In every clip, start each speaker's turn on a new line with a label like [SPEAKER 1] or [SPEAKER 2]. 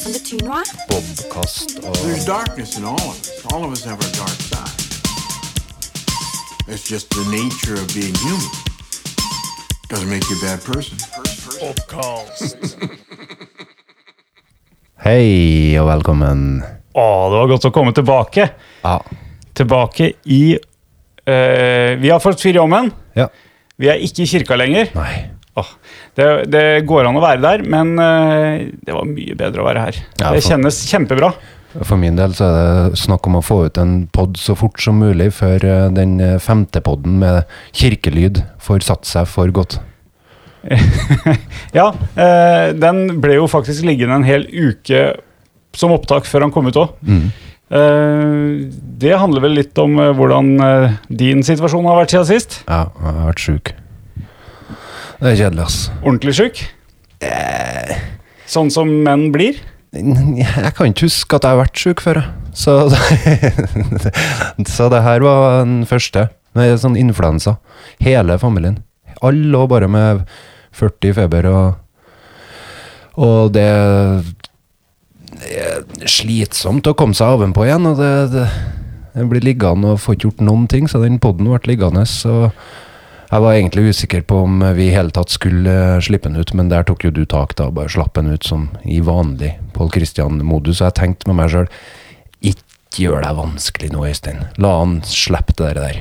[SPEAKER 1] som betyr noe.
[SPEAKER 2] Bobkast og
[SPEAKER 3] There's darkness in all of us. All of us have our dark side. It's just the nature of being human. Doesn't make you a bad person.
[SPEAKER 2] Hei og velkommen.
[SPEAKER 4] Å, det var godt å komme tilbake.
[SPEAKER 2] Ja.
[SPEAKER 4] Tilbake i eh, Vi har fått fyr i ovnen.
[SPEAKER 2] ja.
[SPEAKER 4] Vi er ikke i kirka lenger.
[SPEAKER 2] Nei.
[SPEAKER 4] Åh, det, det går an å være der, men eh, det var mye bedre å være her.
[SPEAKER 2] Ja,
[SPEAKER 4] det
[SPEAKER 2] for-
[SPEAKER 4] kjennes kjempebra.
[SPEAKER 2] For min del så er det snakk om å få ut en pod så fort som mulig før eh, den eh, femte podden med kirkelyd får satt seg for godt.
[SPEAKER 4] Ja, eh, den ble jo faktisk liggende en hel uke som opptak før han kom ut òg.
[SPEAKER 2] Mm.
[SPEAKER 4] det handler vel litt om eh, hvordan eh, din situasjon har vært siden sist.
[SPEAKER 2] Ja, jeg har vært sjuk. Det er kjedelig, ass.
[SPEAKER 4] Ordentlig sjuk. Sånn som menn blir.
[SPEAKER 2] Jeg kan ikke huske at jeg har vært sjuk før, jeg. Så, så det her var den første. Det er sånn influensa. Hele familien. Alle lå bare med 40 i feber og Og det det er slitsomt å komme seg ovenpå igjen. Og det, det, jeg blir liggende og får ikke gjort noen ting, så den poden ble liggende. Så jeg var egentlig usikker på om vi i hele tatt skulle eh, slippe den ut, men der tok jo du tak, da. Bare slapp den ut som i vanlig Pål Christian-modus. Og jeg tenkte med meg sjøl ikke gjør deg vanskelig nå, Øystein. La han slippe det der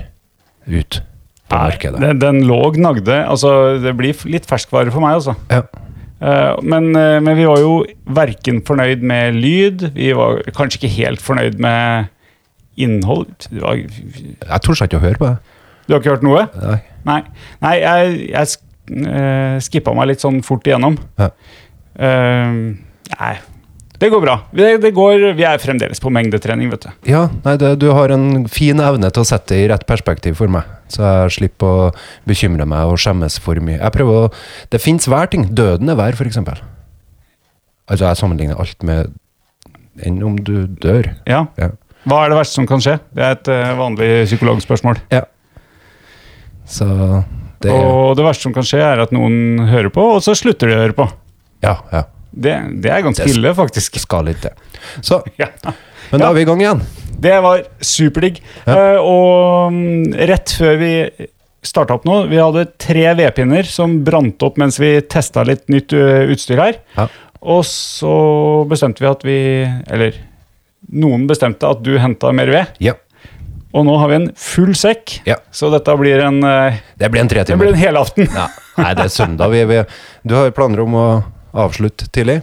[SPEAKER 2] ut på markedet.
[SPEAKER 4] Den, den lå og gnagde. Altså, det blir f- litt ferskvare for meg, altså.
[SPEAKER 2] Ja.
[SPEAKER 4] Eh, men, eh, men vi var jo verken fornøyd med lyd, vi var kanskje ikke helt fornøyd med innhold. Det var, du
[SPEAKER 2] Jeg torde ikke å høre på det.
[SPEAKER 4] har ikke hørt noe?
[SPEAKER 2] Nei.
[SPEAKER 4] Nei, Nei jeg, jeg sk- eh, skippa meg litt sånn fort igjennom.
[SPEAKER 2] Ja.
[SPEAKER 4] Eh, nei, det går bra. Det, det går, vi er fremdeles på mengdetrening, vet du.
[SPEAKER 2] Ja, nei, det, du har en fin evne til å sette det i rett perspektiv for meg, så jeg slipper å bekymre meg og skjemmes for mye. Jeg prøver å, Det fins hver ting. Døden er hver, f.eks. Altså, jeg sammenligner alt med enn om du dør.
[SPEAKER 4] Ja.
[SPEAKER 2] Ja.
[SPEAKER 4] Hva er det verste som kan skje? Det er et eh, vanlig psykologspørsmål.
[SPEAKER 2] ja. Så det er
[SPEAKER 4] Og det verste som kan skje, er at noen hører på, og så slutter de å høre på.
[SPEAKER 2] Ja, ja.
[SPEAKER 4] Det, det er ganske
[SPEAKER 2] Det-
[SPEAKER 4] ille, faktisk.
[SPEAKER 2] Det skal litt til. Så,
[SPEAKER 4] Ja.
[SPEAKER 2] men da er vi i gang igjen.
[SPEAKER 4] Det var superdigg.
[SPEAKER 2] Ja.
[SPEAKER 4] Eh, og mm, rett før vi starta opp nå, vi hadde tre vedpinner som brant opp mens vi testa litt nytt ø, utstyr her.
[SPEAKER 2] Ja.
[SPEAKER 4] Og så bestemte vi at vi Eller noen bestemte at du henta mer ved.
[SPEAKER 2] Ja.
[SPEAKER 4] Og nå har vi en full sekk,
[SPEAKER 2] Ja.
[SPEAKER 4] så dette blir en, eh,
[SPEAKER 2] Det blir en tre
[SPEAKER 4] det
[SPEAKER 2] timer.
[SPEAKER 4] blir en helaften.
[SPEAKER 2] Ja. Nei, det er søndag. Vi, vi, du har planer om å avslutte tidlig?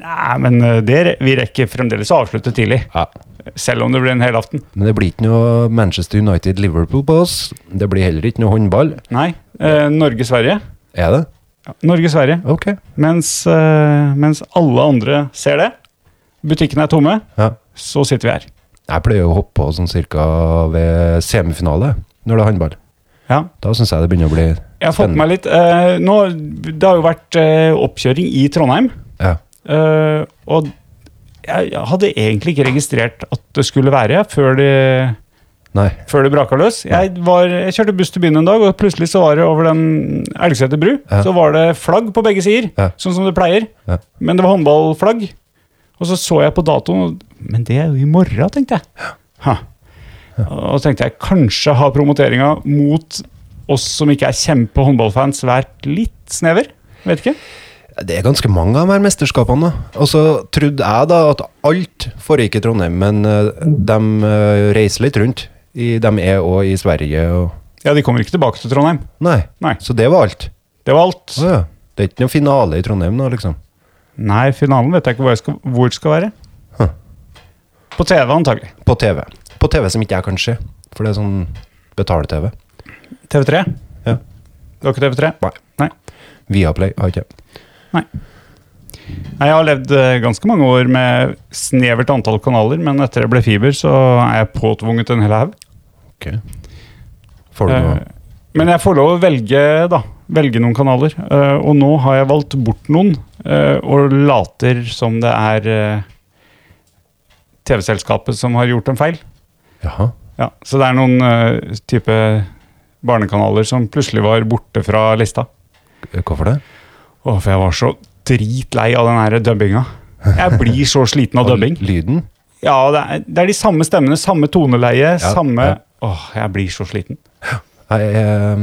[SPEAKER 4] Nei, men eh, det, re- vi rekker fremdeles å avslutte tidlig.
[SPEAKER 2] Ja.
[SPEAKER 4] Selv om det blir en helaften.
[SPEAKER 2] Men det blir ikke noe Manchester United-Liverpool på oss. Det blir heller ikke noe håndball.
[SPEAKER 4] Nei. Eh, Norge-Sverige.
[SPEAKER 2] Er det?
[SPEAKER 4] Norge-Sverige.
[SPEAKER 2] Ok.
[SPEAKER 4] Mens, eh, mens alle andre ser det, butikkene er tomme,
[SPEAKER 2] Ja.
[SPEAKER 4] så sitter vi her.
[SPEAKER 2] Jeg pleier å hoppe på sånn cirka ved semifinale når det er håndball.
[SPEAKER 4] Ja.
[SPEAKER 2] Da syns jeg det begynner å bli spennende.
[SPEAKER 4] Jeg har fått med meg litt eh, nå, Det har jo vært eh, oppkjøring i Trondheim.
[SPEAKER 2] Ja.
[SPEAKER 4] eh, og jeg, jeg hadde egentlig ikke registrert at det skulle være før det,
[SPEAKER 2] Nei.
[SPEAKER 4] før det braka løs. Jeg, var, jeg kjørte buss til byen en dag, og plutselig så var det over den Elgseter bru.
[SPEAKER 2] Ja.
[SPEAKER 4] Så var det flagg på begge sider,
[SPEAKER 2] Ja.
[SPEAKER 4] sånn som det pleier.
[SPEAKER 2] Ja.
[SPEAKER 4] Men det var håndballflagg. Og så så jeg på datoen, og men det er jo i morgen, tenkte jeg. Ha. Og så tenkte jeg kanskje har promoteringa mot oss som ikke er kjempe håndballfans, vært litt snever? Vet ikke.
[SPEAKER 2] Det er ganske mange av de her mesterskapene. da. Og så trodde jeg da at alt foregikk i Trondheim, men eh, de eh, reiser litt rundt. I, de er òg i Sverige og
[SPEAKER 4] Ja, de kommer ikke tilbake til Trondheim.
[SPEAKER 2] Nei.
[SPEAKER 4] Nei.
[SPEAKER 2] Så det var alt.
[SPEAKER 4] Det var alt.
[SPEAKER 2] Å ja. Det er ikke noe finale i Trondheim nå, liksom.
[SPEAKER 4] Nei, finalen vet jeg ikke hvor, jeg skal, hvor det skal være.
[SPEAKER 2] Huh.
[SPEAKER 4] På TV, antagelig.
[SPEAKER 2] På TV. På TV som ikke jeg kan se, for det er sånn betale-TV.
[SPEAKER 4] TV3.
[SPEAKER 2] Ja.
[SPEAKER 4] Det var ikke TV3?
[SPEAKER 2] Nei.
[SPEAKER 4] Nei.
[SPEAKER 2] Viaplay har ikke jeg.
[SPEAKER 4] Nei. Nei, jeg har levd eh, ganske mange år med snevert antall kanaler, men etter det ble fiber, så er jeg påtvunget en hel haug.
[SPEAKER 2] Får du noe
[SPEAKER 4] Eh, Men jeg får lov å velge, da. Velge noen kanaler. Eh, Og nå har jeg valgt bort noen, eh, og later som det er eh, TV-selskapet som har gjort en feil.
[SPEAKER 2] Jaha.
[SPEAKER 4] Ja, Så det er noen eh, type barnekanaler som plutselig var borte fra lista.
[SPEAKER 2] Hvorfor det?
[SPEAKER 4] Åh, for jeg var så dritlei av den her dubbinga. Jeg blir så sliten av dubbing.
[SPEAKER 2] Lyden?
[SPEAKER 4] Ja, det er, det er de samme stemmene, samme toneleie, samme
[SPEAKER 2] ja.
[SPEAKER 4] Åh, jeg blir så sliten.
[SPEAKER 2] Nei, jeg, eh,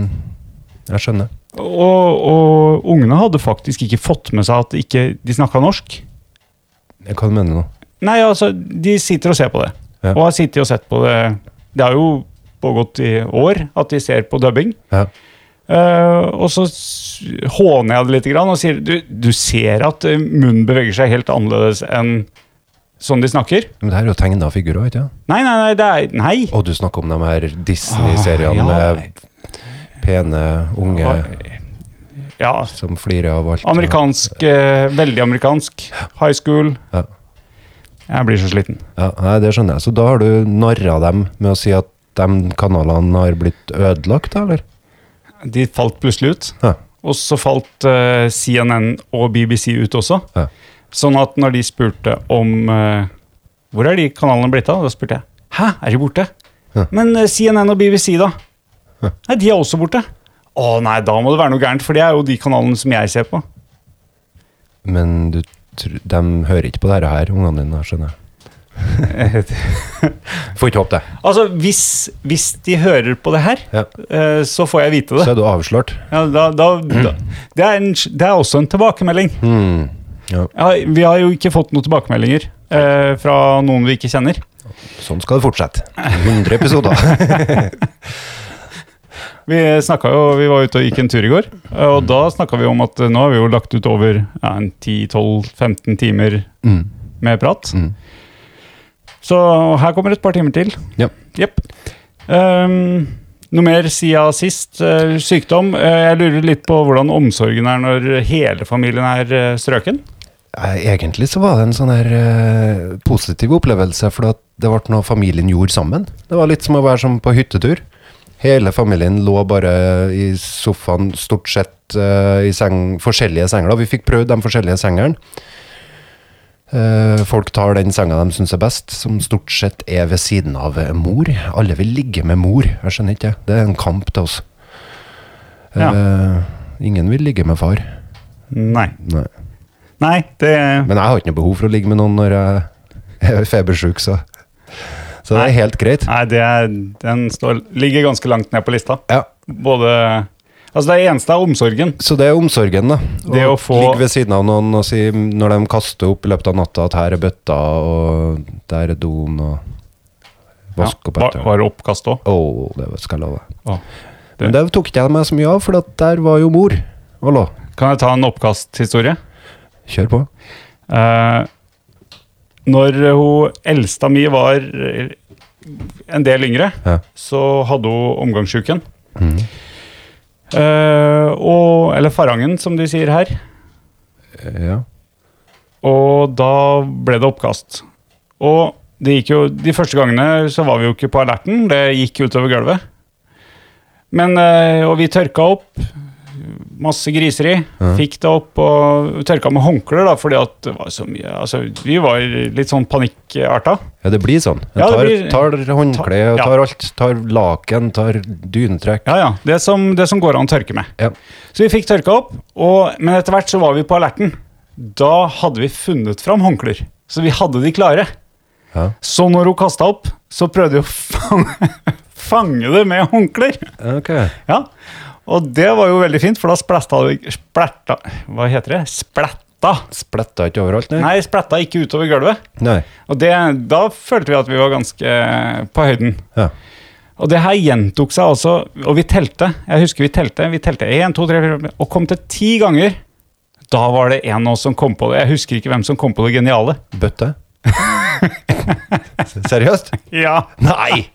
[SPEAKER 2] jeg skjønner.
[SPEAKER 4] Og, og ungene hadde faktisk ikke fått med seg at ikke de ikke snakka norsk.
[SPEAKER 2] Jeg kan mene noe.
[SPEAKER 4] Nei, altså, de sitter og ser på det.
[SPEAKER 2] Ja.
[SPEAKER 4] Og har sittet og sett på det Det har jo pågått i år at de ser på dubbing.
[SPEAKER 2] Ja.
[SPEAKER 4] Eh, og så s- håner jeg det litt grann, og sier du, du ser at eh, munnen beveger seg helt annerledes enn sånn de snakker.
[SPEAKER 2] Men det her er jo tegna figurer, ikke sant?
[SPEAKER 4] Nei, nei, nei. det er, nei.
[SPEAKER 2] Og du snakker om de her Disney-seriene
[SPEAKER 4] Ah, ja.
[SPEAKER 2] med pene unge
[SPEAKER 4] Ja,
[SPEAKER 2] som flirer av alt.
[SPEAKER 4] Amerikansk, eh, veldig amerikansk. High school.
[SPEAKER 2] Ja.
[SPEAKER 4] Jeg blir så sliten.
[SPEAKER 2] Ja, nei, det skjønner jeg. Så da har du narra dem med å si at de kanalene har blitt ødelagt, da, eller?
[SPEAKER 4] De falt plutselig ut.
[SPEAKER 2] Ja.
[SPEAKER 4] Og så falt eh, CNN og BBC ut også.
[SPEAKER 2] Ja.
[SPEAKER 4] Sånn at når de spurte om eh, Hvor er de kanalene blitt av? Da spurte jeg. Hæ, er de borte?
[SPEAKER 2] Ja.
[SPEAKER 4] Men eh, CNN og BBC, da? Nei, de er også borte. Å nei, da må det være noe gærent, for det er jo de kanalene som jeg ser på.
[SPEAKER 2] Men du, tr- de hører ikke på dette her, ungene dine, skjønner jeg. Får ikke håpe det.
[SPEAKER 4] altså, hvis, hvis de hører på det her,
[SPEAKER 2] Ja.
[SPEAKER 4] eh, så får jeg vite det.
[SPEAKER 2] Så er du avslørt.
[SPEAKER 4] Ja, da, da, da. Det, er en, det er også en tilbakemelding.
[SPEAKER 2] Hmm. Ja,
[SPEAKER 4] Ja, vi har jo ikke fått noen tilbakemeldinger eh, fra noen vi ikke kjenner.
[SPEAKER 2] sånn skal det fortsette. 100 episoder.
[SPEAKER 4] Vi, snakket jo, vi var ute og gikk en tur i går, eh, og da snakka vi om at eh, nå har vi jo lagt ut over ja, en 10-12-15 timer
[SPEAKER 2] Mm.
[SPEAKER 4] med prat.
[SPEAKER 2] Mm.
[SPEAKER 4] Så her kommer et par timer til.
[SPEAKER 2] Ja.
[SPEAKER 4] Jepp. Ehm, noe mer siden sist? Eh, sykdom. Eh, jeg lurer litt på hvordan omsorgen er når hele familien er eh, strøken.
[SPEAKER 2] Nei, Eh, Egentlig så var det en sånn her eh, positiv opplevelse, for at det ble noe familien gjorde sammen. Det var litt som å være som på hyttetur. Hele familien lå bare i sofaen, stort sett eh, i seng, forskjellige senger. da. Vi fikk prøvd de forskjellige sengene. Eh, folk tar den senga de syns er best, som stort sett er ved siden av eh, mor. Alle vil ligge med mor, jeg skjønner ikke. Det er en kamp til oss.
[SPEAKER 4] Ja.
[SPEAKER 2] Eh, ingen vil ligge med far.
[SPEAKER 4] Nei.
[SPEAKER 2] Nei.
[SPEAKER 4] Nei, det
[SPEAKER 2] Men jeg har ikke noe behov for å ligge med noen når jeg er febersjuk, så Så det er helt greit.
[SPEAKER 4] Nei, det er, den står, ligger ganske langt ned på lista.
[SPEAKER 2] Ja.
[SPEAKER 4] Både Altså, det eneste er omsorgen.
[SPEAKER 2] Så det er omsorgen, da.
[SPEAKER 4] Det å få-
[SPEAKER 2] Ligge ved siden av noen og si når de kaster opp i løpet av natta at her er bøtta, og der er doen, og Vask opp
[SPEAKER 4] var,
[SPEAKER 2] etter.
[SPEAKER 4] var det oppkast òg?
[SPEAKER 2] Å, det skal jeg love.
[SPEAKER 4] Å, det-
[SPEAKER 2] Men det tok ikke jeg meg så mye av, for at der var jo mor og lå.
[SPEAKER 4] Kan jeg ta en oppkasthistorie?
[SPEAKER 2] Kjør på.
[SPEAKER 4] Eh, når hun eldsta mi var eh, en del yngre,
[SPEAKER 2] Ja.
[SPEAKER 4] så hadde hun omgangssjuken.
[SPEAKER 2] Mhm.
[SPEAKER 4] Eh, og Eller farangen, som de sier her.
[SPEAKER 2] Ja.
[SPEAKER 4] Og da ble det oppkast. Og det gikk jo, de første gangene så var vi jo ikke på alerten, det gikk utover gulvet. Men, eh, og vi tørka opp, masse griseri, fikk det opp og tørka med håndklær da, fordi at det var så mye, altså vi var litt sånn panikkarta.
[SPEAKER 2] ja, det blir sånn. Jeg
[SPEAKER 4] Ja,
[SPEAKER 2] tar,
[SPEAKER 4] det blir-
[SPEAKER 2] tar håndkle og
[SPEAKER 4] Ja.
[SPEAKER 2] tar alt. Tar laken, tar dynetrekk.
[SPEAKER 4] Ja, ja, det som, det som går an å tørke med.
[SPEAKER 2] Ja.
[SPEAKER 4] Så vi fikk tørka opp, og, men etter hvert så var vi på alerten. Da hadde vi funnet fram håndklær, så vi hadde de klare.
[SPEAKER 2] Ja.
[SPEAKER 4] Så når hun kasta opp, så prøvde jeg å fange, fange det med håndklær.
[SPEAKER 2] Ok.
[SPEAKER 4] Ja. Og det var jo veldig fint, for da splatta det Splatta Hva heter det? Splatta!
[SPEAKER 2] Spletta ikke overalt, nei?
[SPEAKER 4] Nei, splatta ikke utover gulvet.
[SPEAKER 2] nei.
[SPEAKER 4] Og det, da følte vi at vi var ganske eh, på høyden.
[SPEAKER 2] Ja.
[SPEAKER 4] Og det her gjentok seg altså, og vi telte. Jeg husker vi telte. Vi telte én, to, tre, fire, fem, og kom til ti ganger. Da var det en av oss som kom på det. Jeg husker ikke hvem som kom på det geniale.
[SPEAKER 2] Bøtte? Seriøst?
[SPEAKER 4] Ja,
[SPEAKER 2] Nei!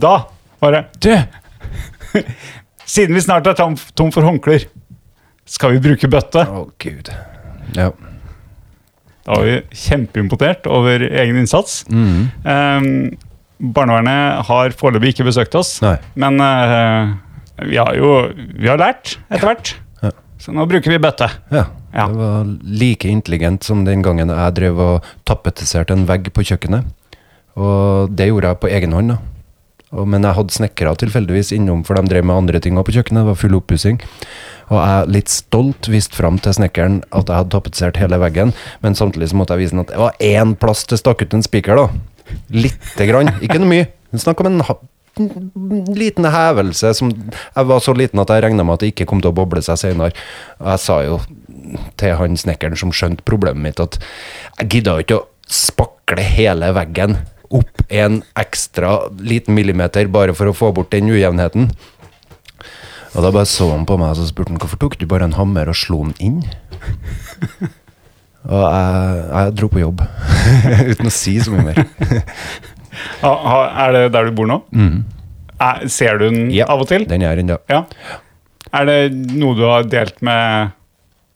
[SPEAKER 4] Da bare Du! Siden vi snart er tom, tom for håndklær, skal vi bruke bøtte?
[SPEAKER 2] Å, gud. Ja.
[SPEAKER 4] Da var vi kjempeimponert over egen innsats.
[SPEAKER 2] Mm.
[SPEAKER 4] Eh, barnevernet har foreløpig ikke besøkt oss,
[SPEAKER 2] Nei.
[SPEAKER 4] men eh, vi har jo vi har lært etter hvert.
[SPEAKER 2] Ja.
[SPEAKER 4] Så nå bruker vi bøtte.
[SPEAKER 2] ja.
[SPEAKER 4] Ja.
[SPEAKER 2] Det var like intelligent som den gangen jeg drev og tapetiserte en vegg på kjøkkenet. Og det gjorde jeg på egen hånd, da. Og, men jeg hadde snekkere tilfeldigvis innom, for de drev med andre ting også på kjøkkenet. Det var full oppussing. Og jeg litt stolt viste fram til snekkeren at jeg hadde tapetsert hele veggen, men samtidig så måtte jeg vise ham at det var én plass til stakk ut en spiker, da. Lite grann. Ikke noe mye. Det er Snakk om en, ha- en liten hevelse som Jeg var så liten at jeg regna med at det ikke kom til å boble seg senere. Og jeg sa jo til han snekkeren som skjønte problemet mitt, at jeg gidda jo ikke å spakle hele veggen opp en ekstra liten millimeter bare for å få bort den ujevnheten. Og da bare så han på meg og så spurte han hvorfor tok du bare en hammer og slo den inn? Og jeg, jeg dro på jobb uten å si så mye mer.
[SPEAKER 4] Ha, ha, er det der du bor nå? Er, ser du den
[SPEAKER 2] Ja,
[SPEAKER 4] av og til?
[SPEAKER 2] Den er ennå.
[SPEAKER 4] Ja. Er det noe du har delt med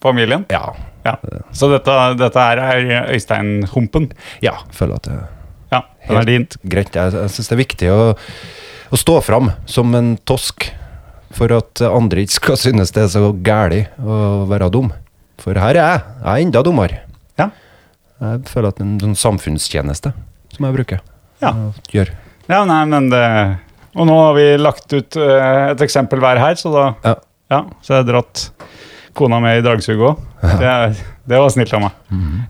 [SPEAKER 4] familien?
[SPEAKER 2] Ja.
[SPEAKER 4] Ja. Så dette, dette her er Øystein-humpen?
[SPEAKER 2] ja. Føler at det
[SPEAKER 4] Ja, den er din.
[SPEAKER 2] greit. Jeg, jeg syns det er viktig å, å stå fram som en tosk for at andre ikke skal synes det er så gæli å være dum. For her er jeg. Jeg er enda dummere.
[SPEAKER 4] Ja.
[SPEAKER 2] Jeg føler at det er en sånn samfunnstjeneste som jeg bruker.
[SPEAKER 4] Ja.
[SPEAKER 2] å gjøre.
[SPEAKER 4] ja, nei, men det Og nå har vi lagt ut eh, et eksempel hver her, så da
[SPEAKER 2] Ja.
[SPEAKER 4] Ja, så jeg har dratt kona med i dragsuget òg. Det, det var snilt av meg.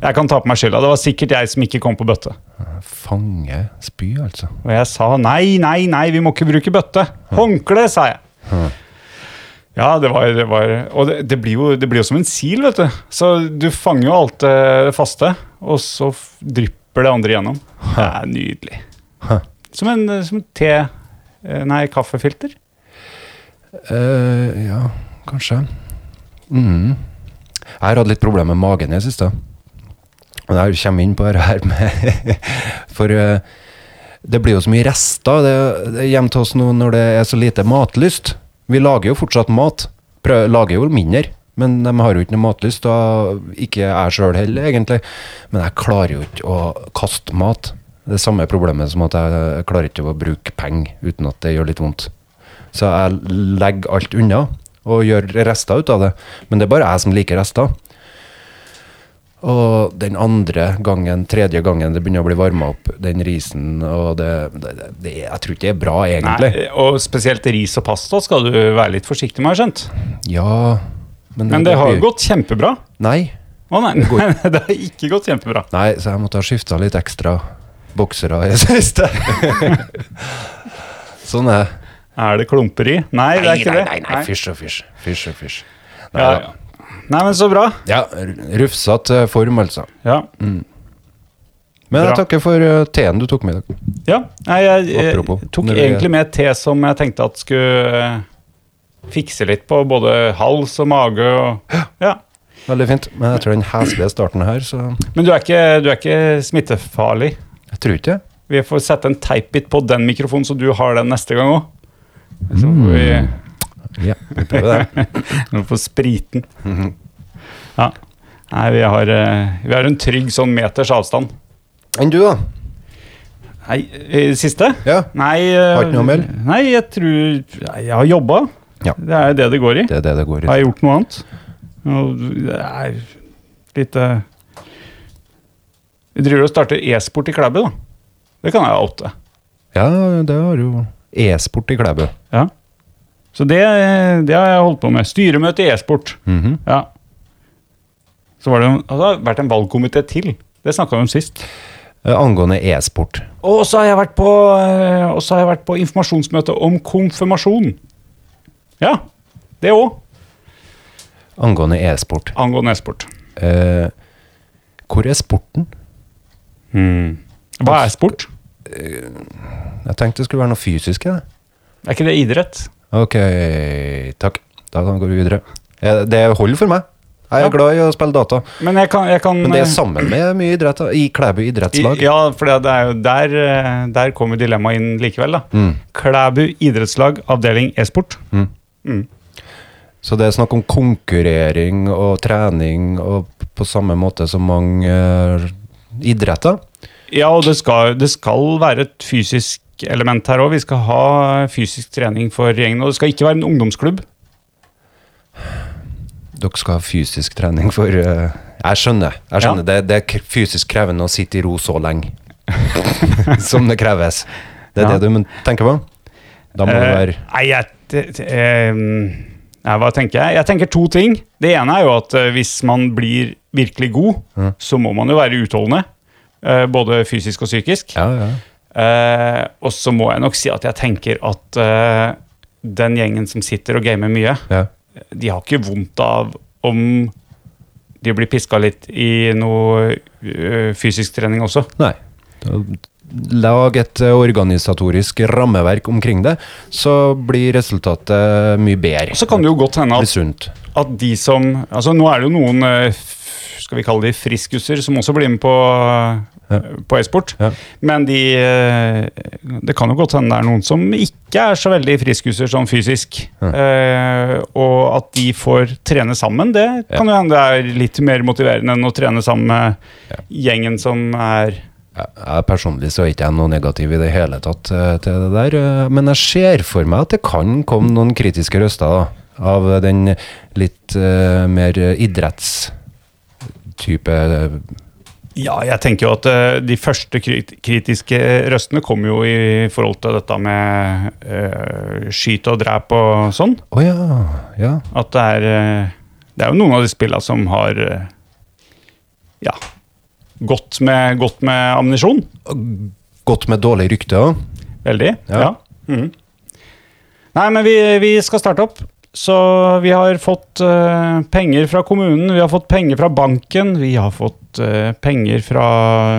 [SPEAKER 4] Jeg kan ta på meg skylda. Det var sikkert jeg som ikke kom på bøtte.
[SPEAKER 2] Fange spy, altså.
[SPEAKER 4] Og jeg sa nei, nei, nei, vi må ikke bruke bøtte. Håndkle, sa jeg. Ja, det var, det var Og det, det, blir jo, det blir jo som en sil, vet du. Så du fanger jo alt eh, det faste, og så f- drypper det andre gjennom. Det er nydelig.
[SPEAKER 2] Hæ.
[SPEAKER 4] Som en som en te... eh, Nei, kaffefilter.
[SPEAKER 2] Eh, ja, kanskje. Mm. Jeg har hatt litt problemer med magen i det siste. Men jeg kommer inn på det her med For eh, det blir jo så mye rester det, det hjemme til oss nå når det er så lite matlyst. Vi lager jo fortsatt mat. Prøv, lager jo mindre. Men de har jo ikke noe matlyst, og ikke jeg sjøl heller, egentlig. Men jeg klarer jo ikke å kaste mat. Det er samme problemet som at jeg klarer ikke å bruke penger uten at det gjør litt vondt. Så jeg legger alt unna og gjør rester ut av det. Men det er bare jeg som liker rester. Og den andre gangen, tredje gangen det begynner å bli varma opp, den risen og det, det, det Jeg tror ikke det er bra, egentlig.
[SPEAKER 4] Nei, eh, og spesielt ris og pasta skal du være litt forsiktig med, har jeg skjønt.
[SPEAKER 2] Ja,
[SPEAKER 4] Men det har
[SPEAKER 2] blir-
[SPEAKER 4] jo gått kjempebra.
[SPEAKER 2] Nei.
[SPEAKER 4] Å nei, det har ikke gått kjempebra.
[SPEAKER 2] Nei, så jeg måtte ha skifta litt ekstra boksere i det siste. sånn er det.
[SPEAKER 4] Er det klumperi? Nei, det er
[SPEAKER 2] Nei,
[SPEAKER 4] ikke
[SPEAKER 2] nei,
[SPEAKER 4] det.
[SPEAKER 2] nei, nei, fysj og fysj. Fysj og fysj.
[SPEAKER 4] Ja,
[SPEAKER 2] Nei, da.
[SPEAKER 4] ja. Nei, men så bra.
[SPEAKER 2] ja, rufsete form, altså.
[SPEAKER 4] Ja.
[SPEAKER 2] Men jeg
[SPEAKER 4] Bra.
[SPEAKER 2] takker for eh, teen du tok med i dag.
[SPEAKER 4] ja. Nei, jeg, jeg
[SPEAKER 2] Apropos,
[SPEAKER 4] tok
[SPEAKER 2] når vi-
[SPEAKER 4] egentlig med te som jeg tenkte at skulle eh, fikse litt på både hals og mage og Ja.
[SPEAKER 2] Veldig fint. Men etter den heslige starten her, så
[SPEAKER 4] Men du er ikke, du er ikke smittefarlig.
[SPEAKER 2] Jeg tror ikke det.
[SPEAKER 4] Vi får sette en teipbit på den mikrofonen, så du har den neste gang òg. Så får vi
[SPEAKER 2] Ja, vi prøver det.
[SPEAKER 4] vi får spriten.
[SPEAKER 2] Mm-hmm.
[SPEAKER 4] Ja. Nei, vi har, eh, vi har en trygg sånn meters avstand.
[SPEAKER 2] Enn du, da?
[SPEAKER 4] Nei, eh, siste?
[SPEAKER 2] Ja.
[SPEAKER 4] Nei, eh,
[SPEAKER 2] Har ikke noe å melde?
[SPEAKER 4] Nei, jeg tror nei, Jeg har jobba.
[SPEAKER 2] Ja.
[SPEAKER 4] Det er det det går i.
[SPEAKER 2] Det er det det går i.
[SPEAKER 4] Har jeg gjort noe annet? Og Det er litt eh, Vi driver og starter e-sport i Klæbu, da. Det kan jeg oute.
[SPEAKER 2] Ja, det har jo E-sport i Klæbu.
[SPEAKER 4] Ja. Så det, det har jeg holdt på med. Styremøte i e-sport.
[SPEAKER 2] Mhm.
[SPEAKER 4] Ja. Så var det, jo- altså, det har vært en valgkomité til. Det snakka vi om sist.
[SPEAKER 2] Eh, Angående e-sport.
[SPEAKER 4] Og så har jeg vært på, eh, og så har jeg vært på informasjonsmøte om konfirmasjon. Ja, det òg.
[SPEAKER 2] Angående e-sport.
[SPEAKER 4] Angående e-sport.
[SPEAKER 2] Eh, hvor er sporten?
[SPEAKER 4] Hva er sport?
[SPEAKER 2] Jeg tenkte det skulle være noe fysisk i det.
[SPEAKER 4] Er ikke det idrett?
[SPEAKER 2] Ok, takk. Da kan vi gå videre. Eh, Det holder for meg. Jeg er glad i å spille data.
[SPEAKER 4] Men jeg kan, jeg kan
[SPEAKER 2] Men det er
[SPEAKER 4] eh,
[SPEAKER 2] sammen med mye idrett. da. I Klæbu idrettslag.
[SPEAKER 4] i- Ja, for det det er jo der, eh, der kommer dilemmaet inn likevel. da.
[SPEAKER 2] Mm.
[SPEAKER 4] Klæbu idrettslag, avdeling e-sport.
[SPEAKER 2] Så det er snakk om konkurrering og trening og p- på samme måte som mange eh, idretter.
[SPEAKER 4] Ja, og det skal, det skal være et fysisk element her òg. Vi skal ha fysisk trening for gjengen. Og det skal ikke være en ungdomsklubb.
[SPEAKER 2] Dere skal ha fysisk trening for eh, Jeg skjønner. Jeg skjønner. Det, det er k- fysisk krevende å sitte i ro så lenge som det kreves. Det er
[SPEAKER 4] Ja.
[SPEAKER 2] det du men- tenker på? Da må det
[SPEAKER 4] Eh,
[SPEAKER 2] være
[SPEAKER 4] Nei, jeg det- det, eh, Nei, hva tenker jeg? Jeg tenker to ting. Det ene er jo at eh, hvis man blir virkelig god,
[SPEAKER 2] Mm.
[SPEAKER 4] så må man jo være utholdende. eh, både fysisk og psykisk.
[SPEAKER 2] Ja, ja.
[SPEAKER 4] Eh, og så må jeg nok si at jeg tenker at eh, den gjengen som sitter og gamer mye,
[SPEAKER 2] ja.
[SPEAKER 4] de har ikke vondt av om de blir piska litt i noe eh, fysisk trening også.
[SPEAKER 2] Nei. Da- Lag et eh, organisatorisk rammeverk omkring det, så blir resultatet eh, mye bedre.
[SPEAKER 4] Og så kan det jo godt hende
[SPEAKER 2] bli
[SPEAKER 4] at,
[SPEAKER 2] sunt.
[SPEAKER 4] at de som Altså, nå er det jo noen eh, f- skal vi kalle de friskuser som også blir med på,
[SPEAKER 2] Ja.
[SPEAKER 4] på e-sport.
[SPEAKER 2] Ja.
[SPEAKER 4] Men de eh, Det kan jo godt hende det er noen som ikke er så veldig friskuser sånn fysisk. Eh, og at de får trene sammen, det
[SPEAKER 2] Ja.
[SPEAKER 4] kan jo hende det er litt mer motiverende enn å trene sammen med gjengen som er
[SPEAKER 2] Jeg, jeg personlig så er ikke jeg noe negativ i det hele tatt eh, til det der, eh, men jeg ser for meg at det kan komme noen kritiske røster da, av den litt eh, mer idrettstype eh,
[SPEAKER 4] Ja, jeg tenker jo at eh, de første krit- kritiske røstene kom jo i forhold til dette med uh, skyt og drep og sånn.
[SPEAKER 2] Å ja, ja.
[SPEAKER 4] At det er eh, Det er jo noen av de spillene som har eh, Ja. Gått med, gått med ammunisjon.
[SPEAKER 2] Godt med dårlig rykte òg.
[SPEAKER 4] Veldig.
[SPEAKER 2] Ja.
[SPEAKER 4] Ja. Mhm. Nei, men vi, vi skal starte opp. Så vi har fått eh, penger fra kommunen, vi har fått penger fra banken, vi har fått eh, penger fra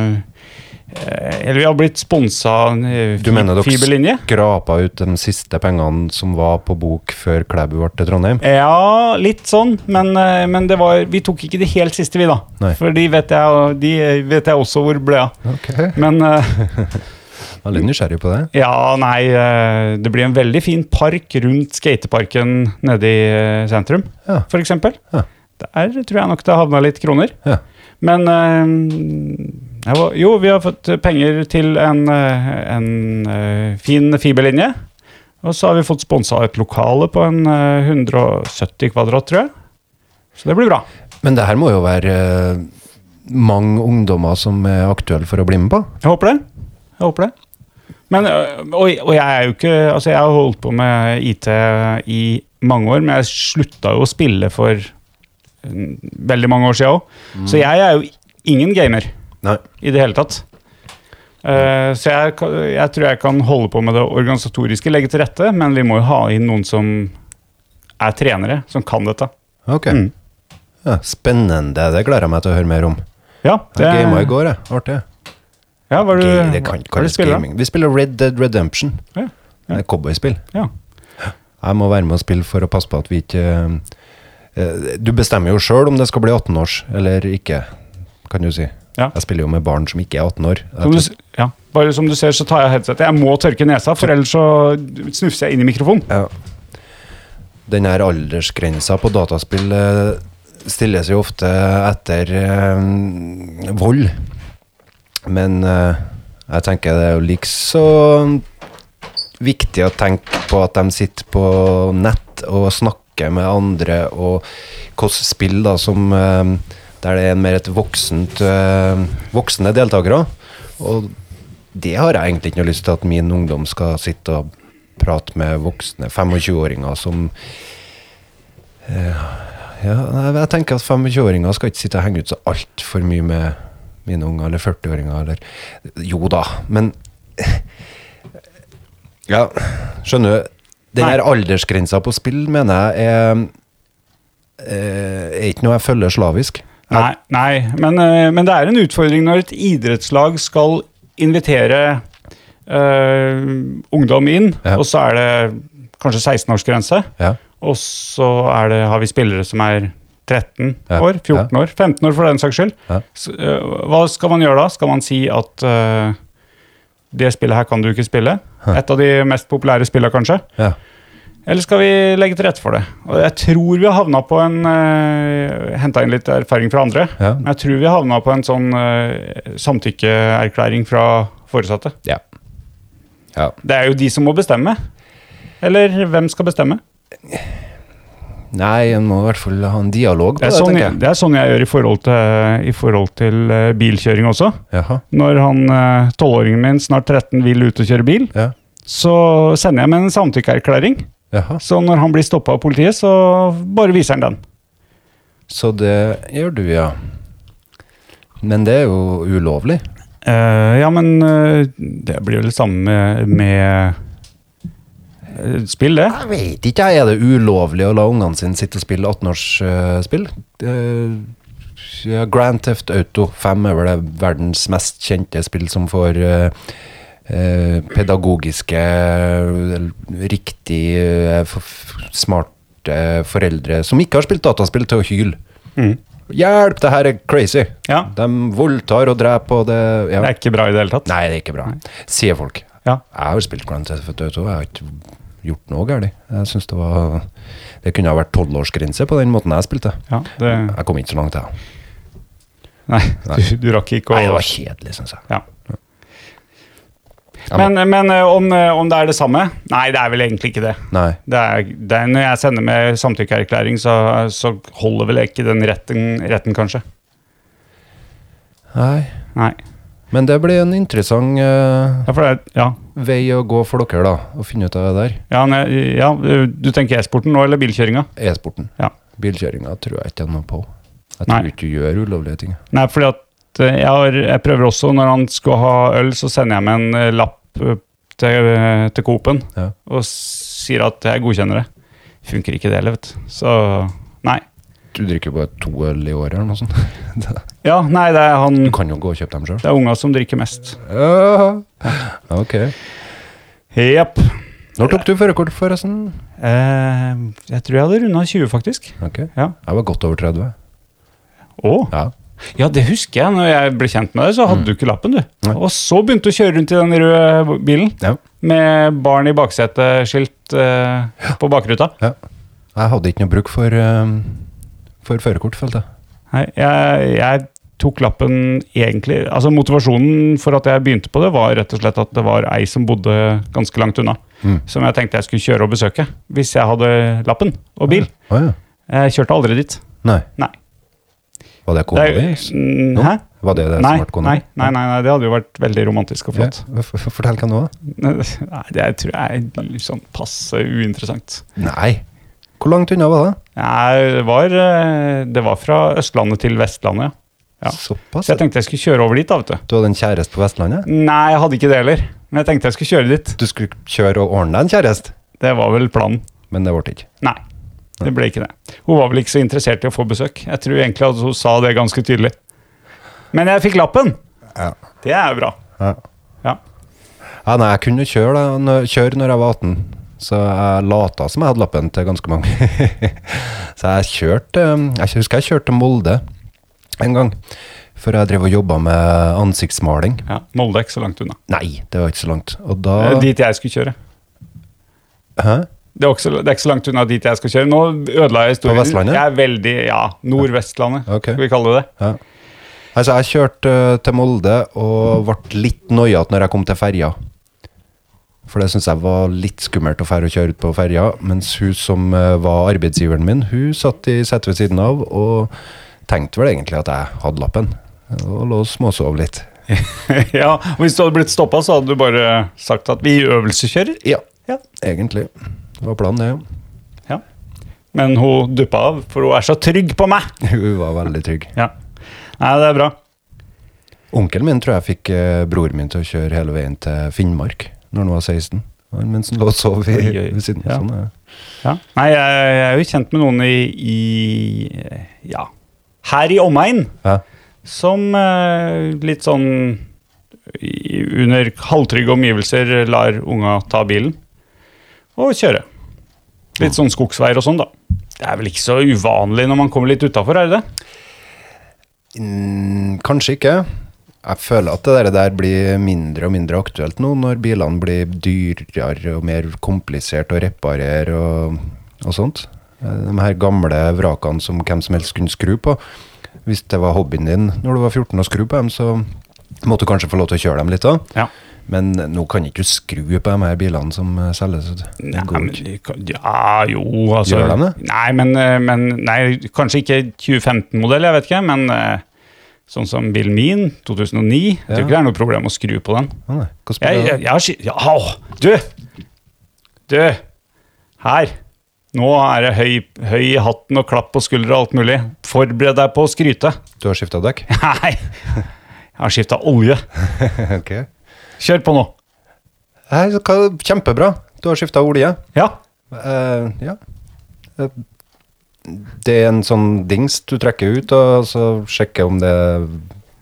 [SPEAKER 4] eh, Eller vi har blitt sponsa uh,
[SPEAKER 2] Du mener dere
[SPEAKER 4] fiberlinje.
[SPEAKER 2] skrapa ut de siste pengene som var på bok før Klæbu ble til Trondheim?
[SPEAKER 4] Ja, litt sånn, men, eh, men det var, vi tok ikke det helt siste, vi, da.
[SPEAKER 2] Nei.
[SPEAKER 4] For de vet jeg, de vet jeg også hvor ble av.
[SPEAKER 2] Okay.
[SPEAKER 4] Men eh,
[SPEAKER 2] Veldig nysgjerrig på det.
[SPEAKER 4] Ja, nei, eh, det blir en veldig fin park rundt skateparken nede i eh, sentrum,
[SPEAKER 2] Ja.
[SPEAKER 4] for eksempel.
[SPEAKER 2] Ja.
[SPEAKER 4] Der tror jeg nok det havna litt kroner.
[SPEAKER 2] Ja.
[SPEAKER 4] Men eh, jeg var, Jo, vi har fått penger til en, eh, en eh, fin fiberlinje. Og så har vi fått sponsa et lokale på en eh, 170 kvadrat, tror jeg. Så det blir bra.
[SPEAKER 2] Men det her må jo være eh, mange ungdommer som er aktuelle for å bli med på?
[SPEAKER 4] Jeg håper det. Jeg håper det. Men, øh, og, og jeg er jo ikke Altså, jeg har holdt på med IT i mange år, men jeg slutta jo å spille for mm, veldig mange år siden òg.
[SPEAKER 2] Mm.
[SPEAKER 4] Så jeg er jo ingen gamer
[SPEAKER 2] Nei.
[SPEAKER 4] i det hele tatt. Eh, så jeg, kan- jeg tror jeg kan holde på med det organisatoriske, legge til rette, men vi må jo ha inn noen som er trenere, som kan dette.
[SPEAKER 2] Ok.
[SPEAKER 4] Mm.
[SPEAKER 2] Ja, spennende. Det gleder jeg meg til å høre mer om.
[SPEAKER 4] Ja, det,
[SPEAKER 2] Jeg gama i går, jeg. Artig.
[SPEAKER 4] Ja, hva er det,
[SPEAKER 2] Ga- det
[SPEAKER 4] hva er
[SPEAKER 2] kan ikke
[SPEAKER 4] det du
[SPEAKER 2] kalles
[SPEAKER 4] spiller, da?
[SPEAKER 2] gaming. Vi spiller Red Dead Redemption.
[SPEAKER 4] Ja, ja.
[SPEAKER 2] Det er cowboyspill.
[SPEAKER 4] Ja.
[SPEAKER 2] Jeg må være med og spille for å passe på at vi ikke eh, Du bestemmer jo sjøl om det skal bli 18-års eller ikke, kan du si.
[SPEAKER 4] Ja.
[SPEAKER 2] Jeg spiller jo med barn som ikke er 18 år.
[SPEAKER 4] Som du, s- ja, bare som du ser, så tar jeg headsetet. Jeg må tørke nesa, for ellers så snufser jeg inn i mikrofonen.
[SPEAKER 2] Ja. Den her aldersgrensa på dataspill eh, stilles jo ofte etter eh, vold. Men eh, jeg tenker det er jo likså viktig å tenke på at de sitter på nett og snakker med andre, og hvilke spill da som eh, Der det er mer et voksent eh, voksne deltakere. Og det har jeg egentlig ikke noe lyst til at min ungdom skal sitte og prate med voksne 25-åringer som eh, ja, nei, Jeg tenker at 25-åringer skal ikke sitte og henge ut så altfor mye med mine unger, eller 40-åringer, eller Jo da, men Ja, skjønner du? Den
[SPEAKER 4] Nei.
[SPEAKER 2] her aldersgrensa på spill mener jeg er, eh, er ikke noe jeg følger slavisk.
[SPEAKER 4] Nei, nei men, eh, men det er en utfordring når et idrettslag skal invitere eh, ungdom inn,
[SPEAKER 2] Ja.
[SPEAKER 4] og så er det kanskje 16-årsgrense,
[SPEAKER 2] Ja,
[SPEAKER 4] og så er det, har vi spillere som er 13
[SPEAKER 2] Ja.
[SPEAKER 4] år, 14 år, 15 år for den saks skyld.
[SPEAKER 2] Ja.
[SPEAKER 4] Så, eh, hva skal man gjøre da? Skal man si at eh, det spillet her kan du ikke spille? Et av de mest populære spillene, kanskje?
[SPEAKER 2] ja.
[SPEAKER 4] Eller skal vi legge til rette for det? Og jeg tror vi har havna på en uh, Henta inn litt erfaring fra andre.
[SPEAKER 2] Ja.
[SPEAKER 4] Men jeg tror vi har havna på en sånn eh, samtykkeerklæring fra foresatte.
[SPEAKER 2] ja. ja.
[SPEAKER 4] Det er jo de som må bestemme. Eller hvem skal bestemme?
[SPEAKER 2] Nei, en må i hvert fall ha en dialog på
[SPEAKER 4] Det
[SPEAKER 2] det,
[SPEAKER 4] er sånn,
[SPEAKER 2] tenker
[SPEAKER 4] jeg,
[SPEAKER 2] jeg.
[SPEAKER 4] det er sånn jeg gjør i forhold til, i forhold til eh, bilkjøring også.
[SPEAKER 2] Jaha,
[SPEAKER 4] Når han eh, tolvåringen min, snart 13, vil ut og kjøre bil,
[SPEAKER 2] ja.
[SPEAKER 4] så sender jeg med en samtykkeerklæring.
[SPEAKER 2] Jaha.
[SPEAKER 4] Så når han blir stoppa av politiet, så bare viser han den.
[SPEAKER 2] Så det gjør du, ja. Men det er jo ulovlig.
[SPEAKER 4] Eh, ja, men eh, det blir vel det samme med, med eh, spill, det.
[SPEAKER 2] Jeg vet ikke, jeg. er det ulovlig å la ungene sine sitte og spille 18-årsspill? Eh, ja, Grand Theft Auto 5 er vel det verdens mest kjente spill som får eh, eh, pedagogiske, eh, riktig eh, f- f- smarte foreldre som ikke har spilt dataspill, til å hyle. Mm. Hjelp, det her er crazy!
[SPEAKER 4] Ja.
[SPEAKER 2] De voldtar og dreper, og det ja.
[SPEAKER 4] Det er ikke bra i det hele tatt.
[SPEAKER 2] Nei, det er ikke bra, sier folk.
[SPEAKER 4] Ja.
[SPEAKER 2] Jeg har jo spilt Grand Theft Auto, jeg har ikke gjort noe galt. Jeg synes det var Det kunne ha vært tolvårsgrense på den måten jeg spilte.
[SPEAKER 4] Ja, det,
[SPEAKER 2] Jeg kom ikke så langt, jeg.
[SPEAKER 4] nei, du, du rakk ikke å
[SPEAKER 2] Nei, det var kjedelig, syns jeg.
[SPEAKER 4] ja.
[SPEAKER 2] Ja, men-
[SPEAKER 4] Men, men eh, om, eh, om det er det samme? Nei, det er vel egentlig ikke det.
[SPEAKER 2] Nei.
[SPEAKER 4] det, er, det er, når jeg sender med samtykkeerklæring, så, så holder vel ikke den retten, retten kanskje.
[SPEAKER 2] Nei.
[SPEAKER 4] Nei.
[SPEAKER 2] Men det blir en interessant eh,
[SPEAKER 4] Ja, for det, er- ja.
[SPEAKER 2] vei å gå for dere, da. Å finne ut av det der.
[SPEAKER 4] Ja, nei, ja, du tenker e-sporten nå, eller bilkjøringa?
[SPEAKER 2] E-sporten.
[SPEAKER 4] Ja.
[SPEAKER 2] Bilkjøringa tror jeg ikke er noe på. Jeg
[SPEAKER 4] Nei.
[SPEAKER 2] tror ikke du gjør ulovlige ting.
[SPEAKER 4] Nei, fordi at eh, jeg, har, jeg prøver også, når han skal ha øl, så sender jeg med en eh, lapp eh, til, eh, til Coop-en
[SPEAKER 2] Ja.
[SPEAKER 4] og sier at jeg godkjenner det. Funker ikke det heller, vet du. Så nei.
[SPEAKER 2] Du drikker bare to øl i året eller noe sånt.
[SPEAKER 4] Ja, nei, det er han
[SPEAKER 2] Du kan jo gå og kjøpe dem sjøl.
[SPEAKER 4] Det er unga som drikker mest.
[SPEAKER 2] ok.
[SPEAKER 4] Jepp.
[SPEAKER 2] Når tok du førerkort, forresten?
[SPEAKER 4] Eh, jeg tror jeg hadde runda 20, faktisk.
[SPEAKER 2] Ok.
[SPEAKER 4] Ja.
[SPEAKER 2] Jeg var godt over 30.
[SPEAKER 4] Å.
[SPEAKER 2] Ja.
[SPEAKER 4] Ja, det husker jeg. Når jeg ble kjent med deg, så hadde du ikke lappen, du.
[SPEAKER 2] Nei.
[SPEAKER 4] Og så begynte du å kjøre rundt i den røde bilen
[SPEAKER 2] Ja.
[SPEAKER 4] med barn i bakseteskilt eh, på bakruta.
[SPEAKER 2] ja. Jeg hadde ikke noe bruk for, eh, for førerkort, følte jeg.
[SPEAKER 4] Nei, jeg, jeg tok lappen egentlig Altså Motivasjonen for at jeg begynte på det, var rett og slett at det var ei som bodde ganske langt unna.
[SPEAKER 2] Mm.
[SPEAKER 4] Som jeg tenkte jeg skulle kjøre og besøke hvis jeg hadde lappen og bil.
[SPEAKER 2] Å ja.
[SPEAKER 4] Jeg kjørte aldri dit.
[SPEAKER 2] Nei.
[SPEAKER 4] Nei.
[SPEAKER 2] Var det
[SPEAKER 4] Det
[SPEAKER 2] kona
[SPEAKER 4] er-
[SPEAKER 2] di?
[SPEAKER 4] Mm,
[SPEAKER 2] No?
[SPEAKER 4] Hæ?
[SPEAKER 2] Var det det
[SPEAKER 4] Nei,
[SPEAKER 2] som ble kona?
[SPEAKER 4] nei, nei, nei, nei, det hadde jo vært veldig romantisk og flott.
[SPEAKER 2] Ja. f- f- Fortell hva nå?
[SPEAKER 4] Nei, det tror jeg er litt sånn passe uinteressant.
[SPEAKER 2] Nei. Hvor langt unna var det?
[SPEAKER 4] Nei, det var, eh, det var fra Østlandet til Vestlandet, ja. Ja.
[SPEAKER 2] Såpass?
[SPEAKER 4] Så jeg tenkte jeg skulle kjøre over dit, da, vet du.
[SPEAKER 2] Du hadde en kjæreste på Vestlandet?
[SPEAKER 4] Nei, jeg hadde ikke det heller. Men jeg tenkte jeg skulle kjøre dit.
[SPEAKER 2] Du skulle kjøre og ordne deg en kjæreste,
[SPEAKER 4] Det var vel planen.
[SPEAKER 2] men det ble ikke.
[SPEAKER 4] Nei, det ble ikke det. Hun var vel ikke så interessert i å få besøk. Jeg tror egentlig at hun sa det ganske tydelig. Men jeg fikk lappen!
[SPEAKER 2] Ja.
[SPEAKER 4] Det er jo bra.
[SPEAKER 2] Ja.
[SPEAKER 4] Ja.
[SPEAKER 2] Ja, nei, jeg kunne kjøre, da, når, kjøre når jeg var 18, så jeg lata som jeg hadde lappen til ganske mange. så jeg kjørte um, Jeg husker jeg kjørte til Molde en gang, for jeg drev og jobba med ansiktsmaling.
[SPEAKER 4] Ja, Molde er ikke så langt unna.
[SPEAKER 2] Nei, det var ikke så langt. Og da
[SPEAKER 4] Eh, Dit jeg skulle kjøre.
[SPEAKER 2] Hæ?
[SPEAKER 4] Det er, også, det er ikke så langt unna dit jeg skal kjøre. Nå ødela jeg historien.
[SPEAKER 2] På Vestlandet?
[SPEAKER 4] Jeg er veldig, ja, Nordvestlandet,
[SPEAKER 2] Ok.
[SPEAKER 4] skal vi kalle det det.
[SPEAKER 2] Altså, jeg kjørte uh, til Molde og ble litt noiete når jeg kom til ferja. For det syntes jeg var litt skummelt å fære og kjøre ut på ferja. Mens hun som eh, var arbeidsgiveren min, hun satt i setet ved siden av og tenkte vel egentlig at jeg hadde lappen. Og lå og småsov litt.
[SPEAKER 4] ja, og Hvis du hadde blitt stoppa, så hadde du bare sagt at vi øvelseskjører.
[SPEAKER 2] Ja,
[SPEAKER 4] Ja.
[SPEAKER 2] egentlig. Det var planen, det. Ja.
[SPEAKER 4] ja. Men hun duppa av, for hun er så trygg på meg!
[SPEAKER 2] Hun var veldig trygg.
[SPEAKER 4] Ja. Nei, det er bra.
[SPEAKER 2] Onkelen min tror jeg fikk eh, broren min til å kjøre hele veien til Finnmark når han var 16. Han- Mens han lå og sov i,
[SPEAKER 4] Oi, oi.
[SPEAKER 2] ved siden av.
[SPEAKER 4] Ja.
[SPEAKER 2] Sånn, ja.
[SPEAKER 4] Ja. Nei, jeg, jeg er jo kjent med noen i, i ja, her i omegn
[SPEAKER 2] Ja.
[SPEAKER 4] som eh, litt sånn i, under halvtrygge omgivelser lar unga ta bilen og kjøre. Litt sånn skogsveier og sånn, da. Det er vel ikke så uvanlig når man kommer litt utafor, er det det?
[SPEAKER 2] Mm, kanskje ikke. Jeg føler at det der- der blir mindre og mindre aktuelt nå, når bilene blir dyrere og mer komplisert å reparere og, og sånt. Eh, De her gamle vrakene som hvem som helst kunne skru på. Hvis det var hobbyen din når du var 14 å skru på dem, så måtte du kanskje få lov til å kjøre dem litt da.
[SPEAKER 4] Ja.
[SPEAKER 2] Men nå kan ikke du skru på de her bilene som eh, selges.
[SPEAKER 4] Nei,
[SPEAKER 2] Det går
[SPEAKER 4] men,
[SPEAKER 2] ikke.
[SPEAKER 4] de kan- ja, jo, altså
[SPEAKER 2] Gjør de det?
[SPEAKER 4] Nei, men, eh, men nei, kanskje ikke 2015-modell, jeg vet ikke, men eh, sånn som bilen min, 2009 Jeg
[SPEAKER 2] Ja.
[SPEAKER 4] tror ikke det er noe problem å skru på den.
[SPEAKER 2] Å nei, hvordan blir
[SPEAKER 4] Jeg,
[SPEAKER 2] det da?
[SPEAKER 4] jeg, jeg har ski- ja, au, Du! Du! Her. Nå er det høy, høy i hatten og klapp på skuldra og alt mulig. Forbered deg på å skryte.
[SPEAKER 2] Du har skifta dekk?
[SPEAKER 4] Nei! Jeg har skifta olje.
[SPEAKER 2] ok.
[SPEAKER 4] Kjør på nå.
[SPEAKER 2] Nei, så hva- kjempebra. Du har skifta olje.
[SPEAKER 4] Ja.
[SPEAKER 2] Eh, ja. Eh, Det er en sånn dings du trekker ut, og så sjekker om det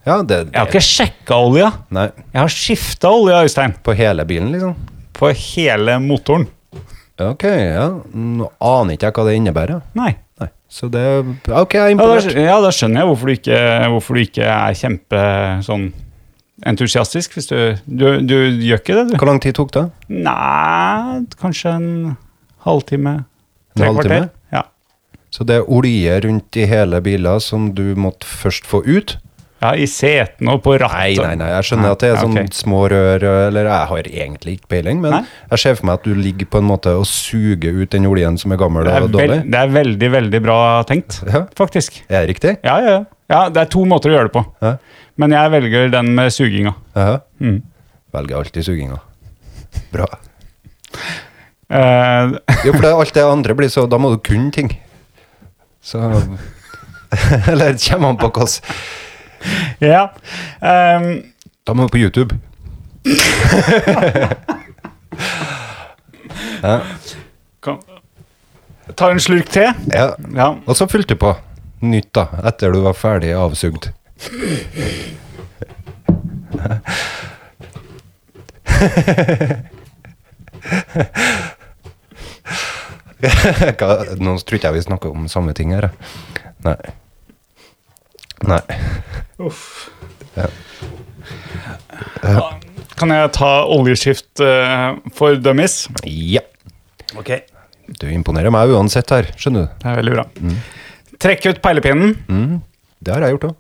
[SPEAKER 2] Ja, det
[SPEAKER 4] Jeg har ikke sjekka olja.
[SPEAKER 2] Nei.
[SPEAKER 4] Jeg har skifta olja, Øystein.
[SPEAKER 2] På hele bilen, liksom?
[SPEAKER 4] På hele motoren.
[SPEAKER 2] Ok, ja. Nå aner ikke jeg hva det innebærer.
[SPEAKER 4] Nei.
[SPEAKER 2] Nei. Så det ja, Ok, jeg er
[SPEAKER 4] Ja, da,
[SPEAKER 2] imponert.
[SPEAKER 4] skj- ja, da skjønner jeg hvorfor du ikke, hvorfor du ikke er kjempe sånn entusiastisk. Hvis du, du, du gjør ikke det, du.
[SPEAKER 2] Hvor lang tid tok det?
[SPEAKER 4] Nei, kanskje en halvtime. Tre
[SPEAKER 2] En halvtime?
[SPEAKER 4] kvarter. Ja.
[SPEAKER 2] Så det er olje rundt i hele bilen som du måtte først få ut?
[SPEAKER 4] ja, i setene og på
[SPEAKER 2] Nei,
[SPEAKER 4] rattet.
[SPEAKER 2] nei, nei. Jeg skjønner at det er
[SPEAKER 4] Ja,
[SPEAKER 2] sånn
[SPEAKER 4] ok.
[SPEAKER 2] små rør, eller jeg har egentlig ikke peiling, men
[SPEAKER 4] Nei.
[SPEAKER 2] jeg ser for meg at du ligger på en måte og suger ut den oljen som er gammel
[SPEAKER 4] Det er,
[SPEAKER 2] og dårlig.
[SPEAKER 4] veld, det er veldig, veldig bra tenkt,
[SPEAKER 2] Ja.
[SPEAKER 4] faktisk.
[SPEAKER 2] Er det riktig?
[SPEAKER 4] Ja, ja, ja. ja, det er to måter å gjøre det på.
[SPEAKER 2] Ja.
[SPEAKER 4] Men jeg velger den med suginga.
[SPEAKER 2] Jaha.
[SPEAKER 4] Mm.
[SPEAKER 2] Velger alltid suginga. Bra.
[SPEAKER 4] Eh,
[SPEAKER 2] Jo, for det, alt det andre blir så Da må du kunne ting. Så Eller det kommer an på hvordan.
[SPEAKER 4] ja. Ehm,
[SPEAKER 2] Da må vi på YouTube.
[SPEAKER 4] kan, ta en slurk te.
[SPEAKER 2] Ja.
[SPEAKER 4] Ja.
[SPEAKER 2] Og så fylte du på nytt, da, etter du var ferdig avsugd. Hva, nå tror ikke jeg vi snakker om samme ting her. jeg. Nei. Nei.
[SPEAKER 4] Kan jeg ta oljeskift eh, for dummies?
[SPEAKER 2] Ja.
[SPEAKER 4] Ok. Det
[SPEAKER 2] Du imponerer meg uansett her, skjønner du.
[SPEAKER 4] er veldig bra. Trekk ut peilepinnen.
[SPEAKER 2] Det har jeg gjort òg.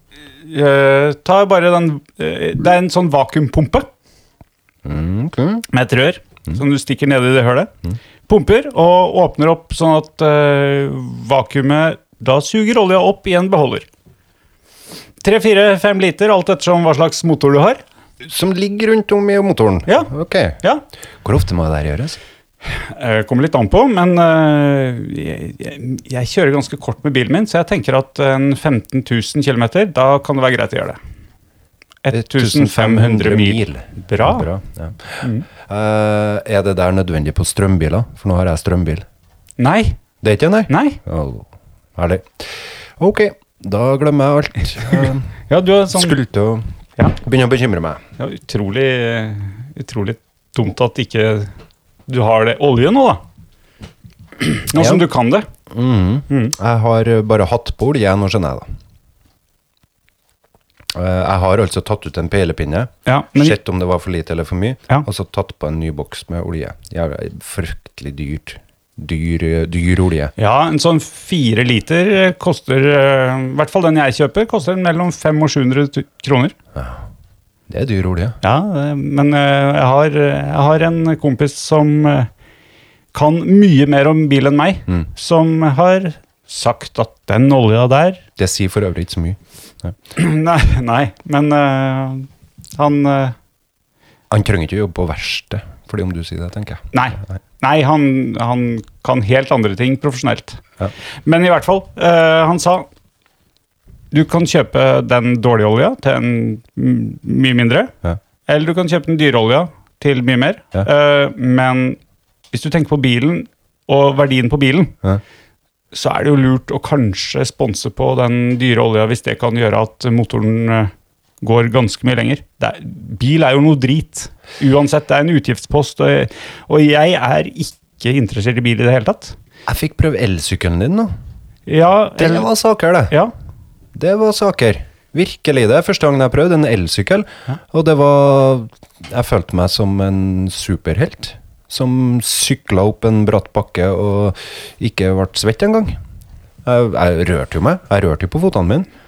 [SPEAKER 4] Eh, ta bare den eh, Det er en sånn vakuumpumpe med et rør som du stikker ned i det hølet. Pumper og åpner opp sånn at eh, vakuumet da suger olja opp i en beholder. Tre, fire, fem liter, alt ettersom hva slags motor du har.
[SPEAKER 2] Som ligger rundt om i motoren?
[SPEAKER 4] Ja.
[SPEAKER 2] Ok.
[SPEAKER 4] Ja,
[SPEAKER 2] Hvor ofte må det der gjøres?
[SPEAKER 4] Eh, Kommer litt an på, men eh, jeg, jeg- jeg kjører ganske kort med bilen min, så jeg tenker at en 15 000 km, da kan det være greit å gjøre det. 1500 mil. Bra. Mm.
[SPEAKER 2] Bra, ja. Eh, er det der nødvendig på strømbiler? For nå har jeg strømbil.
[SPEAKER 4] Nei.
[SPEAKER 2] Det er ikke det, nei?
[SPEAKER 4] Nei.
[SPEAKER 2] Å, herlig. Ok, da glemmer jeg alt. Uh,
[SPEAKER 4] Ja, du er sånn
[SPEAKER 2] Skulle til å
[SPEAKER 4] ja,
[SPEAKER 2] begynne å bekymre meg.
[SPEAKER 4] ja, utrolig, eh, utrolig dumt at ikke du har det olje nå, da. Nå som
[SPEAKER 2] Ja.
[SPEAKER 4] du kan det.
[SPEAKER 2] Mhm.
[SPEAKER 4] Mm.
[SPEAKER 2] Jeg har eh, bare hatt på olje, nå skjønner jeg det. Eh, jeg har altså tatt ut en peilepinne.
[SPEAKER 4] Ja, men,
[SPEAKER 2] Sett om det var for lite eller for mye,
[SPEAKER 4] Ja.
[SPEAKER 2] og så tatt på en ny boks med olje. Jævla fryktelig dyrt. Dyr, dyr olje.
[SPEAKER 4] ja en sånn fire liter eh, koster, eh, i hvert fall den jeg kjøper, koster mellom 500 og 700 tu- kroner.
[SPEAKER 2] Det er dyr olje.
[SPEAKER 4] Ja, eh, men eh, jeg har, jeg har en kompis som eh, kan mye mer om bil enn meg, som har sagt at den olja der
[SPEAKER 2] Det sier for øvrig ikke så mye.
[SPEAKER 4] Nei, nei men eh, han eh,
[SPEAKER 2] Han trenger ikke jobbe på verksted, fordi om du sier det, tenker jeg.
[SPEAKER 4] Nei. Nei, han, han kan helt andre ting profesjonelt.
[SPEAKER 2] Ja.
[SPEAKER 4] Men i hvert fall, eh, han sa du kan kjøpe den dårlige olja til en m- mye mindre,
[SPEAKER 2] Ja.
[SPEAKER 4] eller du kan kjøpe den dyre olja til mye mer.
[SPEAKER 2] Ja.
[SPEAKER 4] Eh, men hvis du tenker på bilen og verdien på bilen,
[SPEAKER 2] Ja.
[SPEAKER 4] så er det jo lurt å kanskje sponse på den dyre olja hvis det kan gjøre at motoren eh, går ganske mye lenger. Det er, bil er jo noe drit. Uansett, det er en utgiftspost, og, og jeg er ikke interessert i bil i det hele tatt.
[SPEAKER 2] Jeg fikk prøve elsykkelen din nå.
[SPEAKER 4] Ja,
[SPEAKER 2] Det var saker, det.
[SPEAKER 4] ja.
[SPEAKER 2] Det var saker. Virkelig. Det er første gangen jeg prøvde en elsykkel, og det var Jeg følte meg som en superhelt som sykla opp en bratt bakke og ikke ble svett engang. Jeg, jeg rørte jo meg. Jeg rørte jo på føttene mine.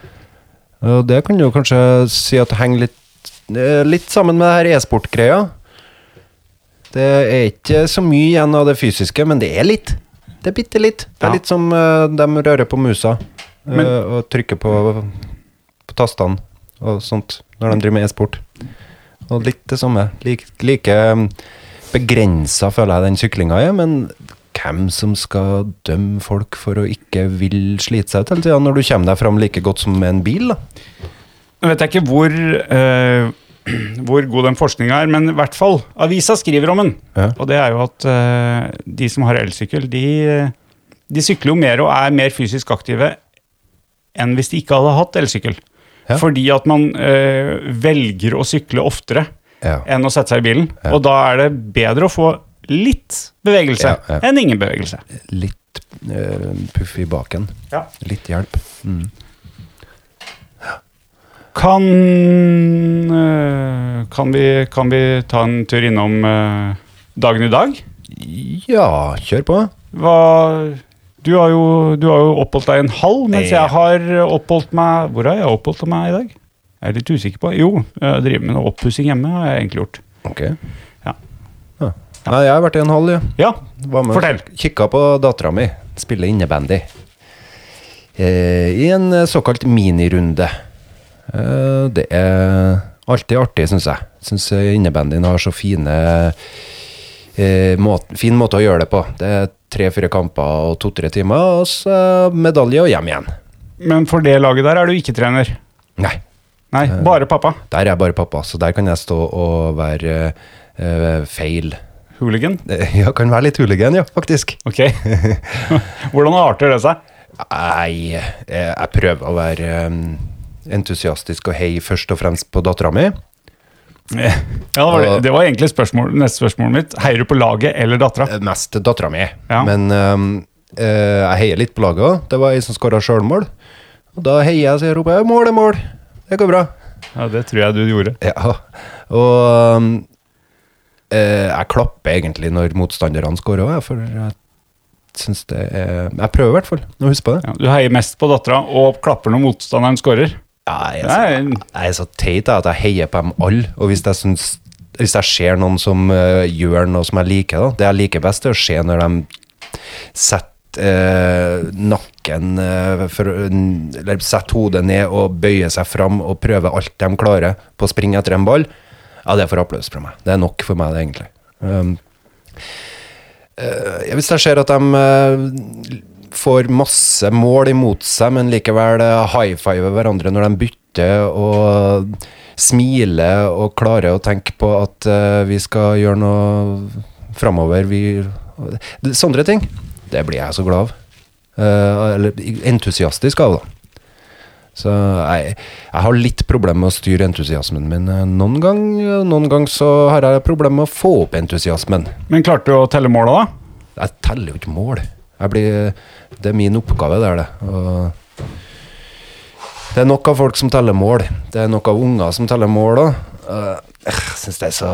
[SPEAKER 2] Og det kan du jo kanskje si at henger litt, eh, litt sammen med det her e-sport-greia. Det er ikke så mye igjen av det fysiske, men det er litt. Det er bitte litt. Det
[SPEAKER 4] Ja.
[SPEAKER 2] er litt som eh, de rører på musa eh,
[SPEAKER 4] Men-
[SPEAKER 2] og trykker på, på tastene og sånt når de driver med e-sport. Og mm, litt det samme. Like, like begrensa føler jeg den syklinga er, men hva hvem som skal dømme folk for å ikke vil slite seg ut hele tida, når du kommer deg fram like godt som med en bil, da.
[SPEAKER 4] Nå vet jeg ikke hvor, eh, hvor god den forskninga er, men i hvert fall, avisa skriver om den.
[SPEAKER 2] Ja.
[SPEAKER 4] Og det er jo at eh, de som har elsykkel, de, de sykler jo mer og er mer fysisk aktive enn hvis de ikke hadde hatt elsykkel.
[SPEAKER 2] Ja.
[SPEAKER 4] Fordi at man eh, velger å sykle oftere
[SPEAKER 2] Ja.
[SPEAKER 4] enn å sette seg i bilen. Og da er det bedre å få litt bevegelse
[SPEAKER 2] Ja, ja.
[SPEAKER 4] enn ingen bevegelse.
[SPEAKER 2] Litt eh, puff i baken.
[SPEAKER 4] Ja.
[SPEAKER 2] Litt hjelp.
[SPEAKER 4] Kan, øh, kan, vi, kan vi ta en tur innom øh, dagen i dag?
[SPEAKER 2] Ja, kjør på.
[SPEAKER 4] Hva, du, har jo, du har jo oppholdt deg en halv, mens
[SPEAKER 2] Ja.
[SPEAKER 4] jeg har oppholdt meg Hvor har jeg oppholdt meg i dag? Jeg er litt usikker på. Jo, jeg driver med noe oppussing hjemme. har jeg egentlig gjort.
[SPEAKER 2] Ok.
[SPEAKER 4] Ja.
[SPEAKER 2] Ja. Nei, jeg har vært i en hall, ja.
[SPEAKER 4] Ja,
[SPEAKER 2] Var med og
[SPEAKER 4] Fortell.
[SPEAKER 2] kik- Kikka på dattera mi spille innebandy. Eh, I en eh, såkalt minirunde. Eh, det er alltid artig, syns jeg. Syns innebandyen har så fine eh, måt, Fin måte å gjøre det på. Det er tre-fire kamper og to-tre timer, og så medalje og hjem igjen.
[SPEAKER 4] Men for det laget der er du ikke trener.
[SPEAKER 2] Nei,
[SPEAKER 4] Nei, bare pappa.
[SPEAKER 2] Der er jeg bare pappa, så der kan jeg stå og være eh, eh, feil.
[SPEAKER 4] Hooligan.
[SPEAKER 2] Eh, Ja, kan være litt hooligan, ja, faktisk.
[SPEAKER 4] Ok. Hvordan arter det seg?
[SPEAKER 2] Nei, eh, jeg prøver å være eh, entusiastisk og hei først og fremst på dattera mi.
[SPEAKER 4] Ja, det var, det.
[SPEAKER 2] Og-
[SPEAKER 4] Det var egentlig spørsmål, neste spørsmålet mitt. Heier du på laget eller dattera?
[SPEAKER 2] Eh, Mest til dattera mi.
[SPEAKER 4] Ja.
[SPEAKER 2] Men eh, eh, jeg heier litt på laget òg. Det var ei som skåra sjølmål. Og da heier jeg, så jeg roper 'mål er mål'. Det går bra.
[SPEAKER 4] Ja, det tror jeg du gjorde.
[SPEAKER 2] Ja. Og um, eh, jeg klapper egentlig når motstanderne scorer òg, for jeg syns det er Jeg prøver i hvert fall å huske på det.
[SPEAKER 4] Ja, du heier mest på dattera og klapper når motstanderen scorer.
[SPEAKER 2] Ja, jeg, er så,
[SPEAKER 4] Nei,
[SPEAKER 2] jeg er så teit jeg, at jeg heier på dem alle, og hvis jeg syns hvis jeg ser noen som eh, gjør noe som jeg liker, da. Det jeg liker best, er å se når de setter eh, nakken eh, for, Eller setter hodet ned og bøyer seg fram og prøver alt de klarer på å springe etter en ball. Ja, det får applaus fra meg. Det er nok for meg, det, egentlig. Um, eh, hvis jeg ser at de eh, får masse mål imot seg, men likevel eh, high-fiver hverandre når de bytter, og smiler og klarer å tenke på at eh, vi skal gjøre noe framover vi, Det- Sånne ting. Det blir jeg så glad av. Eh, eller entusiastisk av, da. Så jeg, jeg har litt problemer med å styre entusiasmen min eh, noen gang. og Noen gang så har jeg problemer med å få opp entusiasmen.
[SPEAKER 4] Men klarte du å telle måla, da?
[SPEAKER 2] Jeg teller jo ikke mål. Jeg blir, det er min oppgave, det er det. Og det er nok av folk som teller mål. Det er nok av unger som teller mål òg. Jeg syns det er så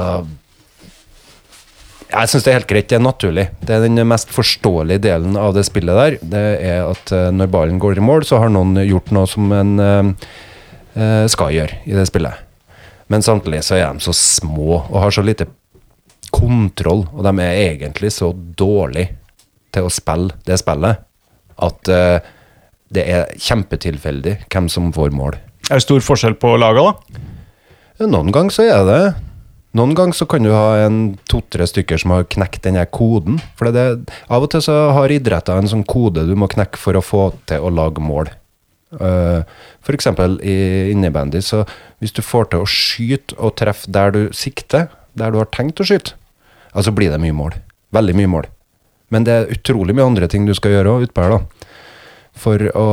[SPEAKER 2] Jeg syns det er helt greit. Det er naturlig. Det er den mest forståelige delen av det spillet der. Det er at eh, når ballen går i mål, så har noen gjort noe som en eh, eh, skal gjøre i det spillet. Men samtidig så er de så små og har så lite kontroll, og de er egentlig så dårlige til å spille det spillet at eh, det er kjempetilfeldig hvem som får mål.
[SPEAKER 4] Er det stor forskjell på laga, da?
[SPEAKER 2] Ja, Noen ganger så er det Noen ganger så kan du ha en to-tre stykker som har knekt den der koden. For det, er- av og til så har idretter en sånn kode du må knekke for å få til å lage mål. Eh, For eksempel i innebandy, så hvis du får til å skyte og treffe der du sikter, der du har tenkt å skyte, ja, så blir det mye mål. Veldig mye mål. Men det er utrolig mye andre ting du skal gjøre òg utpå her, da. For å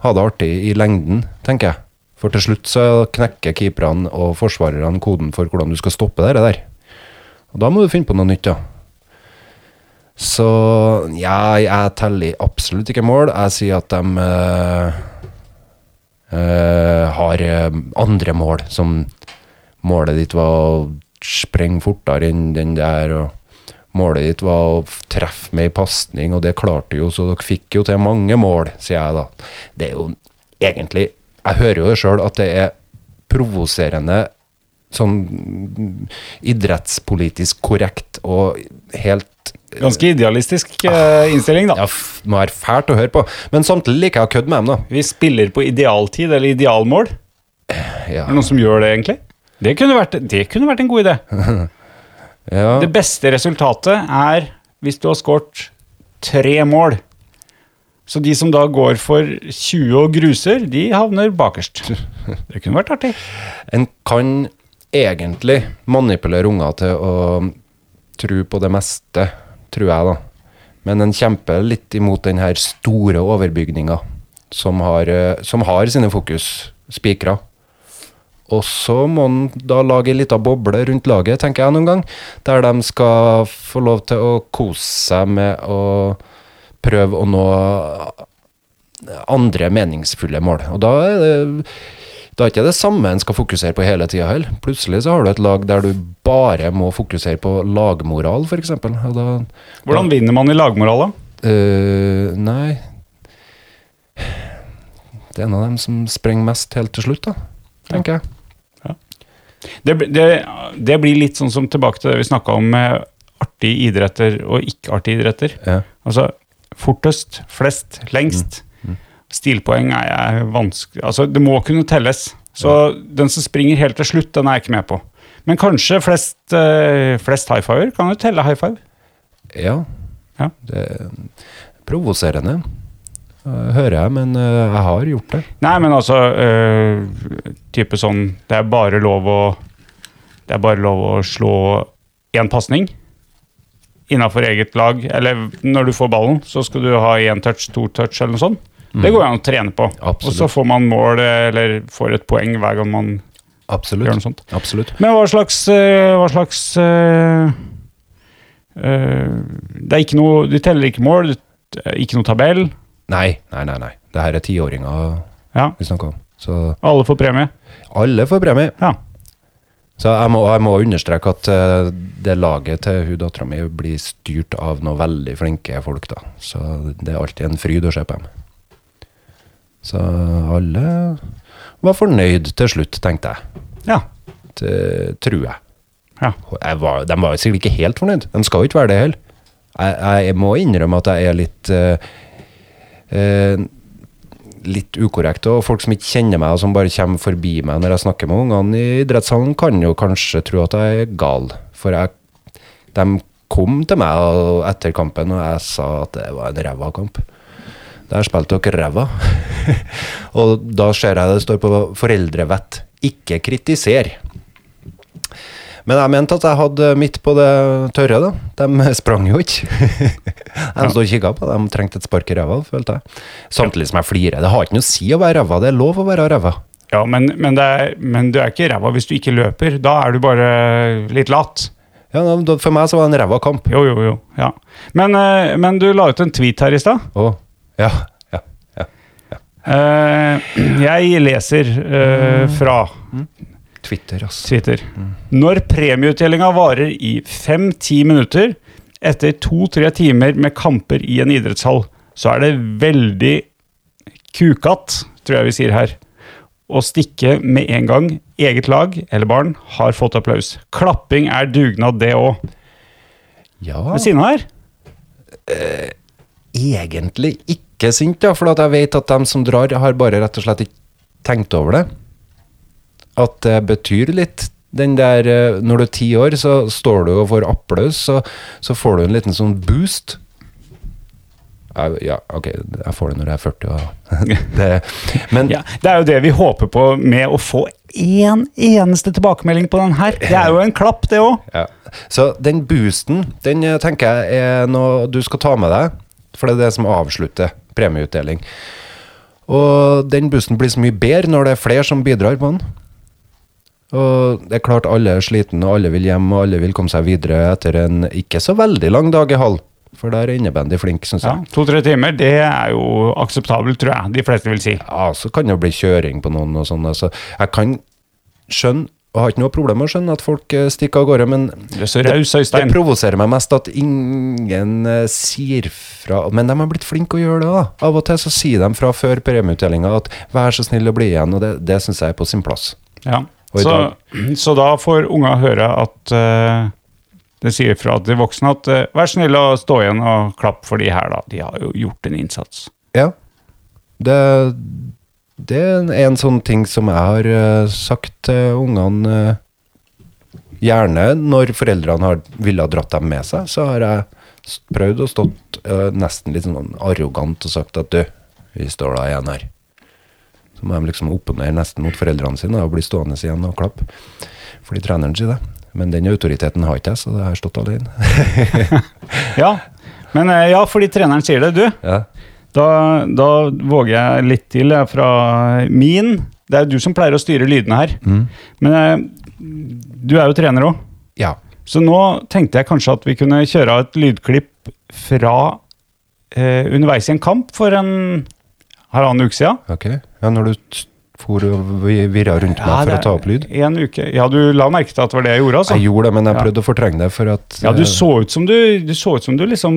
[SPEAKER 2] ha det artig i lengden, tenker jeg. For til slutt så knekker keeperne og forsvarerne koden for hvordan du skal stoppe det der. Og da må du finne på noe nytt, ja. Så ja, jeg teller absolutt ikke mål. Jeg sier at de eh, eh, har eh, andre mål, som målet ditt var å sprenge fortere enn den der, og målet ditt var å f- treffe med ei pasning, og det klarte jo, så dere fikk jo til mange mål, sier jeg da. Det er jo egentlig Jeg hører jo sjøl at det er provoserende sånn mm, idrettspolitisk korrekt og helt
[SPEAKER 4] Ganske idealistisk eh, innstilling, da.
[SPEAKER 2] ja, f- må være fælt å høre på. Men samtidig liker jeg å kødde med dem,
[SPEAKER 4] Vi spiller på idealtid eller idealmål. Er
[SPEAKER 2] da. Ja.
[SPEAKER 4] det noen som gjør det, egentlig? Det kunne vært, det kunne vært en god idé.
[SPEAKER 2] Ja.
[SPEAKER 4] Det beste resultatet er hvis du har skåret tre mål. Så de som da går for 20 og gruser, de havner bakerst. Det kunne vært artig.
[SPEAKER 2] En kan egentlig manipulere unger til å tro på det meste, tror jeg, da. Men en kjemper litt imot den her store overbygninga som har, eh, som har sine fokus spikra. Og så må en da lage ei lita boble rundt laget, tenker jeg noen gang, der de skal få lov til å kose seg med å prøve å nå andre meningsfulle mål. Og da er det da er ikke det samme en skal fokusere på hele tida heller. Plutselig så har du et lag der du bare må fokusere på lagmoral, f.eks. Og da
[SPEAKER 4] Hvordan vinner man i lagmoral, da?
[SPEAKER 2] øh, Nei Det er en av dem som sprenger mest helt til slutt, da. Tenker jeg.
[SPEAKER 4] Det, bl- det, det blir litt sånn som tilbake til det vi snakka om med artige idretter og ikke-artige idretter.
[SPEAKER 2] Ja.
[SPEAKER 4] Altså fortest, flest, lengst. Stilpoeng er jeg vanskelig Altså, det må kunne telles. Så den som springer helt til slutt, den er jeg ikke med på. Men kanskje flest, eh, flest high fiver kan jo telle high five.
[SPEAKER 2] ja.
[SPEAKER 4] Ja.
[SPEAKER 2] Det er provoserende, øh, hører jeg, men øh, jeg har gjort det.
[SPEAKER 4] Nei, men altså eh, Type sånn Det er bare lov å Det er bare lov å slå én pasning innafor eget lag. Eller når du får ballen, så skal du ha én touch, to touch eller noe sånt. Det går jo an å trene på.
[SPEAKER 2] Absolutt.
[SPEAKER 4] Og så får man mål eh, eller får et poeng hver gang man gjør noe
[SPEAKER 2] Absolutt.
[SPEAKER 4] sånt.
[SPEAKER 2] Absolutt.
[SPEAKER 4] Men hva slags, eh, hva slags eh, eh, Det er ikke noe Du teller ikke mål, det er ikke noe tabell.
[SPEAKER 2] Nei, nei, nei. nei. Det her er tiåringer
[SPEAKER 4] Ja,
[SPEAKER 2] vi snakker om. Så
[SPEAKER 4] alle får premie.
[SPEAKER 2] alle får premie.
[SPEAKER 4] Ja.
[SPEAKER 2] Så jeg må, jeg må understreke at eh, det laget til hun dattera mi blir styrt av noen veldig flinke folk, da. Så det er alltid en fryd å se på dem. Så alle var fornøyd til slutt, tenkte jeg.
[SPEAKER 4] ja.
[SPEAKER 2] Det tror jeg.
[SPEAKER 4] Ja.
[SPEAKER 2] jeg var, de var jo sikkert ikke helt fornøyd. De skal jo ikke være det heller. Jeg, jeg må innrømme at jeg er litt eh, eh, litt ukorrekt. Og folk som ikke kjenner meg, og som bare kommer forbi meg når jeg snakker med ungene i idrettshallen, kan jo kanskje tro at jeg er gal. For jeg, de kom til meg og- etter kampen, og jeg sa at det var en ræva kamp. Der spilte dere ræva. og da ser jeg det står på foreldrevett. Ikke kritiser. Men jeg mente at jeg hadde midt på det tørre, da. De sprang jo ikke. De stod og kikka på, de trengte et spark i ræva, følte jeg. Samtidig som jeg flirer. Det har ikke noe å si å være ræva, det er lov å være ræva.
[SPEAKER 4] Ja, men, men, det er, men du er ikke ræva hvis du ikke løper. Da er du bare litt lat.
[SPEAKER 2] Ja, da- for meg så var det en ræva kamp.
[SPEAKER 4] Jo, jo, jo. Ja. Men, eh, men du la ut en tweet her i stad.
[SPEAKER 2] Å, ja, ja, ja.
[SPEAKER 4] Eh, jeg leser eh, fra
[SPEAKER 2] Twitter, ass.
[SPEAKER 4] Twitter. Når premieutdelinga varer i fem-ti minutter etter to-tre timer med kamper i en idrettshall, så er det veldig kukatt, tror jeg vi sier her, å stikke med en gang. Eget lag eller barn har fått applaus. Klapping er dugnad, det òg.
[SPEAKER 2] Ja,
[SPEAKER 4] Ved siden av her.
[SPEAKER 2] egentlig ikke sint, da, for at jeg vet at dem som drar, har bare rett og slett ikke tenkt over det. At det betyr litt. Den der, eh, når du er ti år, så står du og får applaus, så, så får du en liten sånn boost. Jeg, ja, ok, jeg får det når jeg er 40. Og det, men
[SPEAKER 4] Ja, det er jo det vi håper på med å få én eneste tilbakemelding på den her. Det er jo en klapp, det òg.
[SPEAKER 2] Ja. Så den boosten, den eh, tenker jeg er noe du skal ta med deg, for det er det som avslutter premieutdeling. Og den boosten blir så mye bedre når det er flere som bidrar på den. Og det er klart alle er slitne, og alle vil hjem, og alle vil komme seg videre etter en ikke så veldig lang dag i hall. For der er innebandy flink, syns
[SPEAKER 4] Ja,
[SPEAKER 2] jeg.
[SPEAKER 4] To-tre timer, det er jo akseptabelt, tror jeg. De fleste vil si.
[SPEAKER 2] Ja, så kan det jo bli kjøring på noen og sånn. Altså, jeg kan skjønne, og har ikke noe problem med å skjønne, at folk eh, stikker av gårde, men
[SPEAKER 4] Du er så raus,
[SPEAKER 2] Det
[SPEAKER 4] Øystein.
[SPEAKER 2] provoserer meg mest at ingen eh, sier fra Men de har blitt flinke å gjøre det, da. Av og til så sier de fra før premieutdelinga at 'vær så snill å bli igjen', og det, det syns jeg er på sin plass.
[SPEAKER 4] Ja.
[SPEAKER 2] Og i
[SPEAKER 4] Så,
[SPEAKER 2] dag-
[SPEAKER 4] så da får unga høre at eh, det sier fra til voksne at eh, vær snill å stå igjen og klapp for de her, da. De har jo gjort en innsats.
[SPEAKER 2] Ja. Det, det er en sånn ting som jeg har eh, sagt til ungene eh, Gjerne når foreldrene har villet ha dratt dem med seg, så har jeg s- prøvd å stått eh, nesten litt sånn arrogant og sagt at du, vi står da igjen her. Så må de liksom opponere nesten mot foreldrene sine og bli stående igjen og klappe. Fordi treneren sier det. Men den autoriteten har ikke jeg, så det har jeg stått alene.
[SPEAKER 4] Ja, men eh, ja, fordi treneren sier det. Du,
[SPEAKER 2] ja.
[SPEAKER 4] da, da våger jeg litt til jeg, fra min. Det er jo du som pleier å styre lydene her.
[SPEAKER 2] Mm.
[SPEAKER 4] Men eh, du er jo trener òg.
[SPEAKER 2] ja.
[SPEAKER 4] Så nå tenkte jeg kanskje at vi kunne kjøre av et lydklipp fra eh, underveis i en kamp for en halvannen uke siden.
[SPEAKER 2] Ok. Ja, når du t- for og vi- virra rundt meg for
[SPEAKER 4] det
[SPEAKER 2] å ta opp lyd?
[SPEAKER 4] er En uke. Ja, du la merke til at det var det jeg gjorde, altså.
[SPEAKER 2] Jeg gjorde det, men jeg
[SPEAKER 4] Ja.
[SPEAKER 2] prøvde å fortrenge det for at
[SPEAKER 4] Ja, du
[SPEAKER 2] eh,
[SPEAKER 4] så ut som du, du, så ut som du liksom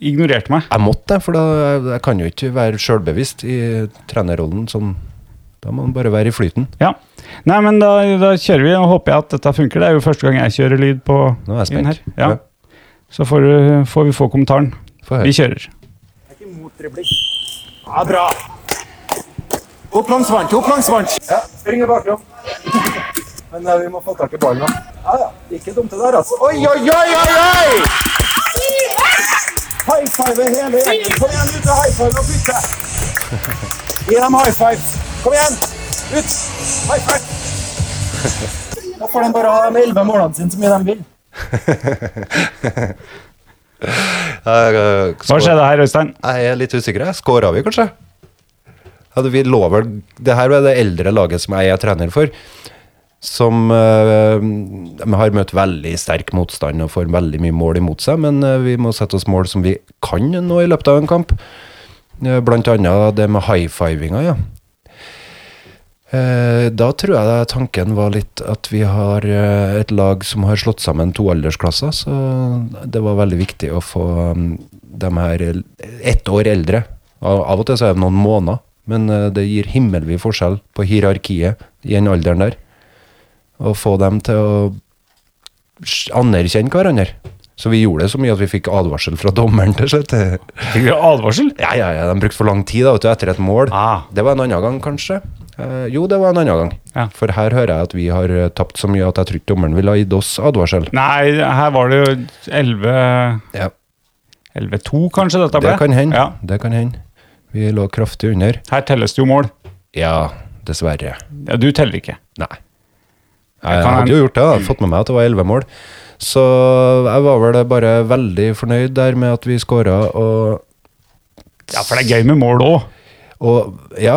[SPEAKER 4] ignorerte meg.
[SPEAKER 2] Jeg måtte det, for da, jeg, jeg kan jo ikke være sjølbevisst i trenerrollen. Sånn. Da må man bare være i flyten.
[SPEAKER 4] Ja. Nei, men da, da kjører vi, og håper jeg at dette funker. Det er jo første gang jeg kjører lyd på
[SPEAKER 2] Nå er jeg
[SPEAKER 4] inn
[SPEAKER 2] spent.
[SPEAKER 4] her. Ja. Så får, du, får vi få kommentaren.
[SPEAKER 2] Få
[SPEAKER 4] Vi
[SPEAKER 2] høre.
[SPEAKER 4] kjører.
[SPEAKER 1] Ja, bra. Opp langs vant, opp langs vant. Ja, spring i bakrom. Men eh, vi må få tak i ballen, da. Ja, ja. Ikke dumt det der, altså. Oi, oi, oi, oi, oi! High five hele gjengen. Kom igjen, ut og high five og bytte. Gi dem high five. Kom igjen. Ut. High five. Da får de bare ha de elleve målene sine så mye de vil.
[SPEAKER 4] Hva skjedde her, Øystein?
[SPEAKER 2] Jeg er litt usikker. Skåra vi, kanskje? Hadde vi lå vel Det her var det eldre laget som jeg er trener for, som eh, de har møtt veldig sterk motstand og får veldig mye mål imot seg, men eh, vi må sette oss mål som vi kan nå i løpet av en kamp. Eh, Blant annet det med high-fivinga, ja. Eh, Da tror jeg da tanken var litt at vi har eh, et lag som har slått sammen to aldersklasser, så det var veldig viktig å få mm, dem her el- ett år eldre. Av av og til så er det noen måneder, men eh, det gir himmelvid forskjell på hierarkiet i den alderen der. Å få dem til å s- anerkjenne hverandre. Så vi gjorde det så mye at vi fikk advarsel fra dommeren til slutt.
[SPEAKER 4] Fikk dere advarsel?
[SPEAKER 2] Ja, ja, ja, de brukte for lang tid da, vet du, etter et mål.
[SPEAKER 4] Ah.
[SPEAKER 2] Det var en annen gang, kanskje. Eh, jo, det var en annen gang.
[SPEAKER 4] Ja.
[SPEAKER 2] For her hører jeg at vi har eh, tapt så mye at jeg tror ikke dommeren ville ha gitt oss advarsel.
[SPEAKER 4] Nei, her var det jo 11
[SPEAKER 2] Ja,
[SPEAKER 4] 11-2, kanskje dette ble?
[SPEAKER 2] det kan hende.
[SPEAKER 4] Ja.
[SPEAKER 2] Det kan hende. Vi lå kraftig under.
[SPEAKER 4] Her telles det jo mål.
[SPEAKER 2] Ja, dessverre.
[SPEAKER 4] Ja, du teller ikke.
[SPEAKER 2] Nei. Jeg
[SPEAKER 4] kan-
[SPEAKER 2] hadde jo gjort det, da. fått med meg at det var 11 mål. Så jeg var vel bare veldig fornøyd der med at vi skåra, og
[SPEAKER 4] Ja, for det er gøy med mål òg.
[SPEAKER 2] Og ja,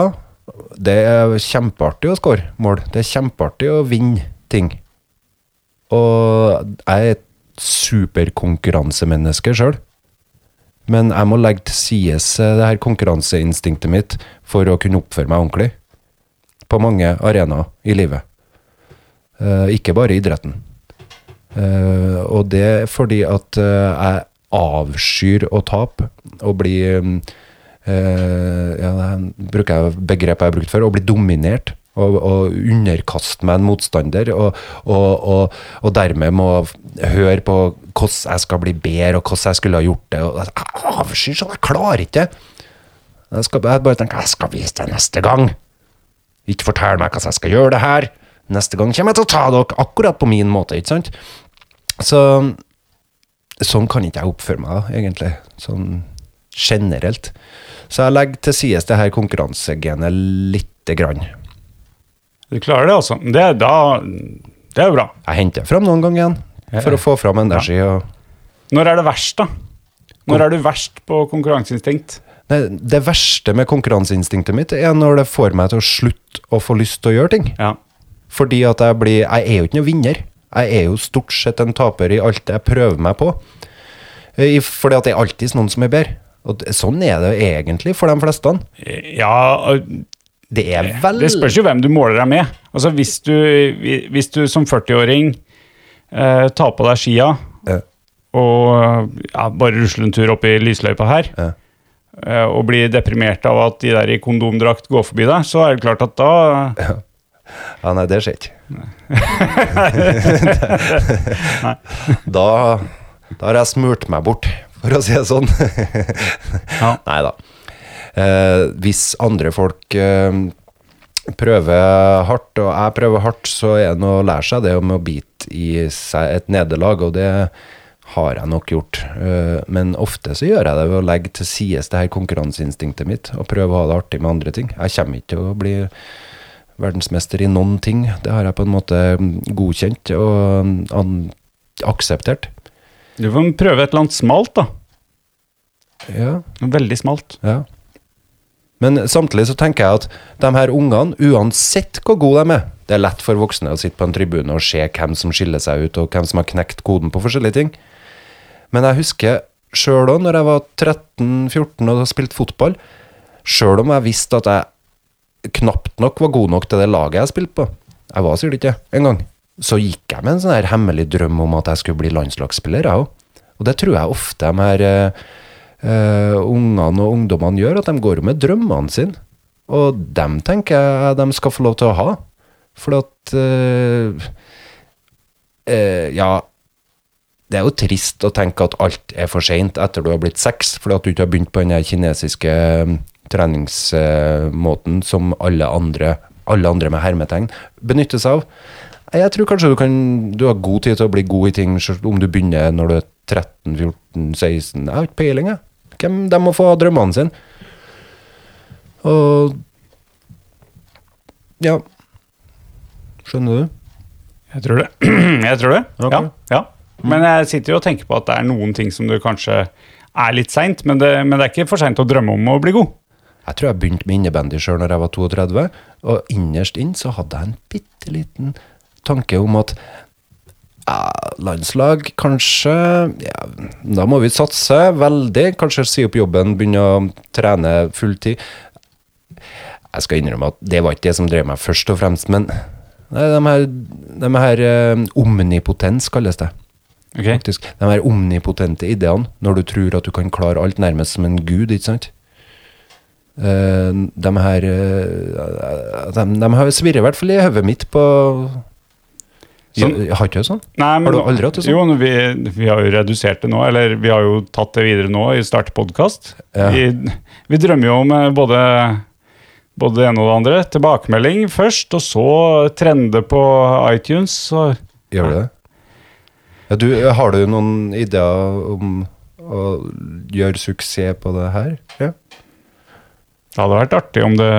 [SPEAKER 2] det er kjempeartig å score mål. Det er kjempeartig å vinne ting. Og jeg er et superkonkurransemenneske sjøl. Men jeg må legge til sides eh, det her konkurranseinstinktet mitt for å kunne oppføre meg ordentlig. På mange arenaer i livet. Eh, ikke bare i idretten. Eh, og det er fordi at eh, jeg avskyr å tape og bli mm, eh, ja, det er- bruker jeg begrepet jeg har brukt før, å bli dominert. Og, og underkaste meg en motstander, og, og, og, og dermed må høre på hvordan jeg skal bli bedre, og hvordan jeg skulle ha gjort det. Og jeg avskyr sånn, jeg klarer ikke det. Jeg, skal, jeg bare tenker jeg skal vise deg neste gang. Ikke fortell meg hvordan jeg skal gjøre det her. Neste gang kommer jeg til å ta dere akkurat på min måte, ikke sant? Så sånn kan ikke jeg oppføre meg, da, egentlig. Sånn generelt. Så jeg legger til sides det her konkurransegenet lite grann.
[SPEAKER 4] Du klarer det, altså. Det, er da, det er jo bra.
[SPEAKER 2] Jeg henter fram noen ganger igjen, for å få fram energi og
[SPEAKER 4] Når er det verst, da? Når er du verst på konkurranseinstinkt?
[SPEAKER 2] Nei, det verste med konkurranseinstinktet mitt er når det får meg til å slutte å få lyst til å gjøre ting.
[SPEAKER 4] Ja.
[SPEAKER 2] Fordi at jeg blir Jeg er jo ikke noen vinner. Jeg er jo stort sett en taper i alt jeg prøver meg på. Eh, i- Fordi at det er alltid noen som er bedre. Og det- sånn er det jo egentlig for de fleste.
[SPEAKER 4] ja
[SPEAKER 2] Det er vel
[SPEAKER 4] det spørs jo hvem du måler deg med. Altså, Hvis du, hvis du som 40-åring eh, tar på deg skia
[SPEAKER 2] Ja.
[SPEAKER 4] og ja, bare rusler en tur opp i lysløypa her,
[SPEAKER 2] Ja.
[SPEAKER 4] eh, og blir deprimert av at de der i kondomdrakt går forbi deg, så er det klart at da
[SPEAKER 2] Ja, nei, det skjer ikke. da, da har jeg smurt meg bort, for å si det sånn.
[SPEAKER 4] Ja.
[SPEAKER 2] Nei da. Eh, hvis andre folk eh, prøver hardt, og jeg prøver hardt, så er det noe å lære seg det om å bite i seg et nederlag, og det har jeg nok gjort. Eh, Men ofte så gjør jeg det ved å legge til side det her konkurranseinstinktet mitt og prøve å ha det artig med andre ting. Jeg kommer ikke til å bli verdensmester i noen ting. Det har jeg på en måte mm, godkjent og mm, an- akseptert.
[SPEAKER 4] Du får prøve et eller annet smalt, da.
[SPEAKER 2] Ja,
[SPEAKER 4] Noe Veldig smalt.
[SPEAKER 2] ja. Men samtidig så tenker jeg at de her ungene, uansett hvor gode de er Det er lett for voksne å sitte på en tribune og se hvem som skiller seg ut, og hvem som har knekt koden på forskjellige ting. Men jeg husker sjøl òg, når jeg var 13-14 og spilte fotball Sjøl om jeg visste at jeg knapt nok var god nok til det laget jeg spilte på Jeg var sikkert ikke det engang. Så gikk jeg med en sånn her hemmelig drøm om at jeg skulle bli landslagsspiller, jeg òg. Og det tror jeg ofte de her eh, eh, ungene og ungdommene gjør, at de går jo med drømmene sine. Og dem tenker jeg eh, de skal få lov til å ha. For at eh, eh, Ja, det er jo trist å tenke at alt er for seint etter du har blitt seks, fordi at du ikke har begynt på den der kinesiske mm, treningsmåten som alle andre, alle andre med hermetegn benytter seg av. Jeg tror kanskje du, kan, du har god tid til å bli god i ting selv om du begynner når du er 13, 14, 16 Jeg har ikke peiling, jeg. Hvem, de må få ha drømmene sine. Og Ja. Skjønner du?
[SPEAKER 4] Jeg tror det. jeg tror det.
[SPEAKER 2] Ok.
[SPEAKER 4] Ja, ja. Men jeg sitter jo og tenker på at det er noen ting som du kanskje er litt seint, men, det- men det er ikke for seint å drømme om å bli god.
[SPEAKER 2] Jeg tror jeg begynte med innebandy sjøl når jeg var 32, og innerst inn så hadde jeg en bitte liten tanke om at ja, landslag, kanskje ja, Da må vi satse veldig. Kanskje si opp jobben, begynne å trene fulltid. Jeg skal innrømme at det var ikke det som drev meg først og fremst, men Nei, de her, de her eh, omnipotens kalles det
[SPEAKER 4] Ok?
[SPEAKER 2] faktisk. De her omnipotente ideene, når du tror at du kan klare alt nærmest som en gud, ikke sant? Eh, de her eh, de, de har svirret i hvert fall i hodet mitt på
[SPEAKER 4] Sånn.
[SPEAKER 2] Ja, Har ikke du sånn?
[SPEAKER 4] Nei, men,
[SPEAKER 2] Har du aldri hatt det sånn?
[SPEAKER 4] Jo, men vi, vi har jo redusert det nå, eller vi har jo tatt det videre nå i Start podkast.
[SPEAKER 2] Ja.
[SPEAKER 4] Vi, vi drømmer jo om eh, både, både det ene og det andre. Tilbakemelding først, og så trende på iTunes. Så
[SPEAKER 2] Gjør du det? Ja, du, har du noen ideer om å gjøre suksess på det her? Ja.
[SPEAKER 4] det hadde vært artig om det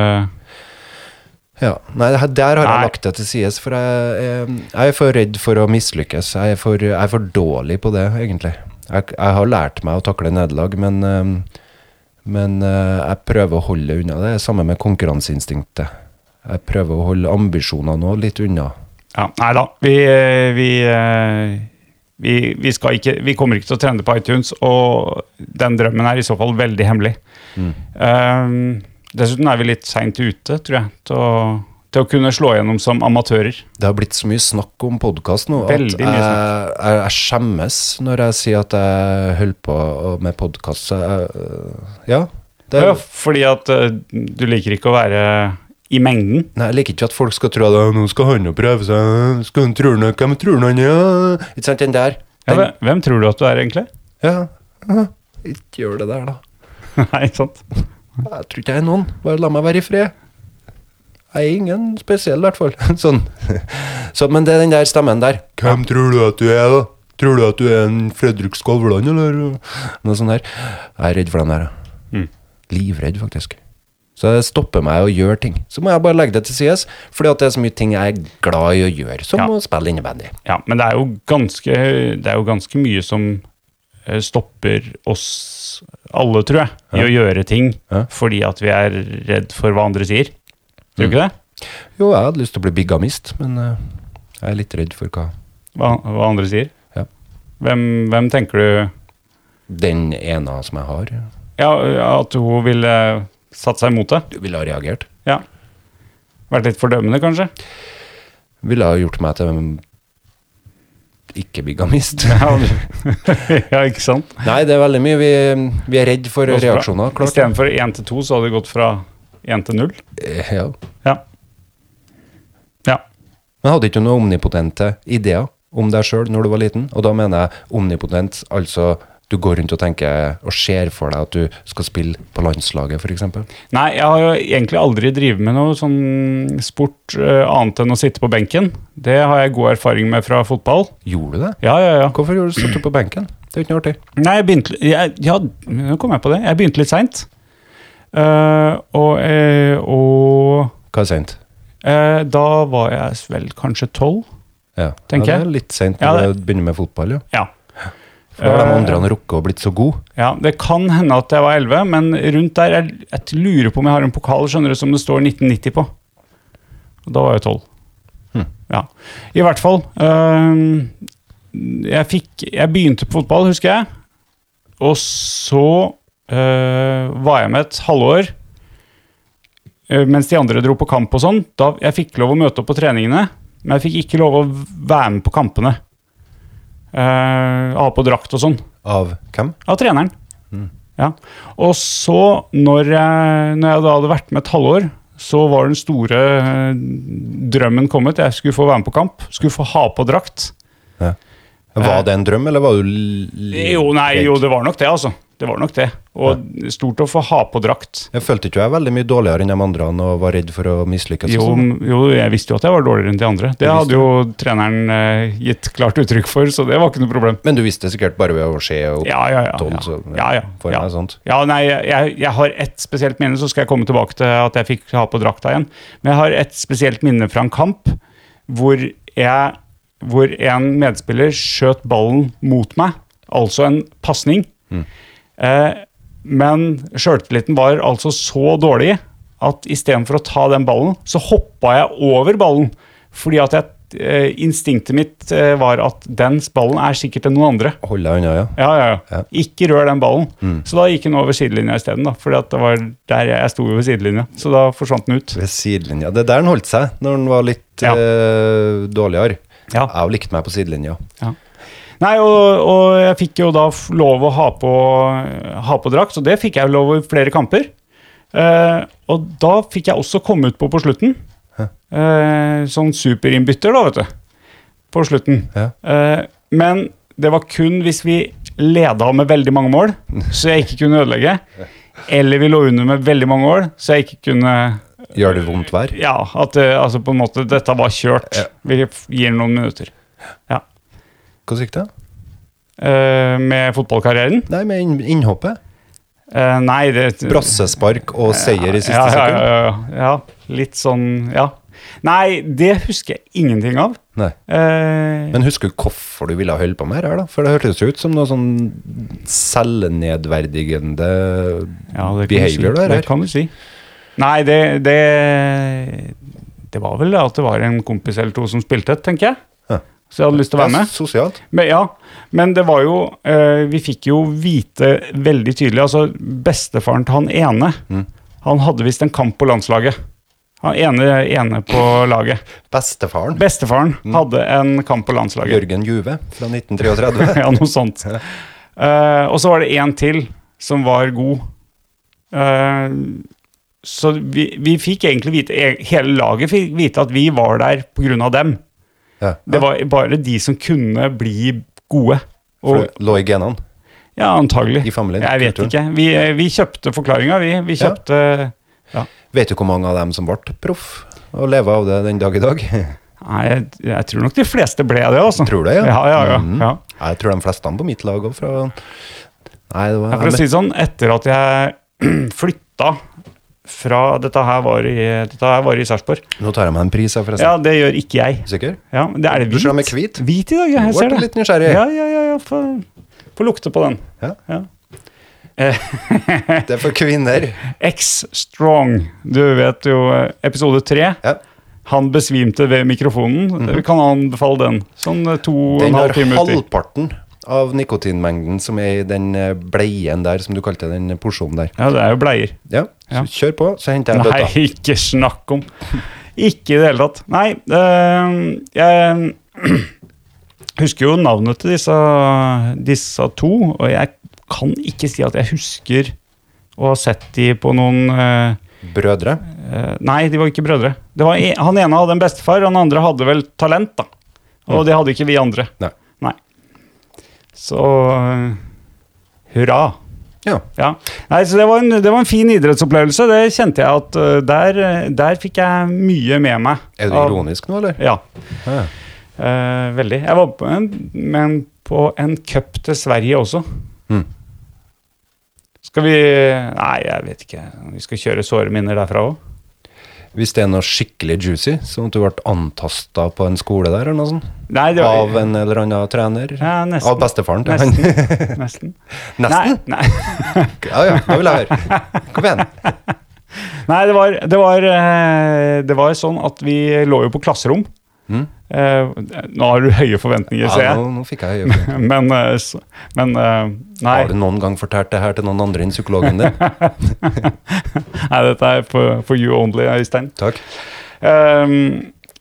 [SPEAKER 2] Ja, Nei, det her- der har
[SPEAKER 4] Nei.
[SPEAKER 2] jeg lagt det til sides, for jeg, jeg, jeg er for redd for å mislykkes. Jeg er for, jeg er for dårlig på det, egentlig. Jeg, jeg har lært meg å takle nederlag, men, øhm, men øh, jeg prøver å holde det unna. Det er samme med konkurranseinstinktet. Jeg prøver å holde ambisjonene òg litt unna.
[SPEAKER 4] Ja, nei da. Vi, eh, vi, eh, vi, vi, skal ikke, vi kommer ikke til å trende på iTunes, og den drømmen er i så fall veldig hemmelig. Mm. Eh, dessuten er vi litt seint ute, tror jeg, til å, til å kunne slå gjennom som amatører.
[SPEAKER 2] Det har blitt så mye snakk om podkast nå at jeg,
[SPEAKER 4] Veldig mye snakk.
[SPEAKER 2] jeg, jeg skjemmes når jeg sier at jeg holder på å- med podkast. så jeg, øh, Ja. Det,
[SPEAKER 4] Ja, fordi at eh, du liker ikke å være i mengden.
[SPEAKER 2] Nei, Jeg liker ikke at folk skal tro at «Å, nå skal han jo prøve seg, skal han tror han, hvem tror han er? Ikke sant, den der.
[SPEAKER 4] Ja,
[SPEAKER 2] Den,
[SPEAKER 4] hvem, hvem tror du at du er, egentlig?
[SPEAKER 2] ja, ja. Ikke gjør det der, da.
[SPEAKER 4] nei, ikke sant?
[SPEAKER 2] Jeg tror ikke jeg er noen. Bare la meg være i fred. Jeg er ingen spesiell, i hvert fall. Sånn. Så, men det er den der stemmen der. Hvem tror du at du er, da? Tror du at du er en Fredrik Skavlan, eller noe sånt der? Jeg er redd for den der. ja. Livredd, faktisk. Så det stopper meg å gjøre ting. Så må jeg bare legge det til sides, fordi at det er så mye ting jeg er glad i å gjøre, som
[SPEAKER 4] Ja.
[SPEAKER 2] å spille innebandy.
[SPEAKER 4] Ja, men det er jo ganske, det er jo ganske mye som eh, stopper oss alle, tror jeg, i å gjøre ting
[SPEAKER 2] Ja.
[SPEAKER 4] fordi at vi er redd for hva andre sier. Tror du ikke
[SPEAKER 2] Mm.
[SPEAKER 4] det?
[SPEAKER 2] Jo, jeg hadde lyst til å bli bigamist, men eh, jeg er litt redd for hva
[SPEAKER 4] Hva, hva andre sier.
[SPEAKER 2] Ja.
[SPEAKER 4] Hvem, hvem tenker du
[SPEAKER 2] den ene som jeg har,
[SPEAKER 4] ja, at hun ville satt seg imot det?
[SPEAKER 2] ville ha reagert.
[SPEAKER 4] Ja. Vært litt fordømmende, kanskje?
[SPEAKER 2] ville ha gjort meg til en ikke-bigamist.
[SPEAKER 4] Ja, ja ikke sant?
[SPEAKER 2] Nei, det er veldig mye. Vi, vi er redd for
[SPEAKER 4] Gått fra-
[SPEAKER 2] reaksjoner, klart.
[SPEAKER 4] Istedenfor én til to, så hadde det gått fra én til null.
[SPEAKER 2] Eh, Ja.
[SPEAKER 4] Ja. ja.
[SPEAKER 2] Men hadde ikke du noen omnipotente ideer om deg sjøl når du var liten? Og da mener jeg omnipotent, altså du går rundt og tenker og ser for deg at du skal spille på landslaget, f.eks.
[SPEAKER 4] Nei, jeg har jo egentlig aldri drevet med noe sånn sport eh, annet enn å sitte på benken. Det har jeg god erfaring med fra fotball.
[SPEAKER 2] Gjorde du det?
[SPEAKER 4] Ja, ja, ja.
[SPEAKER 2] Hvorfor gjorde du satt du på benken? Det er ikke noe artig.
[SPEAKER 4] Nei, jeg begynte jeg, Ja, nå kom jeg på det. Jeg begynte litt seint. Eh, og eh, og
[SPEAKER 2] Hva er seint?
[SPEAKER 4] eh, da var jeg vel kanskje tolv.
[SPEAKER 2] Ja.
[SPEAKER 4] Tenker
[SPEAKER 2] ja, det
[SPEAKER 4] jeg.
[SPEAKER 2] er litt seint
[SPEAKER 4] Ja,
[SPEAKER 2] når
[SPEAKER 4] det-
[SPEAKER 2] du begynner med fotball, ja.
[SPEAKER 4] Ja.
[SPEAKER 2] For da har de
[SPEAKER 4] Eh,
[SPEAKER 2] andre han rukket og blitt så god.
[SPEAKER 4] Ja, Det kan hende at jeg var 11, men rundt der jeg, jeg lurer på om jeg har en pokal skjønner du, som det står 1990 på. Og da var jeg 12. Ja. I hvert fall. øhm, jeg, fikk, jeg begynte på fotball, husker jeg. Og så øh, var jeg med et halvår. øh, Mens de andre dro på kamp og sånn. Da jeg fikk lov å møte opp på treningene, men jeg fikk ikke lov å være med på kampene. Eh, ha på drakt og sånn.
[SPEAKER 2] Av hvem?
[SPEAKER 4] Av treneren. Ja. Og så, når jeg, når jeg da hadde vært med et halvår, så var den store eh, drømmen kommet. Jeg skulle få være med på kamp. Skulle få ha på drakt.
[SPEAKER 2] Var det en drøm, eller var du l-
[SPEAKER 4] Eh. Jo, nei, jo, det var nok det, altså. Det var nok det. Og stort å få ha på drakt.
[SPEAKER 2] Jeg følte ikke jeg veldig mye dårligere enn de andre og var redd for å mislykkes. og
[SPEAKER 4] Jo,
[SPEAKER 2] sånn.
[SPEAKER 4] jo, jeg visste jo at jeg var dårligere enn de andre. Det hadde jo treneren eh, gitt klart uttrykk for, så det var ikke noe problem.
[SPEAKER 2] Men du visste sikkert bare ved å se opp
[SPEAKER 4] Ja, ja, ja.
[SPEAKER 2] tolv,
[SPEAKER 4] ja.
[SPEAKER 2] så
[SPEAKER 4] ja, ja,
[SPEAKER 2] for
[SPEAKER 4] ja.
[SPEAKER 2] meg sånn. sånt.
[SPEAKER 4] Ja, nei, jeg, jeg har ett spesielt minne, så skal jeg komme tilbake til at jeg fikk ha på drakta igjen. Men jeg har ett spesielt minne fra en kamp hvor, jeg, hvor en medspiller skjøt ballen mot meg, altså en pasning. Eh, men sjøltilliten var altså så dårlig at istedenfor å ta den ballen, så hoppa jeg over ballen. Fordi at jeg, eh, instinktet mitt eh, var at den ballen er sikkert til noen andre.
[SPEAKER 2] Hold deg unna, ja.
[SPEAKER 4] Ja, ja, ja.
[SPEAKER 2] Ja.
[SPEAKER 4] Ikke rør den ballen. Så da gikk den over sidelinja isteden. For det var der jeg, jeg sto jo ved sidelinja, så da forsvant den ut.
[SPEAKER 2] Ved sidelinja. Det er der han holdt seg, når han var litt
[SPEAKER 4] Ja.
[SPEAKER 2] eh, dårligere.
[SPEAKER 4] Ja.
[SPEAKER 2] Jeg har likt meg på sidelinja.
[SPEAKER 4] Nei, og, og jeg fikk jo da f- lov å ha på, ha på drakt, og det fikk jeg jo lov i flere kamper. Eh, og da fikk jeg også komme ut på på slutten. Eh, sånn superinnbytter, da, vet du. På slutten.
[SPEAKER 2] Ja.
[SPEAKER 4] Eh, men det var kun hvis vi leda med veldig mange mål, så jeg ikke kunne ødelegge. Eller vi lå under med veldig mange mål, så jeg ikke kunne
[SPEAKER 2] Gjør det vondt vær?
[SPEAKER 4] Ja, at eh, altså på en måte dette var kjørt. Vi gir noen minutter. Ja.
[SPEAKER 2] Hvordan gikk det?
[SPEAKER 4] Eh, med fotballkarrieren?
[SPEAKER 2] Nei, med inn- innhoppet.
[SPEAKER 4] Eh, nei, det
[SPEAKER 2] Brassespark og seier i siste
[SPEAKER 4] ja, ja,
[SPEAKER 2] sekund.
[SPEAKER 4] ja, ja, ja. Litt sånn Ja. Nei, det husker jeg ingenting av.
[SPEAKER 2] Nei.
[SPEAKER 4] Eh,
[SPEAKER 2] Men husker du hvorfor du ville holde på med det her, da? For det hørtes jo ut som noe sånn selvnedverdigende
[SPEAKER 4] ja, det kan du
[SPEAKER 2] behavior
[SPEAKER 4] si.
[SPEAKER 2] der.
[SPEAKER 4] Det kan du si. Nei, det, det Det var vel at det var en kompis eller to som spilte, tenker jeg.
[SPEAKER 2] Ja.
[SPEAKER 4] Så jeg hadde lyst til å være med.
[SPEAKER 2] sosialt.
[SPEAKER 4] Men, ja, men det var jo eh, Vi fikk jo vite veldig tydelig Altså, bestefaren til han ene
[SPEAKER 2] Mm.
[SPEAKER 4] Han hadde visst en kamp på landslaget. Han ene, ene på laget.
[SPEAKER 2] Bestefaren,
[SPEAKER 4] Bestefaren hadde en kamp på landslaget.
[SPEAKER 2] Mm. Jørgen Juve fra 1933.
[SPEAKER 4] ja, noe sånt. Eh, og så var det én til som var god. Eh, så vi, vi fikk egentlig vite e- Hele laget fikk vite at vi var der pga. dem.
[SPEAKER 2] Ja.
[SPEAKER 4] Det var bare de som kunne bli gode.
[SPEAKER 2] For det lå i genene.
[SPEAKER 4] Ja, antagelig.
[SPEAKER 2] I familien,
[SPEAKER 4] Jeg vet
[SPEAKER 2] kulturen.
[SPEAKER 4] ikke. Vi, eh, vi kjøpte forklaringa, vi. Vi
[SPEAKER 2] Ja.
[SPEAKER 4] kjøpte
[SPEAKER 2] Vet du hvor mange av dem som ble proff og lever av det den dag i dag?
[SPEAKER 4] Nei, jeg, jeg tror nok de fleste ble det, altså.
[SPEAKER 2] Tror det, ja.
[SPEAKER 4] Ja, ja, ja.
[SPEAKER 2] Mhm.
[SPEAKER 4] ja.
[SPEAKER 2] Jeg tror de fleste på mitt lag òg fra Nei, det var
[SPEAKER 4] Ja, For å si det sånn, etter at jeg flytta fra Dette her var i, dette her var i Sarpsborg.
[SPEAKER 2] Nå tar jeg meg en pris, jeg, forresten.
[SPEAKER 4] Ja, det gjør ikke jeg.
[SPEAKER 2] Sikker?
[SPEAKER 4] Ja, men det er det
[SPEAKER 2] Du
[SPEAKER 4] hvit.
[SPEAKER 2] ser dem er hvit.
[SPEAKER 4] Hvit i dag, ja.
[SPEAKER 2] Nå
[SPEAKER 4] Jeg
[SPEAKER 2] ble
[SPEAKER 4] ser
[SPEAKER 2] jeg
[SPEAKER 4] det.
[SPEAKER 2] litt nysgjerrig.
[SPEAKER 4] Ja, ja, ja. ja Få få lukte på den.
[SPEAKER 2] Ja.
[SPEAKER 4] Ja.
[SPEAKER 2] Det er for kvinner.
[SPEAKER 4] X Strong. Du vet jo eh, episode tre.
[SPEAKER 2] Ja.
[SPEAKER 4] Han besvimte ved mikrofonen. Vi kan anbefale den. Sånn eh, to og
[SPEAKER 2] Den
[SPEAKER 4] en
[SPEAKER 2] har
[SPEAKER 4] halv time uti.
[SPEAKER 2] halvparten av nikotinmengden som er i den eh, bleien der, som du kalte den porsjonen der.
[SPEAKER 4] Ja, det er jo bleier.
[SPEAKER 2] Ja,
[SPEAKER 4] Ja.
[SPEAKER 2] så kjør på, så henter jeg
[SPEAKER 4] Nei,
[SPEAKER 2] bøtta.
[SPEAKER 4] ikke snakk om! Ikke i det hele tatt. Nei, eh, jeg husker jo navnet til disse, disse to, og jeg kan ikke si at jeg husker å ha sett de på noen eh,
[SPEAKER 2] Brødre.
[SPEAKER 4] Eh, nei, de var ikke brødre. Det var, en- han ene hadde en bestefar, han andre hadde vel talent, da. Og det hadde ikke vi andre.
[SPEAKER 2] Mm. Nei.
[SPEAKER 4] Så eh, hurra.
[SPEAKER 2] Ja.
[SPEAKER 4] Ja. Nei, så det var, en, det var en fin idrettsopplevelse. Det kjente jeg at eh, der, eh, der fikk jeg mye med meg.
[SPEAKER 2] Er du
[SPEAKER 4] Av-
[SPEAKER 2] ironisk nå, eller?
[SPEAKER 4] Ja.
[SPEAKER 2] Ja.
[SPEAKER 4] Eh, veldig. Jeg var på en, med en på en cup til Sverige også.
[SPEAKER 2] Mm.
[SPEAKER 4] Skal vi Nei, jeg vet ikke. Vi skal kjøre såre minner derfra òg.
[SPEAKER 2] Hvis det er noe skikkelig juicy, sånn at du ble antasta på en skole der, eller noe sånt?
[SPEAKER 4] Nei, det var-
[SPEAKER 2] Av en eller annen trener?
[SPEAKER 4] Ja, nesten.
[SPEAKER 2] Av bestefaren til han?
[SPEAKER 4] Nesten. Nesten.
[SPEAKER 2] Nesten?
[SPEAKER 4] Nei, nei.
[SPEAKER 2] Ja ja, da vil jeg høre. Kom igjen.
[SPEAKER 4] nei det, var, det, var, eh, det var sånn at vi lå jo på klasserom.
[SPEAKER 2] Mm.
[SPEAKER 4] Eh, nå har du høye forventninger, ser
[SPEAKER 2] Ja,
[SPEAKER 4] jeg.
[SPEAKER 2] nå, nå fikk jeg øye på det.
[SPEAKER 4] Men, eh, så- men eh, nei.
[SPEAKER 2] Har du noen gang fortalt det her til noen andre enn psykologen din?
[SPEAKER 4] nei, dette er for, for you only, Øystein.
[SPEAKER 2] Takk.
[SPEAKER 4] Ehm,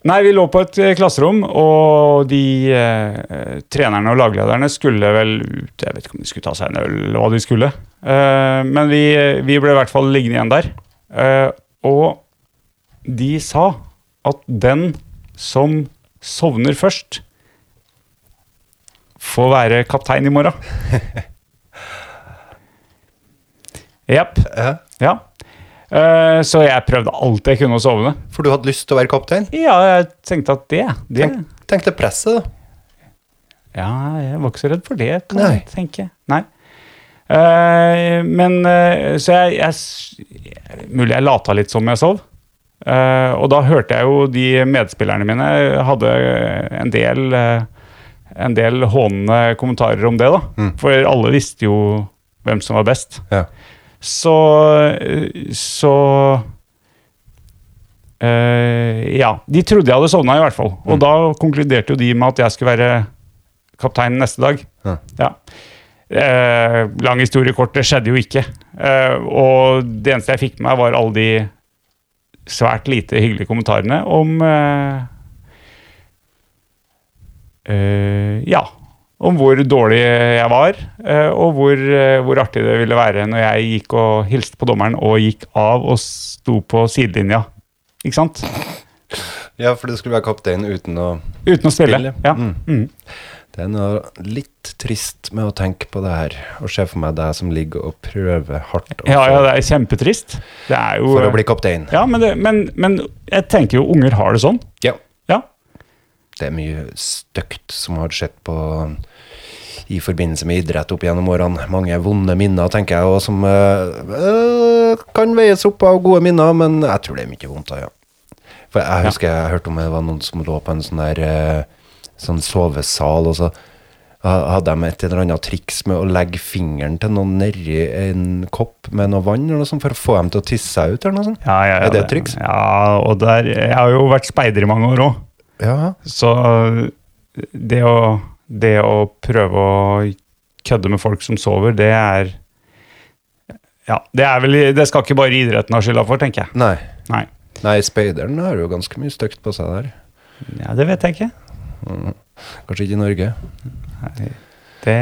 [SPEAKER 4] nei, vi lå på et eh, klasserom, og de eh, trenerne og laglederne skulle vel ut Jeg vet ikke om de skulle ta seg en øl, eller hva de skulle. Eh, men vi, vi ble i hvert fall liggende igjen der. Eh, og de sa at den som sovner først, får være kaptein i morgen. Jepp.
[SPEAKER 2] Ja.
[SPEAKER 4] Ja. Eh, så jeg prøvde alt jeg kunne å sovne.
[SPEAKER 2] For du hadde lyst til å være kaptein?
[SPEAKER 4] Ja, jeg tenkte at det, det
[SPEAKER 2] Tenk, tenk det presset, da.
[SPEAKER 4] Ja, jeg var ikke så redd for det, kan
[SPEAKER 2] Nei.
[SPEAKER 4] jeg tenke. Nei. Eh, men eh, Så jeg, jeg s- Mulig jeg lata litt som jeg sov. Eh, og da hørte jeg jo de medspillerne mine hadde en del eh, En del hånende kommentarer om det, da.
[SPEAKER 2] Mm.
[SPEAKER 4] For alle visste jo hvem som var best.
[SPEAKER 2] Ja.
[SPEAKER 4] Så Så eh, Ja. De trodde jeg hadde sovna, i hvert fall. Og da konkluderte jo de med at jeg skulle være kaptein neste dag.
[SPEAKER 2] Ja.
[SPEAKER 4] Eh, lang historie kort, det skjedde jo ikke. Eh, og det eneste jeg fikk med meg, var alle de svært lite hyggelige kommentarene om eh, eh, Ja. Om hvor dårlig jeg var, eh, og hvor, eh, hvor artig det ville være når jeg gikk og hilste på dommeren og gikk av og sto på sidelinja. Ikke sant?
[SPEAKER 2] ja, for du skulle være kaptein uten å
[SPEAKER 4] Uten å spille.
[SPEAKER 2] Spille.
[SPEAKER 4] Ja.
[SPEAKER 2] Mm.
[SPEAKER 4] Mm.
[SPEAKER 2] Det er noe litt trist med å tenke på det her, og se for meg deg som ligger og prøver hardt å
[SPEAKER 4] ja, ja,
[SPEAKER 2] få-
[SPEAKER 4] det er kjempetrist. Det er jo eh,
[SPEAKER 2] for å bli kaptein.
[SPEAKER 4] Ja, men, det, men, men jeg tenker jo unger har det sånn.
[SPEAKER 2] Ja.
[SPEAKER 4] Ja.
[SPEAKER 2] Det er mye støkt som har skjedd på i forbindelse med idrett opp gjennom årene. Mange vonde minner, tenker jeg, og som eh, eh, kan veies opp av gode minner, men jeg tror det er mye vondt av, ja. For jeg husker jeg hørte om det var noen som lå på en sånn der eh, sånn sovesal, og så ha- hadde de et eller annet triks med å legge fingeren til noen nedi en kopp med noe vann eller noe sånt, for å få dem til å tisse seg ut, eller noe sånt.
[SPEAKER 4] Ja, ja, ja,
[SPEAKER 2] Er det et triks?
[SPEAKER 4] Ja, og der, jeg har jo vært speider i mange år òg.
[SPEAKER 2] Ja.
[SPEAKER 4] Så det å, det å prøve å kødde med folk som sover, det er Ja, det er vel Det skal ikke bare idretten ha skylda for, tenker jeg.
[SPEAKER 2] Nei.
[SPEAKER 4] Nei.
[SPEAKER 2] Nei, speideren har jo ganske mye støkt på seg der.
[SPEAKER 4] Ja, det vet jeg ikke.
[SPEAKER 2] Kanskje ikke i Norge.
[SPEAKER 4] Det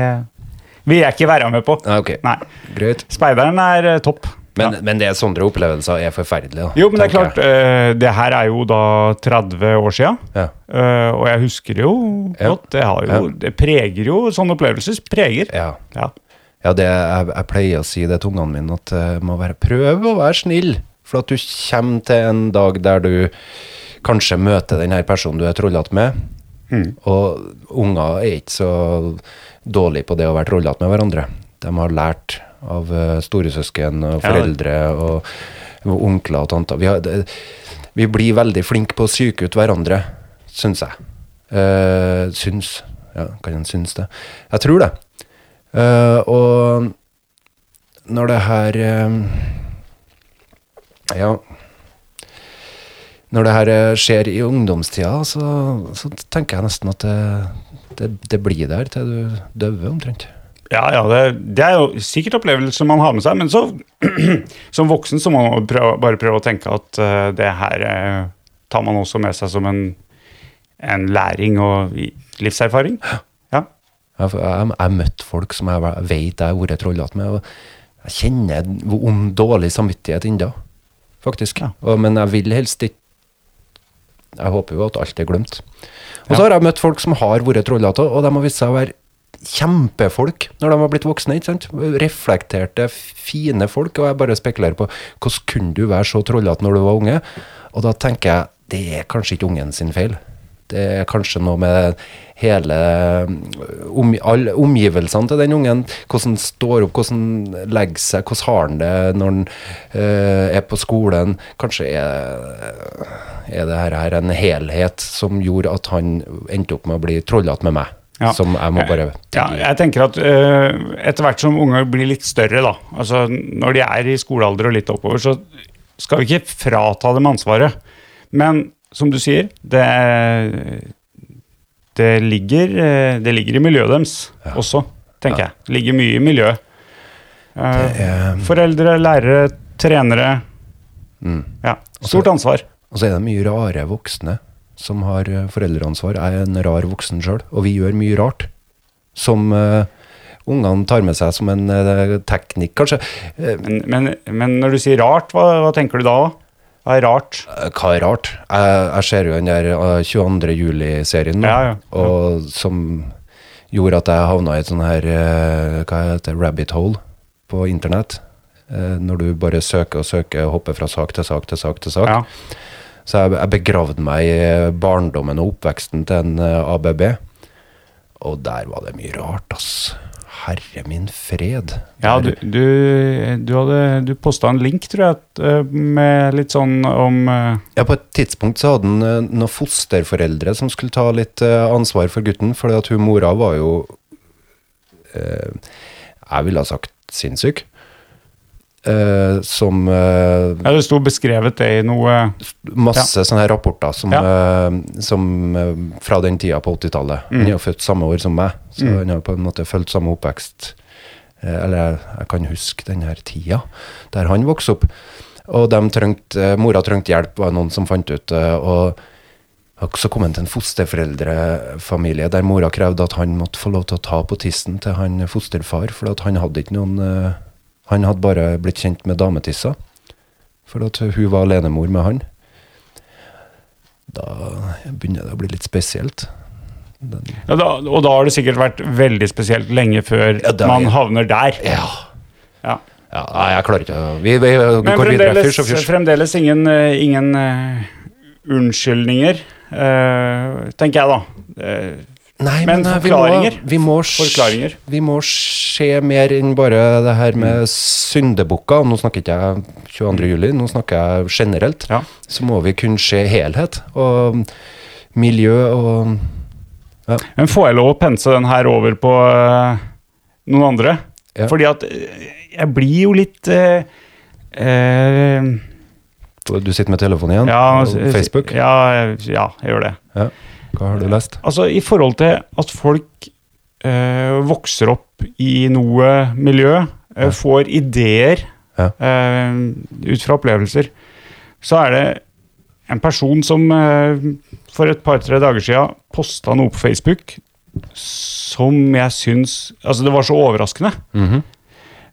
[SPEAKER 4] vil jeg ikke være med på.
[SPEAKER 2] Nei, Ah, ok.
[SPEAKER 4] Nei.
[SPEAKER 2] Greit.
[SPEAKER 4] Speideren er eh, topp.
[SPEAKER 2] Men,
[SPEAKER 4] Ja.
[SPEAKER 2] men det sånne opplevelser er forferdelige. da,
[SPEAKER 4] Jo, men det er
[SPEAKER 2] tenker
[SPEAKER 4] klart, eh, det her er jo da 30 år sia.
[SPEAKER 2] jeg. Ja.
[SPEAKER 4] Eh, og jeg husker det jo
[SPEAKER 2] Ja.
[SPEAKER 4] godt. Det, har jo,
[SPEAKER 2] Ja.
[SPEAKER 4] det preger jo Sånne opplevelser preger.
[SPEAKER 2] Ja.
[SPEAKER 4] Ja.
[SPEAKER 2] ja det, jeg, jeg pleier å si det til ungene mine, at eh, må være prøv å være snill. For at du kommer til en dag der du kanskje møter den her personen du er trollete med.
[SPEAKER 4] Mm.
[SPEAKER 2] Og unger er ikke så dårlige på det å være trollete med hverandre. De har lært av eh, storesøsken og
[SPEAKER 4] Ja.
[SPEAKER 2] foreldre og onkler og tanter. Vi, har, det- vi blir veldig flinke på å psyke ut hverandre, syns jeg. Eh, syns. Ja, kan en synes det? Jeg tror det. Eh, og når det her eh, Ja. Når det her eh, skjer i ungdomstida, så, så tenker jeg nesten at det, det, det blir der til du døver omtrent.
[SPEAKER 4] Ja, ja, det, det er jo sikkert opplevelser man har med seg, men så, som voksen så må man jo prøve, bare prøve å tenke at eh, det her eh, tar man også med seg som en, en læring og i- livserfaring. Ja.
[SPEAKER 2] Jeg jeg- jeg har møtt folk som jeg ve- vet jeg har vært trollete med, og jeg kjenner hvor ond dårlig samvittighet ennå, faktisk.
[SPEAKER 4] Ja.
[SPEAKER 2] Og, men jeg vil helst ikke Jeg håper jo at alt er glemt. Og så har jeg møtt folk som har vært trollete, og de har vist seg å være kjempefolk når de har blitt voksne. ikke sant? Reflekterte, fine folk. Og jeg bare spekulerer på hvordan kunne du være så trollete når du var unge? Og da tenker jeg det er kanskje ikke ungen sin feil. det er kanskje noe med hele om, all, omgivelsene til den ungen. Hvordan han står opp, hvordan han legger seg, hvordan har han det når han eh, er på skolen. Kanskje er, er det her, her en helhet som gjorde at han endte opp med å bli trollete med meg.
[SPEAKER 4] Ja.
[SPEAKER 2] Som jeg må bare
[SPEAKER 4] Ja, jeg tenker at eh, etter hvert som unger blir litt større, da, altså når de er i skolealder og litt oppover, så skal vi ikke frata dem ansvaret. Men som du sier, det, det, ligger, eh, det ligger i miljøet deres også, tenker jeg. Det ligger mye i miljøet. Eh,
[SPEAKER 2] er-
[SPEAKER 4] foreldre, lærere, trenere.
[SPEAKER 2] Mm.
[SPEAKER 4] Ja, stort ansvar.
[SPEAKER 2] Og så er det mye rare voksne som har eh, foreldreansvar. Jeg er en rar voksen sjøl, og vi gjør mye rart. Som eh, ungene tar med seg som en eh, teknikk, kanskje. Eh,
[SPEAKER 4] Men, men, men når du sier rart, hva, hva tenker du da? Hva er rart?
[SPEAKER 2] Eh, hva er rart? Jeg, jeg ser jo den der eh, 22. juli-serien nå,
[SPEAKER 4] Ja, ja.
[SPEAKER 2] og som gjorde at jeg havna i et sånn her eh, Hva heter det? Rabbit hole på internett. Eh, Når du bare søker og søker og hopper fra sak til sak til sak til sak.
[SPEAKER 4] Ja.
[SPEAKER 2] Så jeg, jeg begravde meg i barndommen og oppveksten til en eh, ABB. Og der var det mye rart, ass. Herre min fred.
[SPEAKER 4] Ja, du,
[SPEAKER 2] Der-
[SPEAKER 4] du, du, hadde, du posta en link, tror jeg, at, eh, med litt sånn om eh,
[SPEAKER 2] ja, på et tidspunkt så hadde han eh, noen fosterforeldre som skulle ta litt eh, ansvar for gutten, fordi at hun mora var jo eh, Jeg ville ha sagt sinnssyk. Eh, som eh,
[SPEAKER 4] Ja, det sto beskrevet det i noe
[SPEAKER 2] masse sånne her rapporter som,
[SPEAKER 4] Ja.
[SPEAKER 2] eh, som eh, fra den tida på 80-tallet. Han er jo født samme år som meg, så han har på en måte fulgt samme oppvekst. Eh, eller jeg, jeg kan huske den her tida der han vokste opp. Og de trengte, eh, mora trengte hjelp, var det noen som fant ut. eh, og og så kom han til en fosterforeldrefamilie der mora krevde at han måtte få lov til å ta på tissen til han fosterfar, for at han hadde ikke noen eh, Han hadde bare blitt kjent med dametissa, for at hun var alenemor med han da begynner det å bli litt spesielt. Den,
[SPEAKER 4] ja, da, Og da har det sikkert vært veldig spesielt lenge før
[SPEAKER 2] Ja, det er-
[SPEAKER 4] man havner der.
[SPEAKER 2] ja.
[SPEAKER 4] Ja.
[SPEAKER 2] ja. Nei, jeg klarer ikke å Vi, vi, vi
[SPEAKER 4] Men
[SPEAKER 2] går videre.
[SPEAKER 4] fremdeles,
[SPEAKER 2] Fysj og fysj.
[SPEAKER 4] fremdeles ingen, eh, ingen eh, unnskyldninger, eh, tenker jeg da. Eh,
[SPEAKER 2] Nei,
[SPEAKER 4] men
[SPEAKER 2] eh,
[SPEAKER 4] forklaringer.
[SPEAKER 2] Vi må, vi, må sj-
[SPEAKER 4] Forklaringer. Mm.
[SPEAKER 2] vi må se mer enn bare det her med syndebukker. Nå snakker ikke jeg 22. juli, nå snakker jeg generelt.
[SPEAKER 4] Ja.
[SPEAKER 2] Så må vi kunne se helhet og miljø og
[SPEAKER 4] Men får jeg lov å pense den her over på øh, noen andre?
[SPEAKER 2] Ja.
[SPEAKER 4] Fordi at øh, jeg blir jo litt øh, øh,
[SPEAKER 2] Du sitter med telefonen igjen?
[SPEAKER 4] ja, altså,
[SPEAKER 2] og Sånn? Facebook?
[SPEAKER 4] Ja, ja, jeg gjør det.
[SPEAKER 2] Ja. Hva har du lest?
[SPEAKER 4] Altså, i forhold til at folk øh, vokser opp i noe miljø, øh, får ideer
[SPEAKER 2] Ja.
[SPEAKER 4] øh, ut fra opplevelser, så er det en person som øh, for et par-tre dager siden posta noe på Facebook som jeg syns Altså, det var så overraskende.
[SPEAKER 2] Mhm.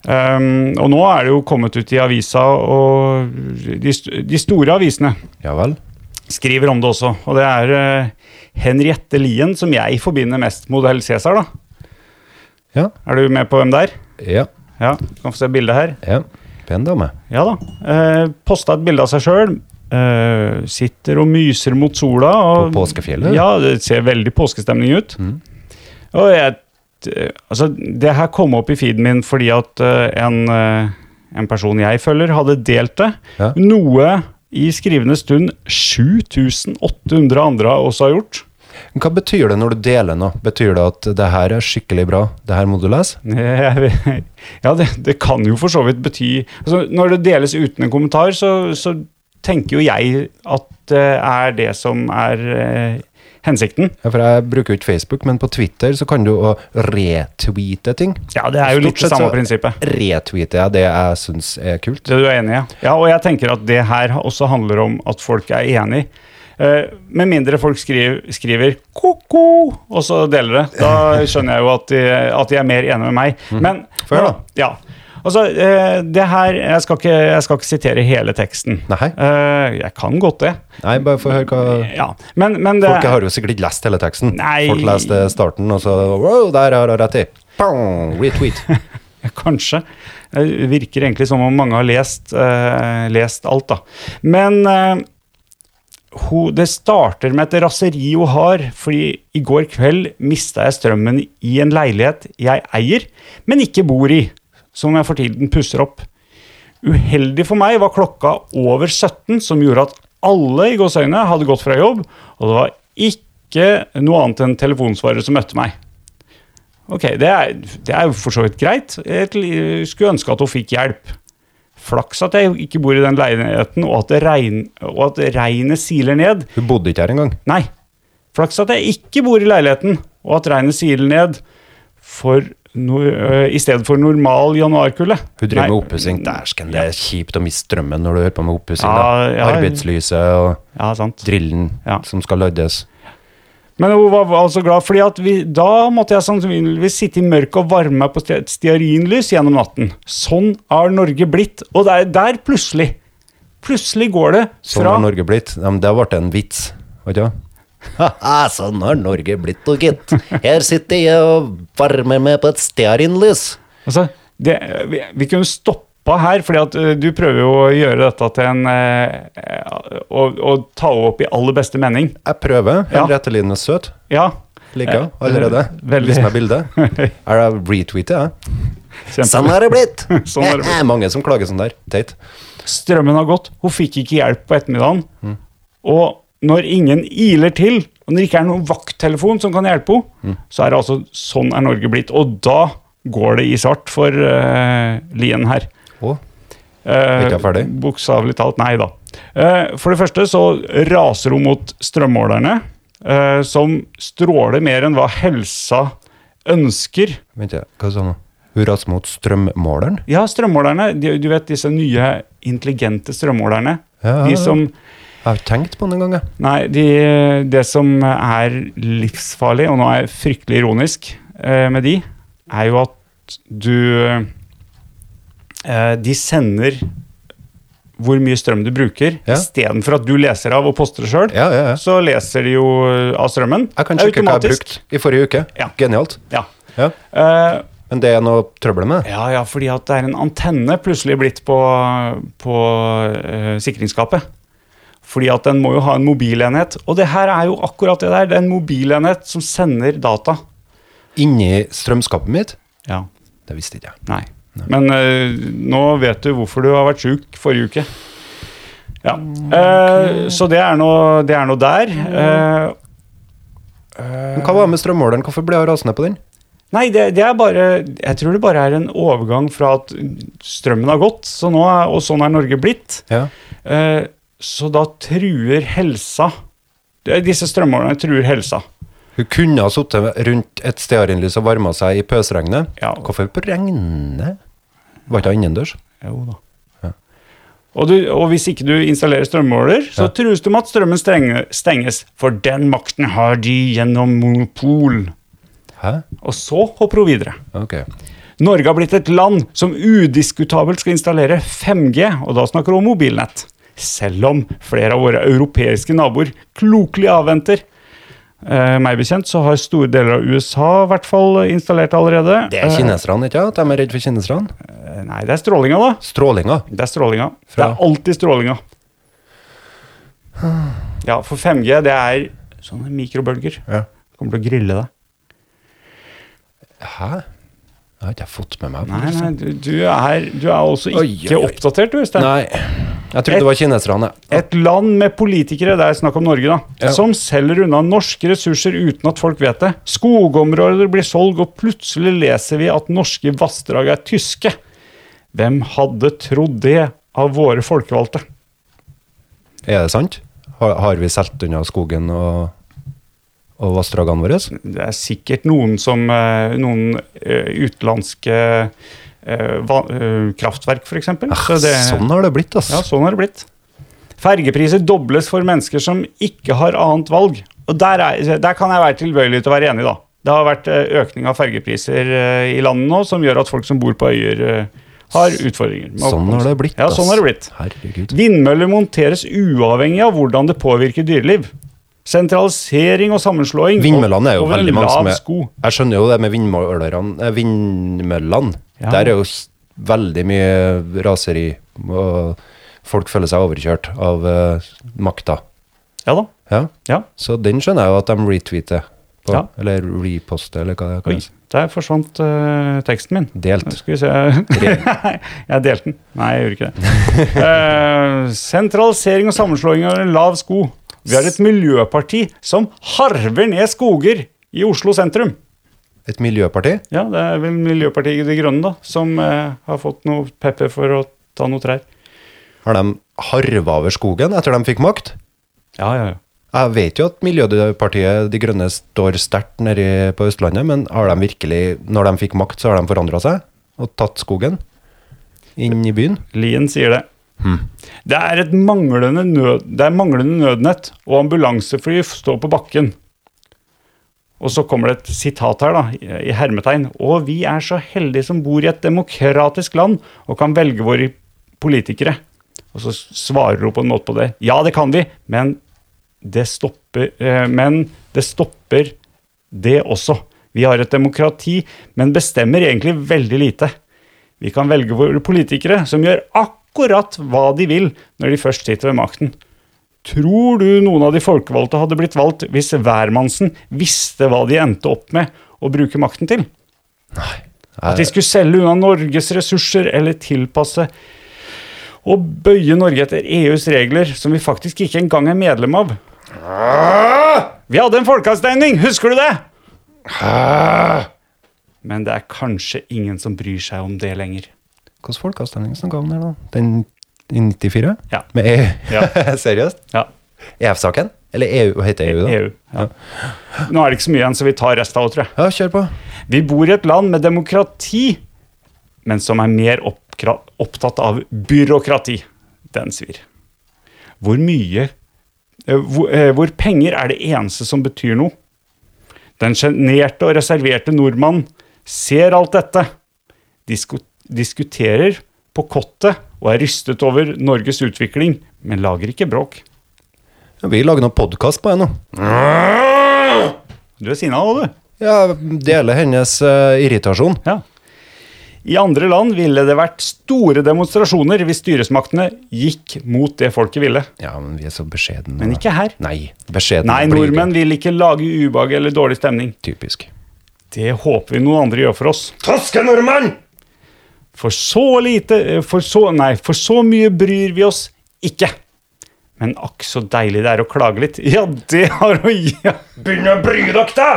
[SPEAKER 4] Um, og nå er det jo kommet ut i avisa, og de, st- de store avisene
[SPEAKER 2] Ja vel?
[SPEAKER 4] skriver om det også. Og det er eh, Henriette Lien som jeg forbinder mest modell Cæsar, da.
[SPEAKER 2] Ja.
[SPEAKER 4] Er du med på hvem det er?
[SPEAKER 2] Ja.
[SPEAKER 4] Ja, du kan få se bildet her.
[SPEAKER 2] ja. Pen dame.
[SPEAKER 4] Ja da. Eh, Posta et bilde av seg sjøl. Eh, sitter og myser mot sola. Og,
[SPEAKER 2] På påskefjellet? Mm.
[SPEAKER 4] Ja, det ser veldig påskestemning ut. Og jeg eh, Altså, det her kom opp i feeden min fordi at eh, en, eh, en person jeg følger, hadde delt det.
[SPEAKER 2] Ja.
[SPEAKER 4] Noe i skrivende stund 7800 andre også har gjort.
[SPEAKER 2] Men Hva betyr det når du deler noe? Betyr det at det her er skikkelig bra, det her må du lese?
[SPEAKER 4] Ja, det, det kan jo for så vidt bety altså, Når det deles uten en kommentar, så, så tenker jo jeg at det er det som er eh, hensikten.
[SPEAKER 2] Ja, for jeg bruker jo ikke Facebook, men på Twitter så kan du å retweete ting.
[SPEAKER 4] Ja, det er jo litt det
[SPEAKER 2] Stort sett
[SPEAKER 4] samme
[SPEAKER 2] så
[SPEAKER 4] prinsippet.
[SPEAKER 2] Retweeter jeg det jeg syns er kult.
[SPEAKER 4] Det du er enig i? Ja, og jeg tenker at det her også handler om at folk er enig. Eh, med mindre folk skriver, skriver ko-ko, og så deler det. Da skjønner jeg jo at de, at de er mer enige med meg. Men
[SPEAKER 2] Mhm. Få høre, da.
[SPEAKER 4] Ja. Altså, eh, det her jeg skal, ikke, jeg skal ikke sitere hele teksten.
[SPEAKER 2] Nei.
[SPEAKER 4] Eh, jeg kan godt det.
[SPEAKER 2] Nei, bare få høre hva
[SPEAKER 4] Ja. Men, men det
[SPEAKER 2] Folk har jo sikkert ikke lest hele teksten.
[SPEAKER 4] Nei.
[SPEAKER 2] Folk leste starten, og så Wow, der har hun rett i! Bang! Retweet.
[SPEAKER 4] Kanskje. Det virker egentlig som om mange har lest, eh, lest alt, da. Men eh, hun, eh, det starter med et raseri hun har, fordi i går kveld mista jeg strømmen i en leilighet jeg eier, men ikke bor i, som jeg for tiden pusser opp. Uheldig for meg var klokka over 17, som gjorde at alle i gåseøynene hadde gått fra jobb, og det var ikke noe annet enn telefonsvarer som møtte meg. Ok, det er, det er jo for så vidt greit. Jeg til- skulle ønske at hun fikk hjelp. Flaks at jeg ikke bor i den leiligheten, og at, det regn, og at regnet siler ned.
[SPEAKER 2] Du bodde ikke her engang.
[SPEAKER 4] Nei. Flaks at jeg ikke bor i leiligheten, og at regnet siler ned for no, øh, i stedet for normal januarkulde.
[SPEAKER 2] Hun
[SPEAKER 4] Nei.
[SPEAKER 2] driver med oppussing. Dæsken, det er kjipt å miste strømmen når du hører på med oppussing.
[SPEAKER 4] Ja,
[SPEAKER 2] da.
[SPEAKER 4] ja.
[SPEAKER 2] Arbeidslyset og
[SPEAKER 4] Ja, sant.
[SPEAKER 2] drillen
[SPEAKER 4] Ja.
[SPEAKER 2] som skal lades.
[SPEAKER 4] Men hun var altså glad, fordi at vi, da måtte jeg sannsynligvis sitte i mørket og varme meg på ste- et stearinlys gjennom natten. Sånn har Norge blitt. Og der, der plutselig Plutselig går det
[SPEAKER 2] Sånn
[SPEAKER 4] fra
[SPEAKER 2] har Norge blitt. Ja, men det ble en vits, var ikke det?
[SPEAKER 5] Haha, sånn har Norge blitt, og gitt. Her sitter jeg og varmer meg på et stearinlys.
[SPEAKER 4] altså, det, vi, vi kunne stoppa her, fordi at eh, du prøver jo å gjøre dette til en eh, eh, Å å ta henne opp i aller beste mening.
[SPEAKER 2] Jeg prøver.
[SPEAKER 4] Ja.
[SPEAKER 2] En rettelinje søt.
[SPEAKER 4] Ja. Eh,
[SPEAKER 2] Liker allerede.
[SPEAKER 4] veldig.
[SPEAKER 2] Vis meg bildet. Er det retweetet, jeg?
[SPEAKER 5] Sånn har det blitt.
[SPEAKER 4] Sånn har det blitt.
[SPEAKER 2] Det er mange som klager sånn der. Teit.
[SPEAKER 4] Strømmen har gått, hun fikk ikke hjelp på ettermiddagen.
[SPEAKER 2] Mm.
[SPEAKER 4] Og når ingen iler til, og når det ikke er noen vakttelefon som kan hjelpe
[SPEAKER 2] Mm.
[SPEAKER 4] henne, så er det altså sånn er Norge blitt. Og da går det i svart for eh, Lien her.
[SPEAKER 2] Å,
[SPEAKER 4] Eh,
[SPEAKER 2] Ikke er ferdig?
[SPEAKER 4] Bokstavelig talt, nei da. Eh, for det første så raser hun mot strømmålerne, eh, som stråler mer enn hva helsa ønsker.
[SPEAKER 2] vent, jeg. hva sa du nå? Hun raser mot strømmåleren?
[SPEAKER 4] Ja, strømmålerne. De, du vet disse nye intelligente strømmålerne.
[SPEAKER 2] Ja, ja, ja.
[SPEAKER 4] De som
[SPEAKER 2] Jeg har ikke tenkt på den en gang, jeg.
[SPEAKER 4] Nei, de, det som er livsfarlig, og nå er jeg fryktelig ironisk eh, med de, er jo at du eh, De sender hvor mye strøm du bruker.
[SPEAKER 2] Ja.
[SPEAKER 4] Istedenfor at du leser av og poster det sjøl,
[SPEAKER 2] Ja, ja, ja.
[SPEAKER 4] så leser de jo eh, av strømmen.
[SPEAKER 2] Jeg kan sjekke hva jeg har brukt i forrige uke.
[SPEAKER 4] Ja.
[SPEAKER 2] Genialt.
[SPEAKER 4] Ja.
[SPEAKER 2] Ja.
[SPEAKER 4] Eh,
[SPEAKER 2] Men det er noe trøbbel med det?
[SPEAKER 4] ja, ja, fordi at det er en antenne plutselig blitt på, på eh, sikringsskapet. Fordi at den må jo ha en mobilenhet. Og det her er jo akkurat det der. Det er en mobilenhet som sender data.
[SPEAKER 2] Inni strømskapet mitt?
[SPEAKER 4] Ja,
[SPEAKER 2] Det visste ikke jeg.
[SPEAKER 4] nei. Men eh, nå vet du hvorfor du har vært sjuk forrige uke. Ja. Eh, så det er noe, det er noe der. Eh,
[SPEAKER 2] Men hva var det med strømmåleren? Hvorfor ble jeg rasende på den?
[SPEAKER 4] Nei, det, det er bare Jeg tror det bare er en overgang fra at strømmen har gått, så nå er, og sånn er Norge blitt.
[SPEAKER 2] Ja.
[SPEAKER 4] Eh, så da truer helsa det- Disse strømmålerne truer helsa.
[SPEAKER 2] Hun kunne ha sittet rundt et stearinlys og varma seg i pøsregnet.
[SPEAKER 4] Ja.
[SPEAKER 2] Hvorfor på regnet? Var ikke det innendørs?
[SPEAKER 4] Jo da. Og, du, og hvis ikke du installerer strømmåler, så
[SPEAKER 2] Ja.
[SPEAKER 4] trues du med at strømmen strenge, stenges. For den makten har de gjennom monopol.
[SPEAKER 2] Hæ?
[SPEAKER 4] Og så hopper hun videre.
[SPEAKER 2] Ok.
[SPEAKER 4] Norge har blitt et land som udiskutabelt skal installere 5G, og da snakker vi om mobilnett. Selv om flere av våre europeiske naboer klokelig avventer. Eh, meg bekjent så har store deler av USA i hvert fall installert allerede.
[SPEAKER 2] Det er kineserne, ikke sant? De er redd for kineserne.
[SPEAKER 4] Eh, nei, det er strålinga, da.
[SPEAKER 2] Strålinga.
[SPEAKER 4] Det er strålinga. Det
[SPEAKER 2] Fra-
[SPEAKER 4] er alltid strålinga. Ja, for 5G, det er sånne mikrobølger.
[SPEAKER 2] Ja.
[SPEAKER 4] Kommer til å grille deg.
[SPEAKER 2] Hæ? Det har ikke jeg fått med meg.
[SPEAKER 4] Nei, nei, du, du, er, du er altså ikke
[SPEAKER 2] Oi, oi, oi.
[SPEAKER 4] oppdatert, du, Øystein.
[SPEAKER 2] Nei. Jeg trodde det var kineserne.
[SPEAKER 4] Et land med politikere, det er snakk om Norge, da,
[SPEAKER 2] Ja.
[SPEAKER 4] som selger unna norske ressurser uten at folk vet det. Skogområder blir solgt, og plutselig leser vi at norske vassdrag er tyske. Hvem hadde trodd det av våre folkevalgte?
[SPEAKER 2] Er det sant? Har, har vi solgt unna skogen og, og vassdragene våre?
[SPEAKER 4] Det er sikkert noen som eh, Noen eh, utenlandske eh, va- eh, kraftverk, f.eks.
[SPEAKER 2] Ah, Sånn har det blitt, ass.
[SPEAKER 4] Ja, sånn har det blitt. Fergepriser dobles for mennesker som ikke har annet valg. Og der, er, der kan jeg være tilbøyelig til å være enig, da. Det har vært eh, økning av fergepriser eh, i landet nå, som gjør at folk som bor på øyer, eh, har utfordringer. med å
[SPEAKER 2] Sånn
[SPEAKER 4] komme
[SPEAKER 2] har det
[SPEAKER 4] seg.
[SPEAKER 2] blitt,
[SPEAKER 4] Ja, sånn har det blitt.
[SPEAKER 2] Herregud.
[SPEAKER 4] Vindmøller monteres uavhengig av hvordan det påvirker dyreliv. Sentralisering og sammenslåing
[SPEAKER 2] Vindmøllene er jo
[SPEAKER 4] over en
[SPEAKER 2] veldig mange som
[SPEAKER 4] lav
[SPEAKER 2] er
[SPEAKER 4] sko.
[SPEAKER 2] Jeg skjønner jo det med vindmøllerne. eh, Vindmøllene.
[SPEAKER 4] Ja.
[SPEAKER 2] Der er jo s- veldig mye raseri. Og folk føler seg overkjørt av eh, makta.
[SPEAKER 4] Ja da.
[SPEAKER 2] Ja.
[SPEAKER 4] Ja.
[SPEAKER 2] Så den skjønner jeg jo at de retweeter. På,
[SPEAKER 4] Ja.
[SPEAKER 2] Eller reposter, eller hva det
[SPEAKER 4] Oi,
[SPEAKER 2] kalles.
[SPEAKER 4] der forsvant eh, teksten min.
[SPEAKER 2] Delt.
[SPEAKER 4] Nå Skal vi se Jeg delte den. Nei, jeg gjorde ikke det. Eh, sentralisering og sammenslåing av en lav sko. Vi har et miljøparti som harver ned skoger i Oslo sentrum.
[SPEAKER 2] Et miljøparti?
[SPEAKER 4] Ja, det er vel Miljøpartiet De Grønne, da, som eh, har fått noe pepper for å ta noe trær.
[SPEAKER 2] Har de harva over skogen etter de fikk makt?
[SPEAKER 4] Ja, ja, ja.
[SPEAKER 2] Jeg vet jo at Miljøpartiet De Grønne står sterkt nede på Østlandet, men har de virkelig, når de fikk makt, så har de forandra seg og tatt skogen inn i byen?
[SPEAKER 4] Lien sier det. Det, er et manglende nød, det er manglende nødnett, og ambulansefly f- står på bakken. Og så kommer det et sitat her, da, i hermetegn. Og vi er så heldige som bor i et demokratisk land og kan velge våre politikere. Og så s- svarer hun på en måte på det. Ja, det kan vi, men det stopper, eh, men det, stopper det også. Vi har et demokrati, men bestemmer egentlig veldig lite. Vi kan velge våre politikere, som gjør akkurat hva de vil når de først sitter ved makten. Tror du noen av de folkevalgte hadde blitt valgt hvis hvermannsen visste hva de endte opp med å bruke makten til? At de skulle selge unna Norges ressurser eller tilpasse og bøye Norge etter EUs regler, som vi faktisk ikke engang er medlem av. Vi hadde en folkeavstemning, husker du det? Men det er kanskje ingen som bryr seg om det lenger.
[SPEAKER 2] Hvilken folkeavstemning snakka om der, da? Den i 94?
[SPEAKER 4] Ja.
[SPEAKER 2] Med EU?
[SPEAKER 4] Ja.
[SPEAKER 2] Seriøst?
[SPEAKER 4] Ja,
[SPEAKER 2] EF-saken? Eller EU, hva heter EU, da?
[SPEAKER 4] EU. Ja. Nå er det ikke så mye igjen, så vi tar resten av det, tror jeg.
[SPEAKER 2] Ja, kjør på.
[SPEAKER 4] Vi bor i et land med demokrati, men som er mer oppkra- opptatt av byråkrati. Den svir. Hvor mye eh, hvor, eh, hvor penger er det eneste som betyr noe? Den sjenerte og reserverte nordmannen ser alt dette, disko, diskuterer på kottet og er rystet over Norges utvikling, men lager ikke bråk.
[SPEAKER 2] Ja, Vi lager noen podkast på det nå.
[SPEAKER 4] Du er sinna nå, du.
[SPEAKER 2] Ja, deler hennes eh, irritasjon.
[SPEAKER 4] Ja. I andre land ville det vært store demonstrasjoner hvis styresmaktene gikk mot det folket ville.
[SPEAKER 2] Ja, men vi er så beskjedne.
[SPEAKER 4] Men
[SPEAKER 2] da.
[SPEAKER 4] ikke her.
[SPEAKER 2] Nei, beskjedne.
[SPEAKER 4] Nei,
[SPEAKER 2] blir vi.
[SPEAKER 4] nordmenn vil ikke lage ubehag eller dårlig stemning.
[SPEAKER 2] Typisk.
[SPEAKER 4] Det håper vi noen andre gjør for oss.
[SPEAKER 2] Taske nordmann!
[SPEAKER 4] For så lite eh, For så Nei, for så mye bryr vi oss ikke. Men akk så deilig det er å klage litt. Ja, det har å gi Begynn å bry dere, da!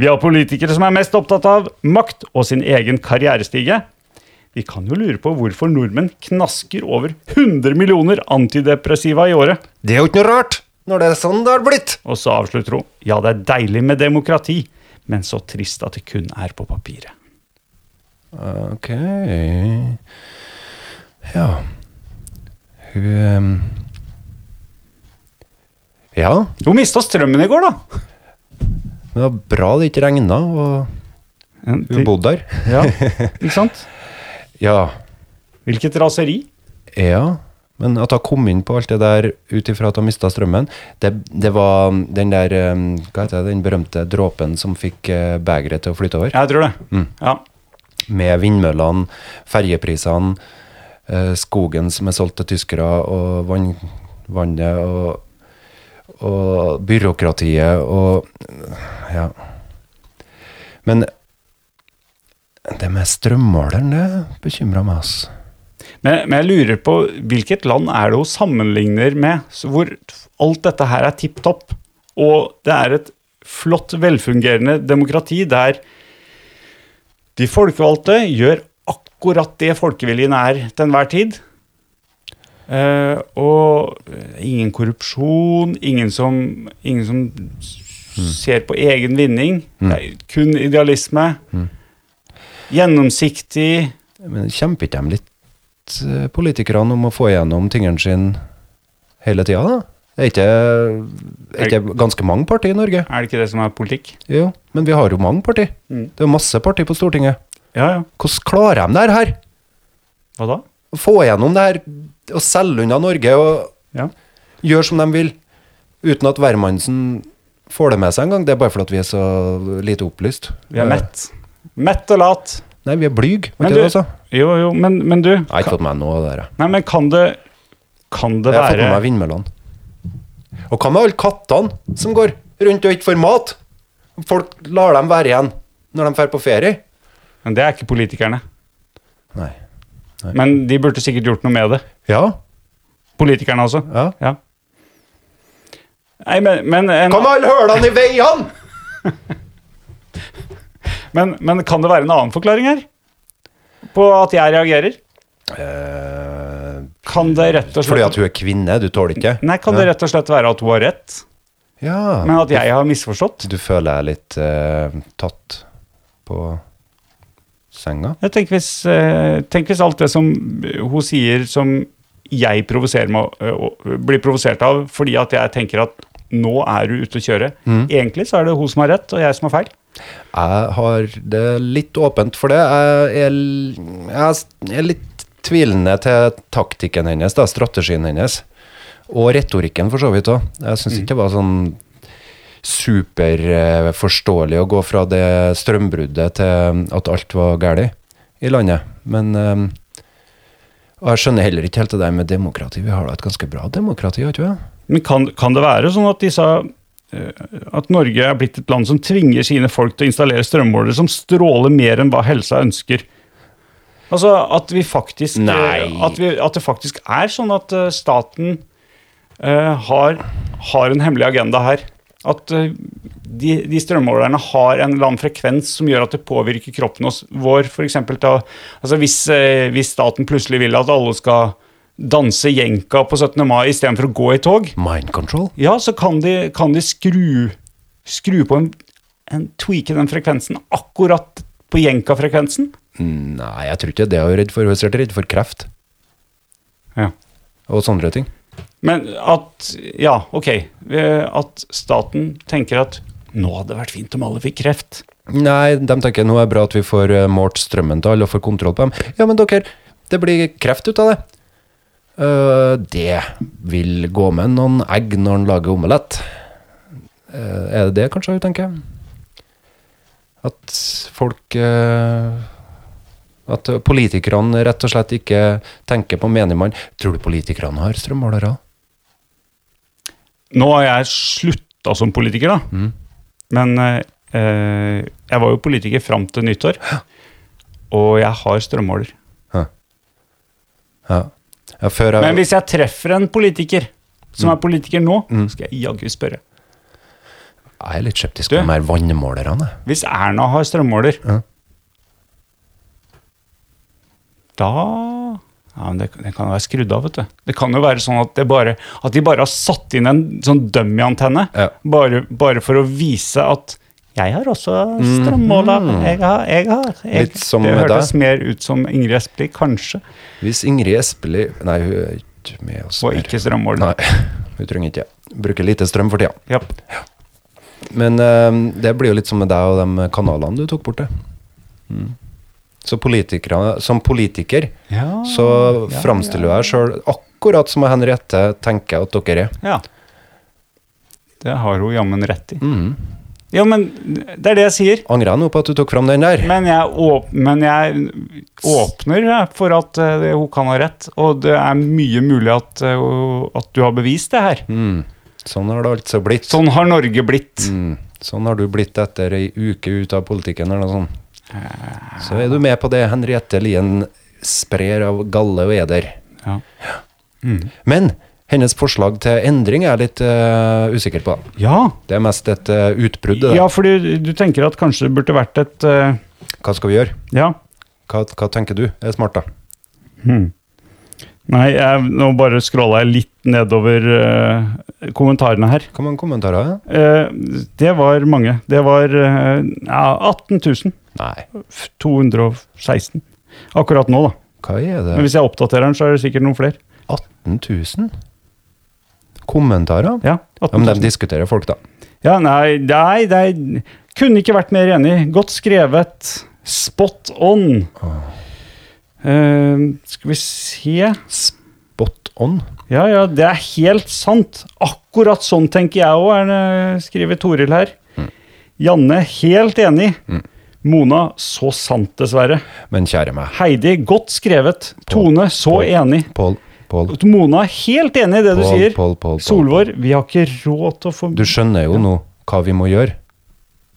[SPEAKER 4] Vi har politikere som er mest opptatt av makt og sin egen karrierestige. Vi kan jo lure på hvorfor nordmenn knasker over 100 millioner antidepressiva i året.
[SPEAKER 2] Det er jo ikke noe rart, når det er sånn det har blitt.
[SPEAKER 4] Og så avslutter hun Ja, det er deilig med demokrati, men så trist at det kun er på papiret.
[SPEAKER 2] Ok Ja. Hun ehm, Ja,
[SPEAKER 4] Hun mista strømmen i går, da!
[SPEAKER 2] men det var bra det ikke regna, og hun bodde der.
[SPEAKER 4] Ja, ikke sant?
[SPEAKER 2] Ja.
[SPEAKER 4] Hvilket raseri?
[SPEAKER 2] Ja, men at hun kom inn på alt det der ut ifra at hun mista strømmen det, det var den der ehm, Hva heter det, den berømte dråpen som fikk eh, begeret til å flyte over?
[SPEAKER 4] Jeg tror det. Ja.
[SPEAKER 2] Med vindmøllene, ferjeprisene, eh, skogen som er solgt til tyskere, og vann, vannet og, og byråkratiet og Ja. Men det med strømmåleren, det bekymrer meg, altså.
[SPEAKER 4] Men, men jeg lurer på hvilket land er det hun sammenligner med, så hvor alt dette her er tipp topp, og det er et flott, velfungerende demokrati der de folkevalgte gjør akkurat det folkeviljen er til enhver tid. Eh, og ingen korrupsjon, ingen som, ingen som ser på egen vinning. Det er kun idealisme. Gjennomsiktig.
[SPEAKER 2] Men kjemper ikke de litt, eh, politikerne, om å få igjennom tingene sine hele tida, da? Det er ikke, er ikke ganske mange partier i Norge.
[SPEAKER 4] Er det ikke det som er politikk?
[SPEAKER 2] Jo, men vi har jo mange partier. Det er jo masse partier på Stortinget.
[SPEAKER 4] Ja, ja.
[SPEAKER 2] Hvordan klarer de det her her?
[SPEAKER 4] Hva da?
[SPEAKER 2] Å få igjennom det her, og selge unna Norge og
[SPEAKER 4] Ja.
[SPEAKER 2] gjøre som de vil, uten at hvermannsen får det med seg engang. Det er bare fordi at vi er så lite opplyst.
[SPEAKER 4] Vi er mett. Mett og lat.
[SPEAKER 2] Nei, vi er blyge. Var
[SPEAKER 4] Men
[SPEAKER 2] ikke
[SPEAKER 4] du,
[SPEAKER 2] det, altså?
[SPEAKER 4] jo, jo, men, men du
[SPEAKER 2] Jeg har ikke fått med meg noe av det der. jeg.
[SPEAKER 4] Nei, men kan det Kan det
[SPEAKER 2] Jeg har fått med
[SPEAKER 4] være
[SPEAKER 2] meg vindmøllene. Og hva med alle kattene som går rundt og ikke får mat? Folk lar dem være igjen når de drar på ferie.
[SPEAKER 4] Men det er ikke politikerne.
[SPEAKER 2] Nei.
[SPEAKER 4] Men de burde sikkert gjort noe med det.
[SPEAKER 2] Ja.
[SPEAKER 4] Politikerne også.
[SPEAKER 2] Ja.
[SPEAKER 4] Nei, men, men, en,
[SPEAKER 2] Hva med alle hølene i veiene?
[SPEAKER 4] men, men kan det være en annen forklaring her? På at jeg reagerer? Kan det rett og
[SPEAKER 2] Eh, Fordi
[SPEAKER 4] slett
[SPEAKER 2] at hun er kvinne, du tåler ikke?
[SPEAKER 4] Nei, kan det rett og slett være at hun har rett, men
[SPEAKER 2] Ja.
[SPEAKER 4] at jeg har misforstått?
[SPEAKER 2] Du føler deg litt eh, tatt på senga?
[SPEAKER 4] Jeg tenker hvis, eh, tenk hvis alt det som hun sier som jeg provoserer meg, eh, og blir provosert av fordi at jeg tenker at nå er du ute å kjøre. Egentlig så er det hun som har rett, og jeg som har feil.
[SPEAKER 2] Jeg har det litt åpent for det. Jeg er, l- jeg s- er litt tvilende til taktikken hennes, da, strategien hennes. Og retorikken, for så vidt òg. Jeg syns ikke det var sånn superforståelig å gå fra det strømbruddet til um, at alt var galt i landet. Men eh, og jeg skjønner heller ikke helt det der med demokrati. Vi har da et ganske bra demokrati, har ikke vi?
[SPEAKER 4] Men kan, kan det være sånn at disse eh, at Norge er blitt et land som tvinger sine folk til å installere strømmålere som stråler mer enn hva helsa ønsker? Altså at vi faktisk eh,
[SPEAKER 2] Nei.
[SPEAKER 4] At, vi, at det faktisk er sånn at eh, staten eh, har, har en hemmelig agenda her. At eh, de, de strømmålerne har en eller annen frekvens som gjør at det påvirker kroppen hos- vår. For eksempel til, å- altså hvis, eh, hvis staten plutselig vil at alle skal danse jenka på 17. mai istedenfor å gå i tog,
[SPEAKER 2] Mind control?
[SPEAKER 4] ja, så kan de, kan de skru, skru på en, en tweake den frekvensen akkurat på jenka-frekvensen.
[SPEAKER 2] Nei, jeg tror ikke det hun er redd for. Hun er sikkert redd for kreft
[SPEAKER 4] Ja.
[SPEAKER 2] og sånne ting.
[SPEAKER 4] Men at Ja, ok. eh, At staten tenker at nå hadde det vært fint om alle fikk kreft.
[SPEAKER 2] Nei, de tenker nå er det bra at vi får eh, målt strømmen til alle og får kontroll på dem. Ja, men dere, det blir kreft ut av det. Eh, det vil gå med noen egg når en lager omelett. Eh, er det det kanskje hun tenker? At folk eh, At politikerne rett og slett ikke tenker på menigmann. Tror du politikerne har strømmålere?
[SPEAKER 4] Nå har jeg slutta som politiker, da. Men eh, eh, jeg var jo politiker fram til nyttår. Og jeg har strømmåler.
[SPEAKER 2] Ja. ja før jeg,
[SPEAKER 4] Men hvis jeg treffer en politiker som er politiker nå, skal jeg jaggu spørre.
[SPEAKER 2] jeg er litt skeptisk
[SPEAKER 4] Du?
[SPEAKER 2] til de her vannmålerne.
[SPEAKER 4] Hvis Erna har strømmåler,
[SPEAKER 2] Ja.
[SPEAKER 4] da ja, men det, det kan jo være skrudd av, vet du. Det kan jo være sånn at, det bare, at de bare har satt inn en sånn dummy-antenne.
[SPEAKER 2] Ja.
[SPEAKER 4] Bare, bare for å vise at jeg har også strømmåler. Jeg har, jeg har. Jeg,
[SPEAKER 2] Mhm. Litt som
[SPEAKER 4] det
[SPEAKER 2] med
[SPEAKER 4] hørtes mer ut som Ingrid Espelid, kanskje,
[SPEAKER 2] Hvis Ingrid Espelid Nei, hun er ikke med oss
[SPEAKER 4] og
[SPEAKER 2] mer.
[SPEAKER 4] ikke strømmåler.
[SPEAKER 2] Nei, hun trenger ikke det. Bruker lite strøm for tida.
[SPEAKER 4] Japp.
[SPEAKER 2] Men eh, det blir jo litt som med deg og de kanalene du tok bort det. Mm. Så politikere, som politiker
[SPEAKER 4] Ah, Ja,
[SPEAKER 2] så framstiller jeg sjøl akkurat som jeg Henriette tenker at dere er.
[SPEAKER 4] Ja. Det har hun jammen rett i.
[SPEAKER 2] Mhm.
[SPEAKER 4] Ja, men det er det jeg sier.
[SPEAKER 2] Angrer jeg nå på at du tok fram den der?
[SPEAKER 4] Men jeg, åp men jeg åpner jeg, for at eh, det- hun kan ha rett, og det er mye mulig at, eh, hun- at du har bevist det her.
[SPEAKER 2] Sånn har det altså blitt.
[SPEAKER 4] Sånn har Norge blitt.
[SPEAKER 2] Mm. Sånn har du blitt etter ei uke ut av politikken eller noe sånt.
[SPEAKER 4] Ah.
[SPEAKER 2] Så er du med på det Henriette Lien sprer av galle og eder.
[SPEAKER 4] Ja.
[SPEAKER 2] Men hennes forslag til endring er jeg litt eh, usikker på.
[SPEAKER 4] Ja.
[SPEAKER 2] Det er mest et eh, utbrudd. det der.
[SPEAKER 4] ja, fordi du tenker at kanskje det burde vært et eh,
[SPEAKER 2] Hva skal vi gjøre?
[SPEAKER 4] Ja.
[SPEAKER 2] Hva, hva tenker du er smart, da?
[SPEAKER 4] Nei, jeg, nå bare scrolla jeg litt nedover eh, kommentarene her.
[SPEAKER 2] Hva mange kommentarer? er det?
[SPEAKER 4] Eh, det var mange. Det var eh, ja, 18 000.
[SPEAKER 2] Nei,
[SPEAKER 4] 216. Akkurat nå, da.
[SPEAKER 2] hva er det?
[SPEAKER 4] Men hvis jeg oppdaterer den, så er det sikkert noen flere.
[SPEAKER 2] 18 000? Kommentarer?
[SPEAKER 4] Ja,
[SPEAKER 2] Ja,
[SPEAKER 4] 18
[SPEAKER 2] men de
[SPEAKER 4] 000.
[SPEAKER 2] diskuterer folk, da.
[SPEAKER 4] ja nei, nei, nei, kunne ikke vært mer enig. Godt skrevet. Spot on. Eh, skal vi se
[SPEAKER 2] Spot on.
[SPEAKER 4] Ja, ja, det er helt sant. Akkurat sånn tenker jeg òg, skriver Toril her. Janne, helt enig. Mona, så sant, dessverre.
[SPEAKER 2] Men kjære meg.
[SPEAKER 4] Heidi, godt skrevet. Tone, så enig.
[SPEAKER 2] Pål, Pål.
[SPEAKER 4] Mona er helt enig i det du
[SPEAKER 2] Pål,
[SPEAKER 4] sier.
[SPEAKER 2] Pål, Pål, Pål.
[SPEAKER 4] Solvor, vi har ikke råd til å få
[SPEAKER 2] Du skjønner jo nå hva vi må gjøre.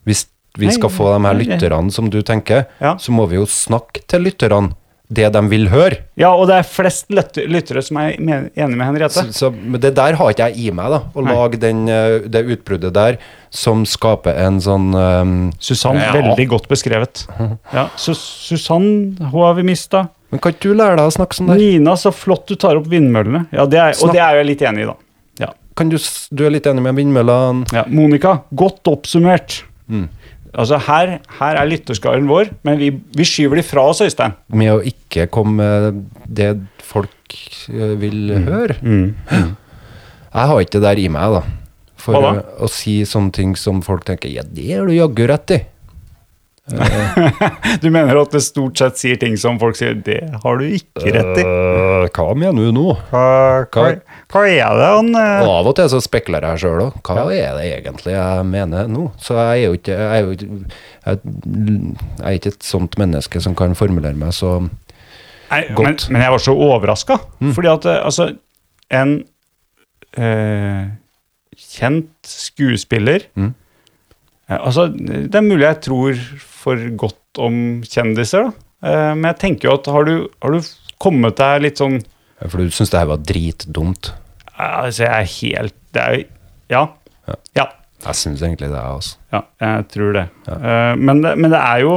[SPEAKER 2] Hvis vi skal få de her lytterne som du tenker,
[SPEAKER 4] Ja.
[SPEAKER 2] så må vi jo snakke til lytterne det de vil høre.
[SPEAKER 4] Ja, og det er flest lytt- lyttere som er men- enig med Henriette.
[SPEAKER 2] Så, så men det der har ikke jeg i meg, da. Å
[SPEAKER 4] Nei.
[SPEAKER 2] lage den, eh, det utbruddet der som skaper en sånn eh,
[SPEAKER 4] Susann,
[SPEAKER 2] Ja.
[SPEAKER 4] veldig godt beskrevet. Ja, Sus- Susann, hun har vi mista.
[SPEAKER 2] Men kan ikke du lære deg å snakke sånn der?
[SPEAKER 4] Nina, så flott du tar opp vindmøllene. Ja, det er, og det er jeg litt enig i, da. Ja.
[SPEAKER 2] Kan du, s- du er litt enig med vindmøllene?
[SPEAKER 4] Ja, Monica, godt oppsummert.
[SPEAKER 2] Mm.
[SPEAKER 4] Altså, her, her er lytterskaren vår, men vi, vi skyver de fra oss, Øystein.
[SPEAKER 2] med å ikke komme med det folk eh, vil
[SPEAKER 4] Mm.
[SPEAKER 2] høre. Jeg har ikke det der i meg, da. For
[SPEAKER 4] Hva da?
[SPEAKER 2] eh, å si sånne ting som folk tenker Ja, det har du jaggu rett i.
[SPEAKER 4] Du mener at det stort sett sier ting som folk sier Det har du ikke rett i.
[SPEAKER 2] Eh, hva mener du nå?
[SPEAKER 4] Hva,
[SPEAKER 2] hva-
[SPEAKER 4] er det han øh,
[SPEAKER 2] Og av og til så spekler jeg sjøl òg. Hva er det egentlig jeg mener nå? Så jeg er jo ikke Jeg er, jo ikke, jeg, jeg er ikke et sånt menneske som kan formulere meg så
[SPEAKER 4] Nei, men,
[SPEAKER 2] Godt. Mm.
[SPEAKER 4] men jeg var så overraska. Fordi at eh, altså En eh, kjent skuespiller
[SPEAKER 2] Mm.
[SPEAKER 4] eh, Altså, det er mulig jeg tror for godt om kjendiser, da. Eh, men jeg tenker jo at har du, har du kommet deg litt sånn
[SPEAKER 2] For du syns det her var dritdumt.
[SPEAKER 4] Altså, jeg er helt Det er jo Ja. Ja.
[SPEAKER 2] Jeg syns egentlig det, jeg, altså.
[SPEAKER 4] ja jeg tror det. Eh, men det. Men det er jo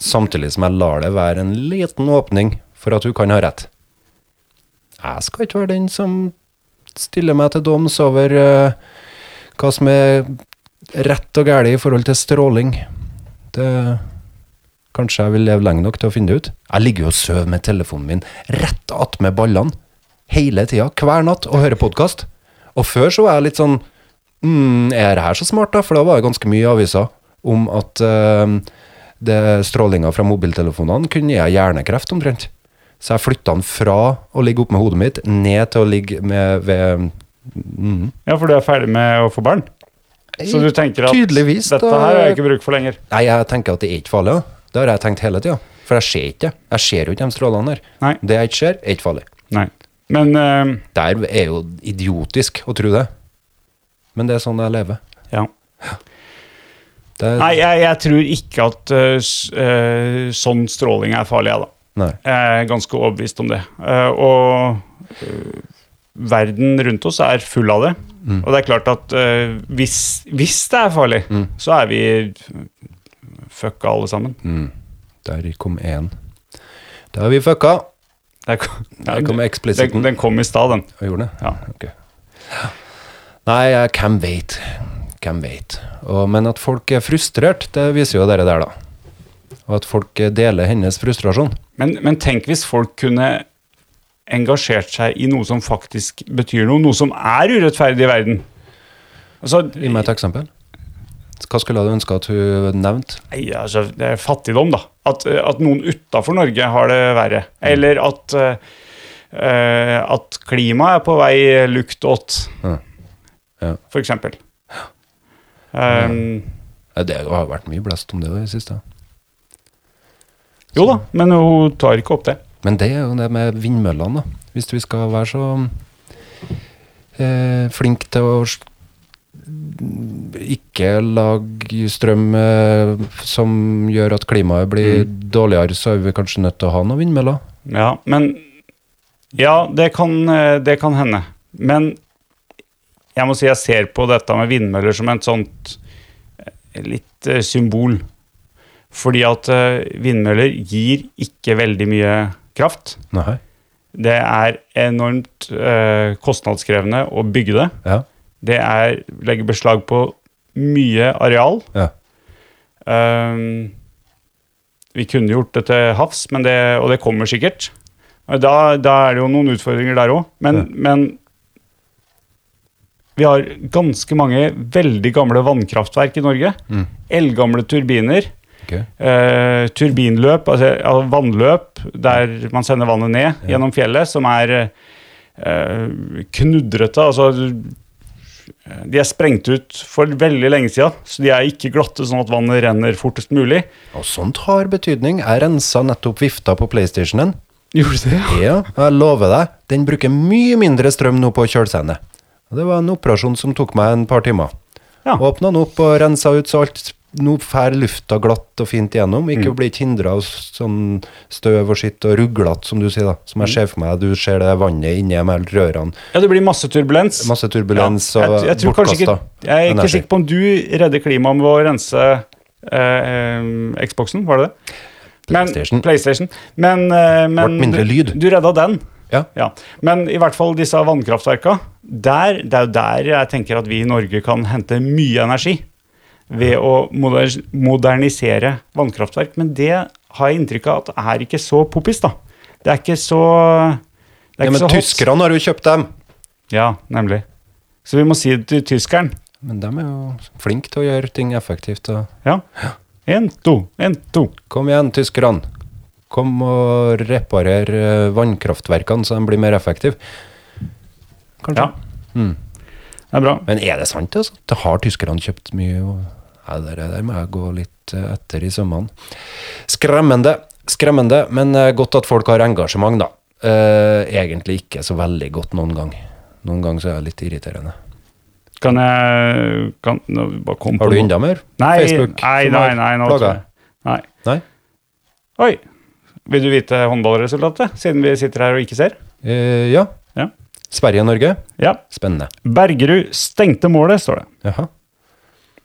[SPEAKER 2] samtidig som jeg lar det være en liten åpning for at hun kan ha rett. Jeg skal ikke være den som stiller meg til doms over eh, hva som er rett og galt i forhold til stråling. Det Kanskje jeg vil leve lenge nok til å finne det ut. Jeg ligger jo og sover med telefonen min rett attmed ballene hele tida, hver natt, og hører podkast. Og før så var jeg litt sånn mm, Er det her så smart, da? For da var det ganske mye i avisa om at eh, det strålinga fra mobiltelefonene kunne gi hjernekreft omtrent. Så jeg flytta den fra å ligge oppe med hodet mitt, ned til å ligge med, ved mm.
[SPEAKER 4] Ja, for du er ferdig med å få barn? Så du tenker at
[SPEAKER 2] Tydeligvis,
[SPEAKER 4] dette
[SPEAKER 2] da-
[SPEAKER 4] her har jeg ikke bruk for lenger?
[SPEAKER 2] Nei, jeg tenker at det er ikke farlig. da. Det har jeg tenkt hele tida. For jeg ser ikke det. Jeg ser jo ikke de strålene her.
[SPEAKER 4] Nei.
[SPEAKER 2] Det jeg ikke ser, er ikke farlig.
[SPEAKER 4] Nei. Men eh,
[SPEAKER 2] Det her er jo idiotisk å tro det. Men det er sånn jeg lever.
[SPEAKER 4] ja.
[SPEAKER 2] Det,
[SPEAKER 4] Nei, jeg, jeg tror ikke at eh, s- eh, sånn stråling er farlig, jeg, da.
[SPEAKER 2] Nei.
[SPEAKER 4] Jeg er ganske overbevist om det. Eh, og eh, verden rundt oss er full av det. Og det er klart at eh, hvis, hvis det er farlig, så er vi fucka alle sammen.
[SPEAKER 2] Der kom én. Da har vi fucka.
[SPEAKER 4] Der kom,
[SPEAKER 2] Der kom
[SPEAKER 4] den,
[SPEAKER 2] eksplisitten.
[SPEAKER 4] den kom i stad, den.
[SPEAKER 2] Og gjorde det?
[SPEAKER 4] Ja.
[SPEAKER 2] Ok. Nei, jeg- hvem vet? Hvem vet? Og, men at folk er frustrert, det viser jo dere der, da. Og at folk eh, deler hennes frustrasjon.
[SPEAKER 4] Men, men tenk hvis folk kunne engasjert seg i noe som faktisk betyr noe, noe som er urettferdig i verden. Altså,
[SPEAKER 2] Gi meg et eksempel. Hva skulle du ønske at hun nevnte?
[SPEAKER 4] Nei, altså, det er fattigdom, da. At, eh, at noen utafor Norge har det verre.
[SPEAKER 2] Mm.
[SPEAKER 4] Eller at, eh, eh, at klimaet er på vei lukt åt,
[SPEAKER 2] Ja. Ja.
[SPEAKER 4] for eksempel. Um,
[SPEAKER 2] Eh, Det har vært mye blest om det i det siste.
[SPEAKER 4] jo da, men hun tar ikke opp det.
[SPEAKER 2] Men det er jo det med vindmøllene, da. Hvis vi skal være så eh, flinke til å s- ikke lage strøm eh, som gjør at klimaet blir dårligere, så er vi kanskje nødt til å ha noen vindmøller.
[SPEAKER 4] Ja, men Ja, det kan, eh, det kan hende. Men jeg må si jeg ser på dette med vindmøller som et sånt eh, litt eh, symbol. Fordi at eh, vindmøller gir ikke veldig mye kraft.
[SPEAKER 2] Nei.
[SPEAKER 4] Det er enormt eh, kostnadskrevende å bygge det.
[SPEAKER 2] Ja.
[SPEAKER 4] Det er, legger beslag på mye areal.
[SPEAKER 2] ja.
[SPEAKER 4] Ehm, vi kunne gjort det til havs, men det, og det kommer sikkert. Og Da, da er det jo noen utfordringer der òg, men, men vi har ganske mange veldig gamle vannkraftverk i Norge. Eldgamle turbiner.
[SPEAKER 2] Ok.
[SPEAKER 4] eh, turbinløp, altså ja, vannløp der man sender vannet ned gjennom fjellet, som er eh, knudrete. Altså eh, De er sprengt ut for veldig lenge siden, så de er ikke glatte, sånn at vannet renner fortest mulig.
[SPEAKER 2] Og sånt har betydning. Jeg rensa nettopp vifta på PlayStationen.
[SPEAKER 4] Gjorde du det? ja?
[SPEAKER 2] Ja, og jeg lover deg, den bruker mye mindre strøm nå på å kjøle seg ned. Og Det var en operasjon som tok meg en par timer.
[SPEAKER 4] Ja.
[SPEAKER 2] Åpna den opp og rensa ut, så alt nå fær lufta glatt og fint gjennom.
[SPEAKER 4] Mm.
[SPEAKER 2] Ikke blir ikke hindra av sånn støv og skitt og ruglete, som du sier, da. Som
[SPEAKER 4] Mm.
[SPEAKER 2] jeg ser for meg, du ser det vannet inni de her rørene.
[SPEAKER 4] Ja, det blir masse turbulens.
[SPEAKER 2] Masse turbulens og
[SPEAKER 4] jeg, jeg tror kanskje ikke,
[SPEAKER 2] bortkastet
[SPEAKER 4] Jeg er ikke
[SPEAKER 2] energi.
[SPEAKER 4] sikker på om du redder klimaet med å rense eh, eh, Xboxen, var det det? Men-
[SPEAKER 2] PlayStation.
[SPEAKER 4] PlayStation. Men, eh, men
[SPEAKER 2] Ble mindre lyd.
[SPEAKER 4] Du, du redda den.
[SPEAKER 2] Ja.
[SPEAKER 4] Men i hvert fall disse vannkraftverka. Der, det er jo der jeg tenker at vi i Norge kan hente mye energi. Ved å moder modernisere vannkraftverk. Men det har jeg inntrykk av at er ikke så poppis, da. Det er ikke så det er
[SPEAKER 2] Ja,
[SPEAKER 4] ikke
[SPEAKER 2] men
[SPEAKER 4] så hot.
[SPEAKER 2] tyskerne har jo kjøpt dem.
[SPEAKER 4] Ja, nemlig. Så vi må si det til tyskeren.
[SPEAKER 2] Men de er jo flinke til å gjøre ting effektivt. Og
[SPEAKER 4] Ja. En, to, en, to.
[SPEAKER 2] Kom igjen, tyskerne. Kom og reparer eh, vannkraftverkene så de blir mer effektive. Kanskje. Hmm.
[SPEAKER 4] Ja. Det er bra.
[SPEAKER 2] Men er det sant, altså? Det har tyskerne kjøpt mye og ja, det der- der må jeg gå litt eh, etter i sømmene. Skremmende, skremmende, men eh, godt at folk har engasjement, da. Eh, egentlig ikke så veldig godt noen gang. Noen gang så er jeg litt irriterende.
[SPEAKER 4] Kan jeg kan, nå, bare kom på
[SPEAKER 2] Har du
[SPEAKER 4] noe.
[SPEAKER 2] enda mer?
[SPEAKER 4] Nei,
[SPEAKER 2] Facebook?
[SPEAKER 4] Nei,
[SPEAKER 2] som
[SPEAKER 4] nei,
[SPEAKER 2] har
[SPEAKER 4] nei. Nå,
[SPEAKER 2] plaga
[SPEAKER 4] tror
[SPEAKER 2] deg?
[SPEAKER 4] jeg. nei.
[SPEAKER 2] Nei?
[SPEAKER 4] Oi. Vil du vite håndballresultatet, siden vi sitter her og ikke ser?
[SPEAKER 2] Eh, ja.
[SPEAKER 4] Ja.
[SPEAKER 2] Sverige-Norge?
[SPEAKER 4] ja.
[SPEAKER 2] Spennende.
[SPEAKER 4] Bergerud stengte målet, står det.
[SPEAKER 2] Jaha.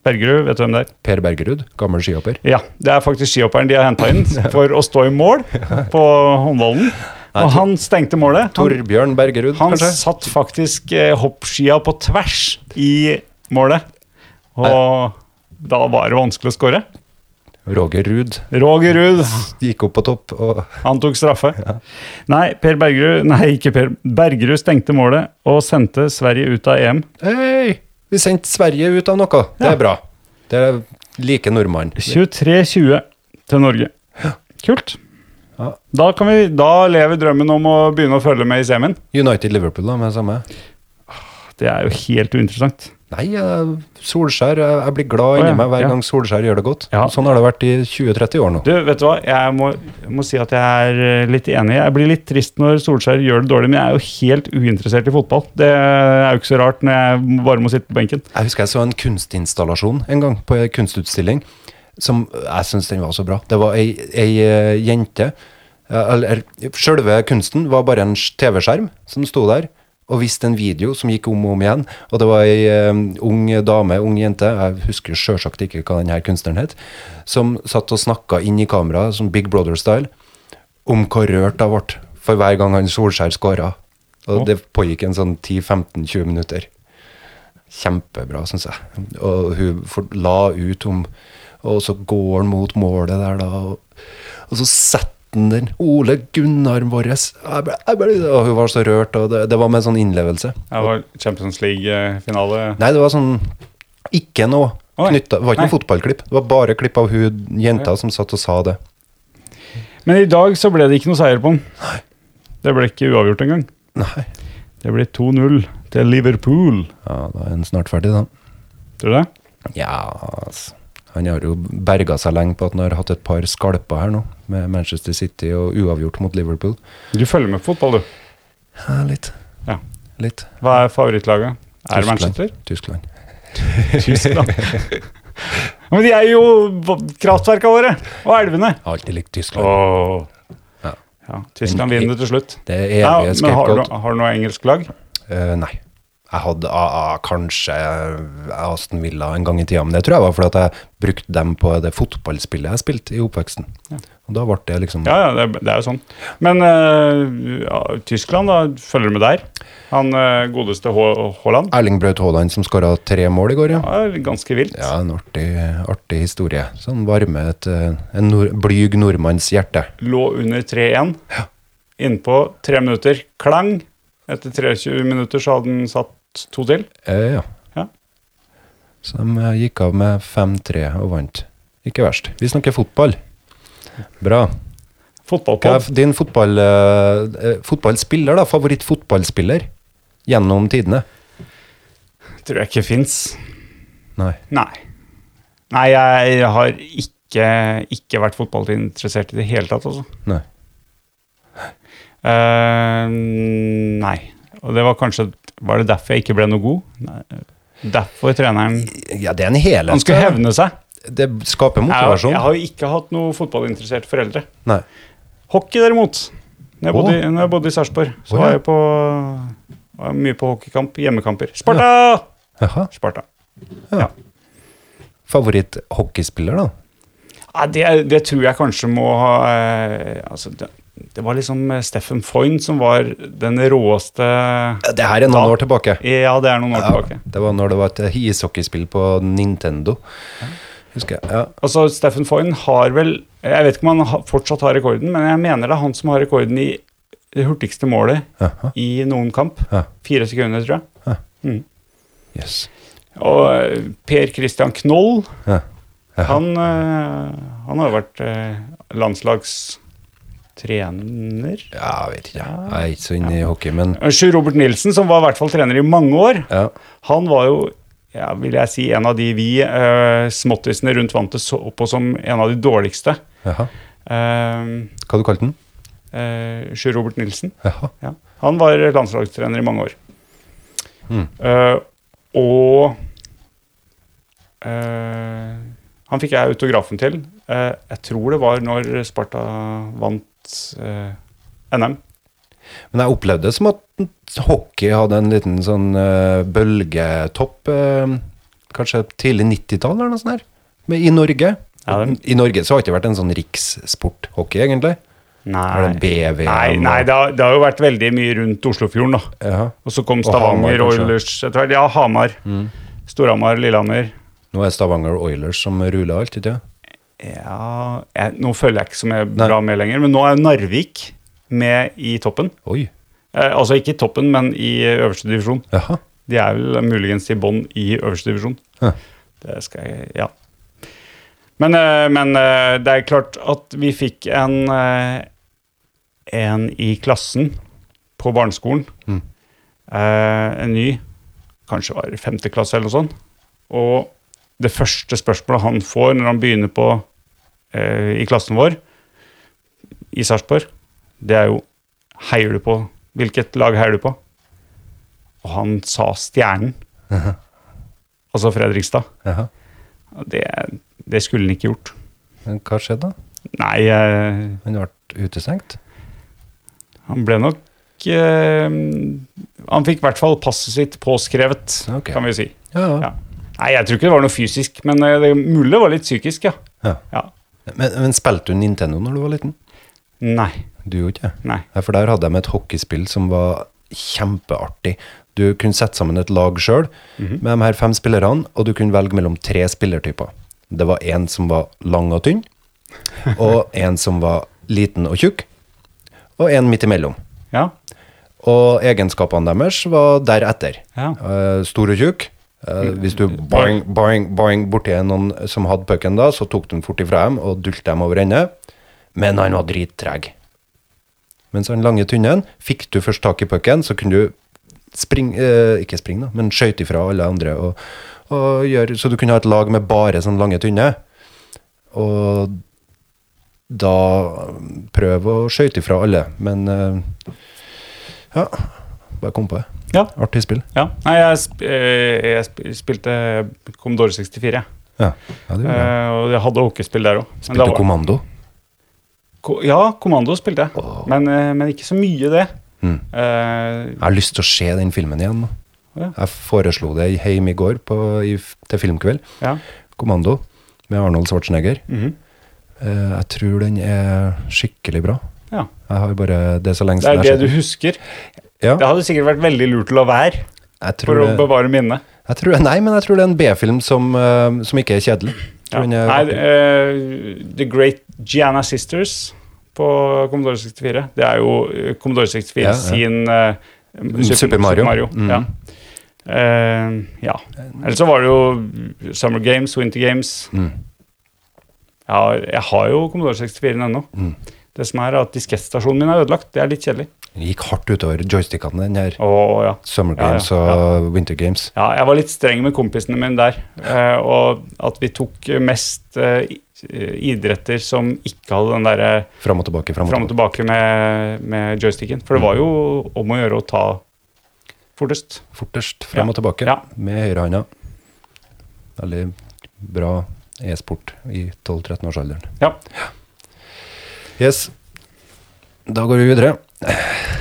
[SPEAKER 4] Bergerud, vet du hvem det er?
[SPEAKER 2] Per Bergerud, gammel skihopper.
[SPEAKER 4] Ja, det er faktisk skihopperen de har henta inn for å stå i mål på håndballen. Og han stengte målet. Han-
[SPEAKER 2] Torbjørn Bergerud,
[SPEAKER 4] Han
[SPEAKER 2] kanskje?
[SPEAKER 4] satt faktisk eh, hoppskia på tvers i målet. Og da var det vanskelig å skåre.
[SPEAKER 2] Roger Ruud
[SPEAKER 4] Roger Ruud,
[SPEAKER 2] gikk opp på topp. Og
[SPEAKER 4] han tok straffe. Nei, per Bergerud, nei, ikke Per. Bergerud stengte målet og sendte Sverige ut av E EM.
[SPEAKER 2] Hei! Vi sendte Sverige ut av noe. Det
[SPEAKER 4] Ja.
[SPEAKER 2] er bra. Det er like nordmann.
[SPEAKER 4] 23-20 til Norge. Kult.
[SPEAKER 2] Ja.
[SPEAKER 4] Da, kan vi, da lever drømmen om å begynne å følge med i semien.
[SPEAKER 2] United Liverpool, da, med det samme.
[SPEAKER 4] Det er jo helt uinteressant.
[SPEAKER 2] Nei, jeg- Solskjær jeg, jeg blir glad
[SPEAKER 4] Å, ja,
[SPEAKER 2] inni meg hver
[SPEAKER 4] ja.
[SPEAKER 2] gang Solskjær gjør det godt.
[SPEAKER 4] Ja.
[SPEAKER 2] Sånn har det vært i 20-30 år nå.
[SPEAKER 4] Du, vet du hva? Jeg må, må si at jeg er eh, litt enig. Jeg blir litt trist når Solskjær gjør det dårlig, men jeg er jo helt uinteressert i fotball. Det er jo ikke så rart når jeg bare må sitte på benken.
[SPEAKER 2] Jeg husker jeg så en kunstinstallasjon en gang på en kunstutstilling som jeg syns den var så bra. Det var ei, ei eh, jente eh, Eller sjølve kunsten var bare en sk- TV-skjerm som sto der og viste en video som gikk om og om igjen. Og det var ei eh, ung dame, ung jente, jeg husker sjølsagt ikke hva denne kunstneren het, som satt og snakka inn i kameraet, som Big Brother-style, om hvor rørt hun ble for hver gang han Solskjær skåra. Og det pågikk en sånn 10-15-20 minutter kjempebra, syns jeg. Og hun for- la ut om Og så går han mot målet der, da. Og, og så setter han den. Ole Gunnar vår. Jeg ble- jeg ble- Og hun var så rørt, og det, det var med sånn innlevelse.
[SPEAKER 4] Det var Champions League-finale.
[SPEAKER 2] Nei, det var sånn Ikke noe
[SPEAKER 4] Oi.
[SPEAKER 2] knytta. Det var ikke noe
[SPEAKER 4] Nei.
[SPEAKER 2] fotballklipp. Det var bare klipp av hun jenta som satt og sa det.
[SPEAKER 4] Men i dag så ble det ikke noe seier på den. Det ble ikke uavgjort engang.
[SPEAKER 2] Nei.
[SPEAKER 4] Det ble 2-0 til Liverpool.
[SPEAKER 2] Ja, da er han snart ferdig, da.
[SPEAKER 4] Tror du det?
[SPEAKER 2] Ja, altså. Han har jo berga seg lenge på at han har hatt et par skalper her nå, med Manchester City og uavgjort mot Liverpool.
[SPEAKER 4] Du følger med på fotball, du.
[SPEAKER 2] Ja, litt.
[SPEAKER 4] Ja.
[SPEAKER 2] Litt.
[SPEAKER 4] Hva er favorittlaget? Er det Manchester?
[SPEAKER 2] Tyskland.
[SPEAKER 4] Tyskland. Men de er jo kraftverka våre! Og elvene.
[SPEAKER 2] Jeg har alltid likt Tyskland.
[SPEAKER 4] Åh.
[SPEAKER 2] Ja.
[SPEAKER 4] Ja, Tyskland vinner til slutt.
[SPEAKER 2] Det er
[SPEAKER 4] Ja,
[SPEAKER 2] evige
[SPEAKER 4] men har du,
[SPEAKER 2] scapegoat.
[SPEAKER 4] har du noe engelsk lag?
[SPEAKER 2] Eh, nei. Jeg hadde ah, ah, kanskje eh, Aston Villa en gang i tida, men det tror jeg var fordi at jeg brukte dem på det fotballspillet jeg spilte i oppveksten. Og da ble det liksom
[SPEAKER 4] Ja, ja, det, er- det er jo sånn. Men eh, ja, Tyskland, da følger du med der? Han eh, godeste Ha- Haaland?
[SPEAKER 2] Erling Braut Haaland som skåra tre mål i går, ja.
[SPEAKER 4] Ja, ganske vilt.
[SPEAKER 2] Ja, en artig, artig historie. Sånn varme et eh, en nor blyg nordmanns hjerte.
[SPEAKER 4] Lå under 3-1. Innpå tre minutter. Klang! Etter 23 minutter så hadde han satt to til.
[SPEAKER 2] Eh, ja.
[SPEAKER 4] Ja.
[SPEAKER 2] Så de eh, gikk av med 5-3 og vant. Ikke verst. Vi snakker fotball. Bra. Hva er
[SPEAKER 4] Fotballpod.
[SPEAKER 2] f- din fotball, eh, eh, fotballspiller, da? Favorittfotballspiller gjennom tidene?
[SPEAKER 4] Tror jeg ikke fins.
[SPEAKER 2] Nei.
[SPEAKER 4] Nei. Nei, jeg har ikke, ikke vært fotballinteressert i det hele tatt, altså.
[SPEAKER 2] Nei.
[SPEAKER 4] Eh, nei. Og det var kanskje Var det derfor jeg ikke ble noe god? Nei. Derfor treneren
[SPEAKER 2] Ja, det er en helhet.
[SPEAKER 4] Han skulle hevne seg.
[SPEAKER 2] Det skaper
[SPEAKER 4] Altså, Jeg,
[SPEAKER 2] motivasjon.
[SPEAKER 4] jeg har jo ikke hatt noe fotballinteresserte foreldre.
[SPEAKER 2] Nei.
[SPEAKER 4] Hockey, derimot. Når jeg
[SPEAKER 2] Å.
[SPEAKER 4] bodde, i- når jeg bodde i Sarpsborg, så
[SPEAKER 2] Å, ja.
[SPEAKER 4] var jeg på var jeg mye på hockeykamp. Hjemmekamper. Sparta!
[SPEAKER 2] Jaha.
[SPEAKER 4] Sparta.
[SPEAKER 2] Favoritthockeyspiller, da?
[SPEAKER 4] Nei, det, det tror jeg kanskje må ha eh, altså, det, det var liksom eh, Steffen Foyn som var den råeste
[SPEAKER 2] Det her er noen år tilbake.
[SPEAKER 4] Ja, det er noen år tilbake.
[SPEAKER 2] det var når det var et ishockeyspill på Nintendo. Husker jeg. Ja.
[SPEAKER 4] Altså, Steffen Foyn har vel Jeg vet ikke om han ha- fortsatt har rekorden, men jeg mener det er han som har rekorden i det hurtigste målet
[SPEAKER 2] Aha.
[SPEAKER 4] i noen kamp.
[SPEAKER 2] Ja.
[SPEAKER 4] Fire sekunder, tror jeg.
[SPEAKER 2] Yes.
[SPEAKER 4] Og eh, Per Christian Knoll,
[SPEAKER 2] Ja. Jaha.
[SPEAKER 4] han, eh, han har jo vært eh, landslagstrener.
[SPEAKER 2] ja, jeg vet ikke. Jeg er ikke så inne i hockey, men
[SPEAKER 4] Eh, Sjur Robert Nilsen, som var i hvert fall trener i mange år,
[SPEAKER 2] ja.
[SPEAKER 4] han var jo ja, vil jeg si, en av de vi eh, småttisene rundt vantet så på som en av de dårligste.
[SPEAKER 2] Jaha.
[SPEAKER 4] Eh,
[SPEAKER 2] Hva du kalte den?
[SPEAKER 4] eh, Sjur Robert Nilsen.
[SPEAKER 2] Jaha.
[SPEAKER 4] Ja. Han var landslagstrener i mange år. Eh, og eh, han fikk jeg autografen til. Eh, jeg tror det var når Sparta vant eh, NM.
[SPEAKER 2] Men jeg opplevde det som at hockey hadde en liten sånn eh, bølgetopp, eh, kanskje tidlig 90-tall eller noe sånt her, men i Norge.
[SPEAKER 4] Ja, det-
[SPEAKER 2] I Norge så har det ikke vært en sånn rikssport hockey, egentlig. Er det BV?
[SPEAKER 4] Nei, nei det, har, det har jo vært veldig mye rundt Oslofjorden, da.
[SPEAKER 2] Ja.
[SPEAKER 4] Og så kom
[SPEAKER 2] Og Hamar,
[SPEAKER 4] Stavanger,
[SPEAKER 2] kanskje. Mm.
[SPEAKER 4] Oilers etter hvert. Ja, Hamar. Storhamar, Lillehammer.
[SPEAKER 2] Nå er Stavanger Oilers som ruler alt, ikke sant?
[SPEAKER 4] Ja jeg, Nå følger jeg ikke så mye
[SPEAKER 2] Nei.
[SPEAKER 4] bra med lenger, men nå er Narvik med i toppen.
[SPEAKER 2] Oi.
[SPEAKER 4] Eh, altså ikke i toppen, men i øverste divisjon.
[SPEAKER 2] Jaha.
[SPEAKER 4] De er vel muligens i bånn i øverste divisjon.
[SPEAKER 2] Ja.
[SPEAKER 4] Det skal jeg Ja. Men, eh, men eh, det er klart at vi fikk en eh, En i klassen på barneskolen. Eh, en ny. Kanskje var i femte klasse eller noe sånt. Og det første spørsmålet han får når han begynner på eh, i klassen vår i Sarpsborg, det er jo Heier du på Hvilket lag heier du på? Og han sa Stjernen. Altså Fredrikstad.
[SPEAKER 2] Jaha.
[SPEAKER 4] Og Det, det skulle han ikke gjort.
[SPEAKER 2] Men hva skjedde da?
[SPEAKER 4] Nei, eh,
[SPEAKER 2] Han ble utestengt?
[SPEAKER 4] han ble nok eh, Han fikk i hvert fall passet sitt påskrevet,
[SPEAKER 2] Ok.
[SPEAKER 4] kan vi si.
[SPEAKER 2] Ja.
[SPEAKER 4] Ja. Nei, jeg tror ikke det var noe fysisk, men eh, det mulig det var litt psykisk, ja.
[SPEAKER 2] ja.
[SPEAKER 4] ja.
[SPEAKER 2] Men, men spilte du Nintendo når du var liten?
[SPEAKER 4] Nei.
[SPEAKER 2] Du gjorde ikke det?
[SPEAKER 4] Nei.
[SPEAKER 2] Ja, for der hadde de et hockeyspill som var kjempeartig. Du kunne sette sammen et lag sjøl med de her fem spillerne, og du kunne velge mellom tre spillertyper. Det var en som var lang og tynn, og en som var liten og tjukk, og en midt imellom.
[SPEAKER 4] Ja.
[SPEAKER 2] Og egenskapene deres var deretter.
[SPEAKER 4] Ja.
[SPEAKER 2] Eh, stor og tjukk. Eh, hvis du boing, boing, boing borti noen som hadde pucken da, så tok den fort ifra dem og dulte dem over ende. Men han var drittreg. Mens han lange tynnen, fikk du først tak i pucken, så kunne du springe eh, Ikke springe, da, men skøyte ifra alle andre. Og, og gjøre, så du kunne ha et lag med bare sånn lange tynne. Og da prøve å skøyte ifra alle, men eh, ja, bare kom på det.
[SPEAKER 4] Ja.
[SPEAKER 2] Artig spill.
[SPEAKER 4] ja. Nei, jeg, sp eh, jeg sp spilte Commodore 64, jeg.
[SPEAKER 2] Ja, ja det gjorde jeg.
[SPEAKER 4] Eh, og jeg hadde hockeyspill der òg.
[SPEAKER 2] Spilte du kommando?
[SPEAKER 4] Ko ja, Kommando spilte jeg, men, eh, men ikke så mye det.
[SPEAKER 2] Mm.
[SPEAKER 4] Eh,
[SPEAKER 2] Jeg har lyst til å se den filmen igjen. nå.
[SPEAKER 4] Ja.
[SPEAKER 2] Jeg foreslo det hjemme i går på, i, f- til filmkveld.
[SPEAKER 4] ja.
[SPEAKER 2] Kommando med Arnold Schwarzenegger. Eh, jeg tror den er skikkelig bra.
[SPEAKER 4] ja.
[SPEAKER 2] Jeg har bare, Det er så lenge
[SPEAKER 4] Det er det
[SPEAKER 2] jeg
[SPEAKER 4] du
[SPEAKER 2] har sett den.
[SPEAKER 4] husker.
[SPEAKER 2] Ja,
[SPEAKER 4] Det hadde sikkert vært veldig lurt å la være
[SPEAKER 2] jeg tror
[SPEAKER 4] for å
[SPEAKER 2] det-
[SPEAKER 4] bevare minnet.
[SPEAKER 2] jeg tror, nei, men jeg tror det er en B-film som, eh, som ikke er kjedelig. Jeg
[SPEAKER 4] Ja.
[SPEAKER 2] Tror den er
[SPEAKER 4] Nei,
[SPEAKER 2] artig.
[SPEAKER 4] eh, The Great Gianna Sisters på Commodore 64. Det er jo eh, Commodore 64
[SPEAKER 2] Ja, ja.
[SPEAKER 4] sin eh, Super,
[SPEAKER 2] Super Mario. Mhm.
[SPEAKER 4] Ja. Eh, ja. Eller så var det jo Summer Games, Winter Games.
[SPEAKER 2] Mm.
[SPEAKER 4] Ja,
[SPEAKER 2] Mm.
[SPEAKER 4] jeg har jo Commodore 64 ennå. Det som er at diskettstasjonen min er ødelagt. Det er litt kjedelig.
[SPEAKER 2] Den gikk hardt utover joystickene, den her.
[SPEAKER 4] Å, ja.
[SPEAKER 2] Summer
[SPEAKER 4] Ja, ja,
[SPEAKER 2] Games og Winter Games.
[SPEAKER 4] Ja, jeg var litt streng med kompisene mine der. eh, Og at vi tok mest eh, i- idretter som ikke hadde den derre
[SPEAKER 2] Fram og tilbake, fram og
[SPEAKER 4] fram og
[SPEAKER 2] tilbake.
[SPEAKER 4] tilbake med, med joysticken. For det var jo om å gjøre å ta fortest.
[SPEAKER 2] Fortest fram og tilbake
[SPEAKER 4] Ja.
[SPEAKER 2] med høyrehånda. Veldig bra e-sport i 12-13-årsalderen.
[SPEAKER 4] Ja.
[SPEAKER 2] Yes. Da går vi videre.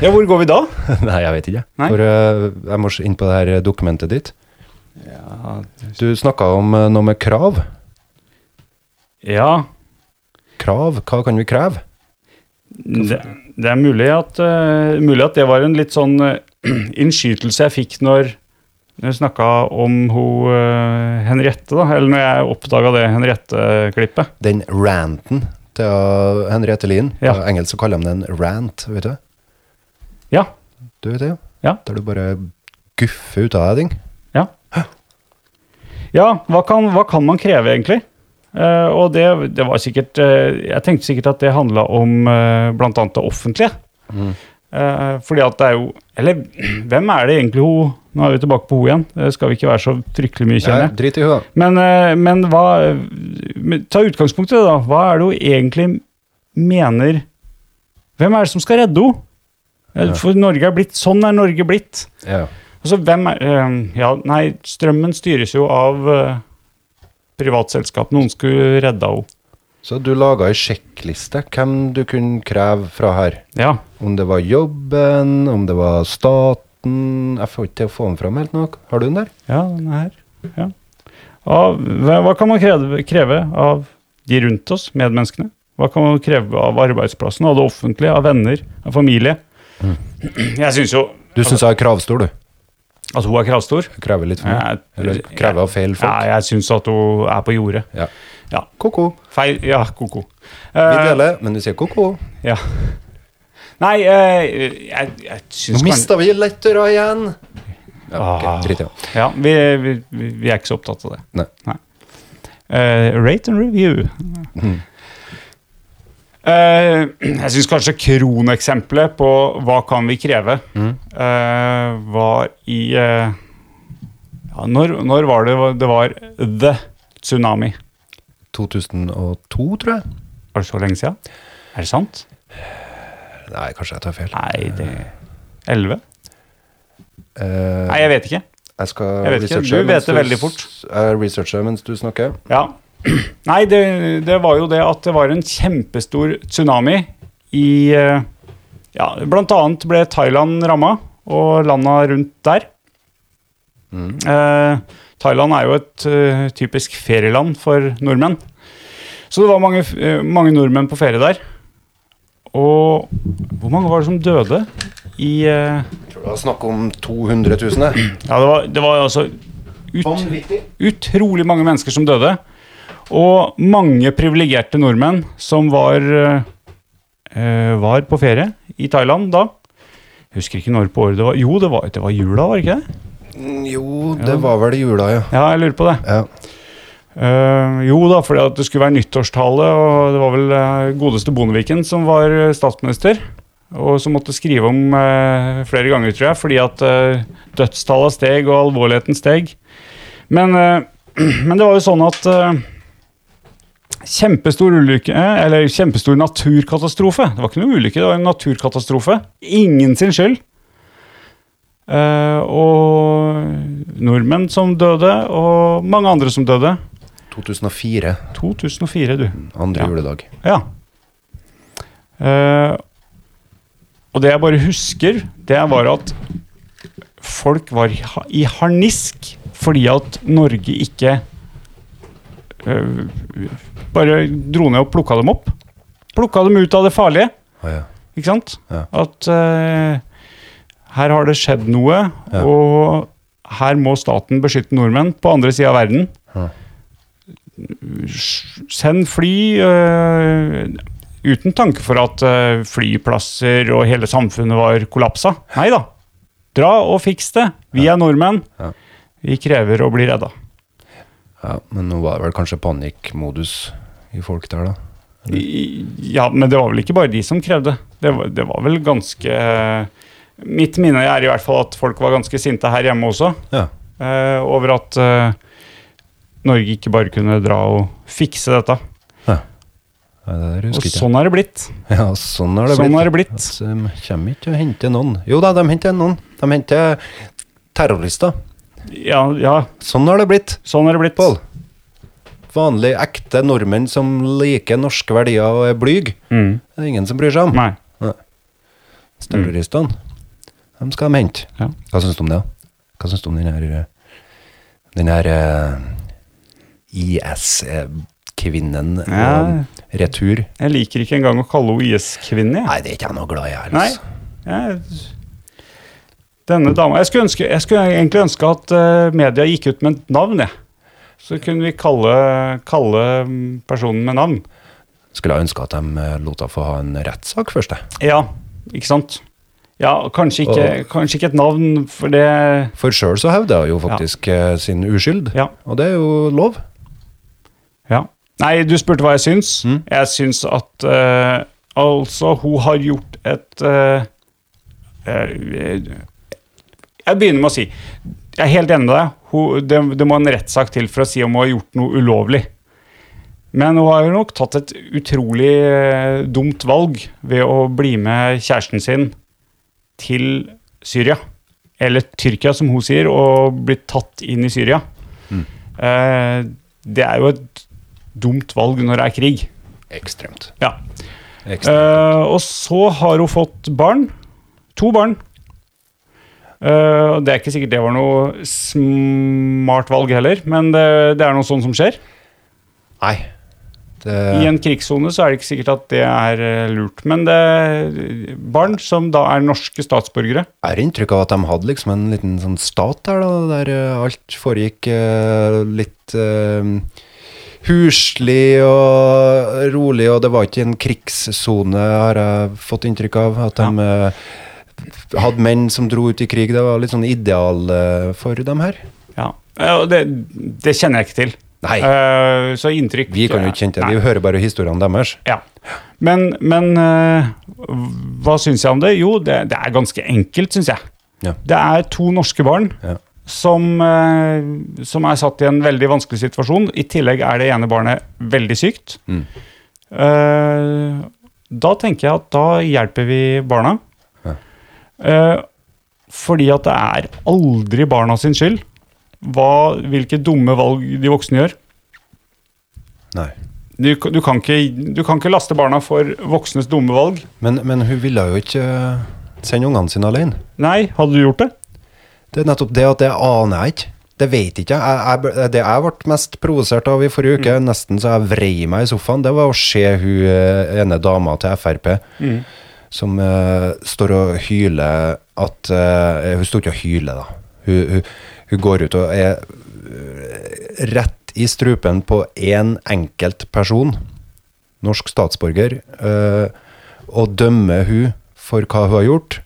[SPEAKER 4] ja, hvor går vi da?
[SPEAKER 2] Nei, jeg vet ikke.
[SPEAKER 4] Nei.
[SPEAKER 2] For eh, jeg må inn på det her dokumentet ditt.
[SPEAKER 4] Ja,
[SPEAKER 2] Du snakka om eh, noe med krav.
[SPEAKER 4] ja
[SPEAKER 2] Krav, hva kan vi kreve?
[SPEAKER 4] det, det er mulig at, eh, mulig at det var en litt sånn eh, innskytelse jeg fikk når når jeg snakka om ho, eh, Henriette, da, eller når jeg oppdaga det Henriette-klippet.
[SPEAKER 2] Den ranten til eh, Henriette Lien.
[SPEAKER 4] Ja.
[SPEAKER 2] På engelsk så kaller de den rant, vet du.
[SPEAKER 4] Ja,
[SPEAKER 2] Du vet det jo?
[SPEAKER 4] Ja.
[SPEAKER 2] Der du bare guffer ut av deg ting.
[SPEAKER 4] Ja. Ja, hva kan, hva kan man kreve, egentlig? Eh, og det, det var sikkert eh, Jeg tenkte sikkert at det handla om uh, bl.a. det offentlige. Eh, fordi at det er jo Eller hvem er det egentlig hun Nå er vi tilbake på hun igjen. Det skal vi ikke være så fryktelig mye, kjenner
[SPEAKER 2] Nei,
[SPEAKER 4] jeg.
[SPEAKER 2] drit i huet.
[SPEAKER 4] Men, eh, men hva men Ta utgangspunkt i det, da. Hva er det hun egentlig mener Hvem er det som skal redde henne? Eh, For Norge er blitt Sånn er Norge blitt.
[SPEAKER 2] Ja.
[SPEAKER 4] Altså, hvem er eh, Ja, nei, strømmen styres jo av eh, privatselskap. Noen skulle redde henne.
[SPEAKER 2] Så du laga ei sjekkliste hvem du kunne kreve fra her.
[SPEAKER 4] Ja.
[SPEAKER 2] Om det var jobben, om det var staten Jeg får ikke til å få den fram helt nok. Har du den der?
[SPEAKER 4] Ja, den er her. Ja. Av, hva, hva kan man kreve, kreve av de rundt oss, medmenneskene? Hva kan man kreve av arbeidsplassen, av det offentlige, av venner, av familie?
[SPEAKER 2] Mm.
[SPEAKER 4] Jeg syns jo
[SPEAKER 2] Du syns jeg er kravstor, du.
[SPEAKER 4] at hun er kravstor.
[SPEAKER 2] Krever litt for mye.
[SPEAKER 4] Jeg-
[SPEAKER 2] Eller krever av feil
[SPEAKER 4] Ja,
[SPEAKER 2] folk.
[SPEAKER 4] jeg syns at hun er på jordet.
[SPEAKER 2] Ja.
[SPEAKER 4] Ja.
[SPEAKER 2] Ko-ko.
[SPEAKER 4] Feil Ja, ko-ko.
[SPEAKER 2] Vi
[SPEAKER 4] Eh,
[SPEAKER 2] deler, men vi sier ko-ko.
[SPEAKER 4] ja. Nei, eh, jeg, jeg syns
[SPEAKER 2] Nå mista vi lettera igjen! Ja,
[SPEAKER 4] Ah.
[SPEAKER 2] ok, drit i det.
[SPEAKER 4] Ja, vi, vi, vi vi er ikke så opptatt av det.
[SPEAKER 2] Nei.
[SPEAKER 4] Eh, rate and review.
[SPEAKER 2] Mhm.
[SPEAKER 4] Eh, jeg syns kanskje kroneksempelet på hva kan vi kreve,
[SPEAKER 2] Mhm.
[SPEAKER 4] eh, var i eh, ja, når, når var det det var The Tsunami?
[SPEAKER 2] 2002, tror jeg.
[SPEAKER 4] Var det så lenge siden? Er det sant?
[SPEAKER 2] Nei, kanskje jeg tar feil.
[SPEAKER 4] Nei, det 11?
[SPEAKER 2] Eh,
[SPEAKER 4] Nei, jeg vet ikke.
[SPEAKER 2] jeg skal
[SPEAKER 4] jeg vet ikke,
[SPEAKER 2] researche
[SPEAKER 4] du vet
[SPEAKER 2] mens
[SPEAKER 4] det veldig fort.
[SPEAKER 2] s- Jeg researcher mens du snakker.
[SPEAKER 4] Ja. Nei, det, det var jo det at det var en kjempestor tsunami i eh, Ja, blant annet ble Thailand ramma, og landa rundt der. Eh, Thailand er jo et eh, typisk ferieland for nordmenn. Så det var mange, f- eh, mange nordmenn på ferie der. Og hvor mange var det som døde i eh,
[SPEAKER 2] Jeg tror det var snakk om 200 000. jeg.
[SPEAKER 4] Ja, det var, det var altså ut, utrolig mange mennesker som døde. Og mange privilegerte nordmenn som var, eh, eh, var på ferie i Thailand da. Jeg husker ikke når på året det var. Jo, det var, det var jula, var det ikke det?
[SPEAKER 2] Mm, Jo, det var vel i jula, ja.
[SPEAKER 4] Ja, jeg lurer på det.
[SPEAKER 2] ja.
[SPEAKER 4] Eh, jo da, fordi at det skulle være nyttårstale, og det var vel eh, godeste Bondeviken som var eh, statsminister. Og som måtte skrive om eh, flere ganger, tror jeg, fordi at uh, dødstallet steg og alvorligheten steg. Men, eh, men det var jo sånn at eh, Kjempestor ulykke, eh, eller kjempestor naturkatastrofe. Det var ikke noe ulykke, det var en naturkatastrofe. Ingen sin skyld. Eh, og nordmenn som døde, og mange andre som døde.
[SPEAKER 2] 2004.
[SPEAKER 4] 2004, du.
[SPEAKER 2] Andre
[SPEAKER 4] Ja.
[SPEAKER 2] juledag.
[SPEAKER 4] Ja. Eh, og det jeg bare husker, det var at folk var i ha- i harnisk fordi at Norge ikke eh, bare dro ned og plukka dem opp. Plukka dem ut av det farlige.
[SPEAKER 2] Å, ja.
[SPEAKER 4] Ikke sant?
[SPEAKER 2] Ja.
[SPEAKER 4] At eh, her har det skjedd noe,
[SPEAKER 2] Ja.
[SPEAKER 4] og her må staten beskytte nordmenn på andre sida av verden.
[SPEAKER 2] Ja.
[SPEAKER 4] S- Send fly eh, uten tanke for at eh, flyplasser og hele samfunnet var kollapsa. Nei da. Dra og fiks det. Vi er nordmenn.
[SPEAKER 2] Ja.
[SPEAKER 4] Vi krever å bli redda.
[SPEAKER 2] Ja, men nå var det vel kanskje panikkmodus i folk der, da.
[SPEAKER 4] I- Ja, men det var vel ikke bare de som krevde. Det var, det var vel ganske Mitt minne er i hvert fall at folk var ganske sinte her hjemme også.
[SPEAKER 2] Ja.
[SPEAKER 4] eh, over at eh, Norge ikke bare kunne dra og fikse dette.
[SPEAKER 2] Nei, det der
[SPEAKER 4] Og
[SPEAKER 2] husker jeg ikke.
[SPEAKER 4] sånn er det blitt.
[SPEAKER 2] Ja, sånn har det
[SPEAKER 4] Sånn
[SPEAKER 2] blitt.
[SPEAKER 4] har det blitt.
[SPEAKER 2] Altså, de kommer ikke og henter noen. Jo da, de henter noen. De henter terrorister.
[SPEAKER 4] Ja, ja
[SPEAKER 2] Sånn har det blitt,
[SPEAKER 4] sånn er det blitt.
[SPEAKER 2] Pål. Vanlige, ekte nordmenn som liker norske verdier og er blyge.
[SPEAKER 4] Mm.
[SPEAKER 2] Det er ingen som bryr seg om.
[SPEAKER 4] Nei.
[SPEAKER 2] Terroristene. Dem skal de hente.
[SPEAKER 4] Mm. Ja.
[SPEAKER 2] Hva syns du om det? da? Hva syns du om den her eh, Den her eh, IS-kvinnen
[SPEAKER 4] Ja.
[SPEAKER 2] eh, retur?
[SPEAKER 4] Jeg liker ikke engang å kalle henne IS-kvinne. jeg.
[SPEAKER 2] Nei, det er ikke jeg noe glad i, jeg.
[SPEAKER 4] Nei.
[SPEAKER 2] Altså.
[SPEAKER 4] Jeg, denne dama jeg skulle, ønske, jeg skulle egentlig ønske at eh, media gikk ut med et navn, jeg. Så kunne vi kalle, kalle mm, personen med navn.
[SPEAKER 2] Skulle ha ønska at de eh, lot henne få ha en rettssak først, jeg.
[SPEAKER 4] Ja, ikke sant? Ja, kanskje ikke, kanskje ikke et navn, for det
[SPEAKER 2] For sjøl så hevder hun jo faktisk eh, sin uskyld,
[SPEAKER 4] Ja.
[SPEAKER 2] og det er jo lov.
[SPEAKER 4] Ja. Nei, du spurte hva jeg syns. Jeg syns at eh, Altså, hun har gjort et eh, eh, Jeg begynner med å si Jeg er helt enig med deg. Hun, det, det må en rettssak til for å si om hun har gjort noe ulovlig. Men hun har jo nok tatt et utrolig eh, dumt valg ved å bli med kjæresten sin til Syria. Eller Tyrkia, som hun sier, og blitt tatt inn i Syria. Eh, det er jo et dumt valg når det er krig.
[SPEAKER 2] Ekstremt.
[SPEAKER 4] Ja.
[SPEAKER 2] Ekstremt.
[SPEAKER 4] Eh, og så har hun fått barn. To barn. Eh, og det er ikke sikkert det var noe smart valg heller, men det, det er noe sånt som skjer.
[SPEAKER 2] Nei. Det,
[SPEAKER 4] Eh. I en krigssone så er det ikke sikkert at det er eh, lurt. Men det, barn som da er norske statsborgere
[SPEAKER 2] Jeg har inntrykk av at de hadde liksom en liten sånn stat der, da, der eh, alt foregikk eh, litt eh, huslig og rolig, og det var ikke en krigssone, har jeg fått inntrykk av. At de eh, hadde menn som dro ut i krig. Det var litt sånn ideal eh, for dem her.
[SPEAKER 4] Ja, Eh, og det, det kjenner jeg ikke til.
[SPEAKER 2] Nei.
[SPEAKER 4] Eh, så inntrykk
[SPEAKER 2] Vi kan jo ikke kjenne til
[SPEAKER 4] Nei.
[SPEAKER 2] det, vi hører bare historiene deres.
[SPEAKER 4] Ja. Men, men eh, hva syns jeg om det? Jo, det, det er ganske enkelt, syns jeg.
[SPEAKER 2] Ja.
[SPEAKER 4] Det er to norske barn
[SPEAKER 2] Ja.
[SPEAKER 4] som, eh, som er satt i en veldig vanskelig situasjon. I tillegg er det ene barnet veldig sykt.
[SPEAKER 2] Mm.
[SPEAKER 4] Eh, da tenker jeg at da hjelper vi barna.
[SPEAKER 2] Ja.
[SPEAKER 4] Eh, fordi at det er aldri barna sin skyld hva, hvilke dumme valg de voksne gjør
[SPEAKER 2] Nei.
[SPEAKER 4] du, du, kan ikke, du kan ikke laste barna for voksnes dumme valg.
[SPEAKER 2] Men, men hun ville jo ikke eh, sende ungene sine alene.
[SPEAKER 4] Nei, hadde du gjort det?
[SPEAKER 2] Det er nettopp det at det aner jeg ikke. Det vet ikke jeg. jeg, jeg det jeg ble mest provosert av i forrige uke,
[SPEAKER 4] Mm.
[SPEAKER 2] nesten så jeg vrei meg i sofaen, det var å se hun eh, ene dama til Frp
[SPEAKER 4] Mm.
[SPEAKER 2] som eh, står og hyler at eh, Hun sto ikke og hyler, da. Hun, hun, hun går ut og er eh, rett i strupen på én enkelt person, norsk statsborger, eh, og dømmer hun for hva hun har gjort.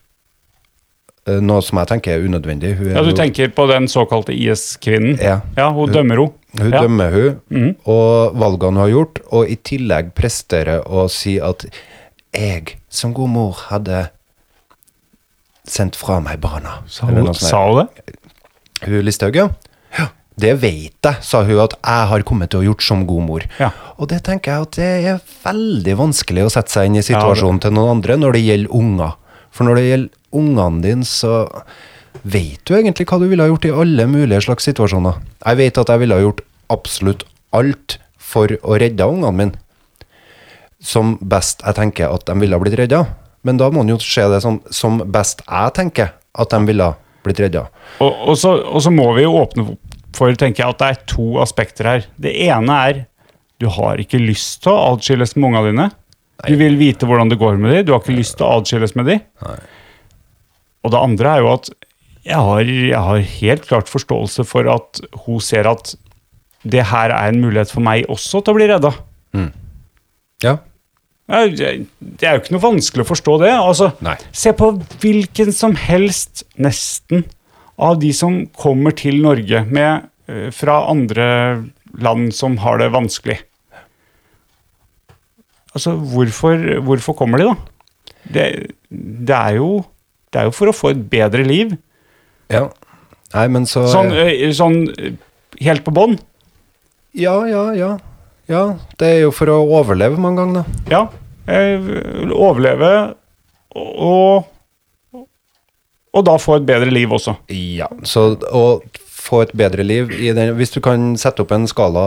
[SPEAKER 2] Eh, Noe som jeg tenker er unødvendig. Hun er
[SPEAKER 4] Ja, Du
[SPEAKER 2] jo-
[SPEAKER 4] tenker på den såkalte IS-kvinnen?
[SPEAKER 2] Ja.
[SPEAKER 4] hun dømmer henne.
[SPEAKER 2] Hun
[SPEAKER 4] ja.
[SPEAKER 2] dømmer hun,
[SPEAKER 4] Mhm.
[SPEAKER 2] og valgene hun har gjort, og i tillegg presterer å si at jeg som god mor hadde sendt fra meg barna.
[SPEAKER 4] Sa
[SPEAKER 2] Eller
[SPEAKER 4] hun,
[SPEAKER 2] noe sånt der.
[SPEAKER 4] sa hun det?
[SPEAKER 2] Hun Listhaug, ja. Det vet jeg, sa hun, at jeg har kommet til å gjort som god mor.
[SPEAKER 4] Ja.
[SPEAKER 2] Og det tenker jeg at det er veldig vanskelig å sette seg inn i situasjonen til noen andre når det gjelder unger. For når det gjelder ungene dine, så vet du egentlig hva du ville ha gjort i alle mulige slags situasjoner. Jeg vet at jeg ville ha gjort absolutt alt for å redde ungene mine. Som best jeg tenker at de ville ha blitt redda. Men da må en jo se det som, som best jeg tenker at de ville ha blitt redda.
[SPEAKER 4] Og, og, så, og så må vi jo åpne for tenker jeg, at det er to aspekter her. Det ene er du har ikke lyst til å adskilles med ungene dine. Du vil vite hvordan det går med dem. Du har ikke lyst til å adskilles med dem. Og det andre er jo at jeg har, jeg har helt klart forståelse for at hun ser at det her er en mulighet for meg også til å bli redda.
[SPEAKER 2] Ja,
[SPEAKER 4] Ja, Det det er jo ikke noe vanskelig å forstå det. Altså,
[SPEAKER 2] Nei.
[SPEAKER 4] Se på hvilken som helst, nesten, av de som kommer til Norge med, eh, fra andre land som har det vanskelig. Altså, hvorfor, hvorfor kommer de, da? Det, det, er jo, det er jo for å få et bedre liv.
[SPEAKER 2] Ja. Nei, men så eh,
[SPEAKER 4] Sånn, ø, sånn ø, helt på bånn.
[SPEAKER 2] Ja, ja, ja. Ja, det er jo for å overleve mange ganger, da.
[SPEAKER 4] Ja. ø, Overleve og Og da få et bedre liv også.
[SPEAKER 2] Ja, så å få et bedre liv i den Hvis du kan sette opp en skala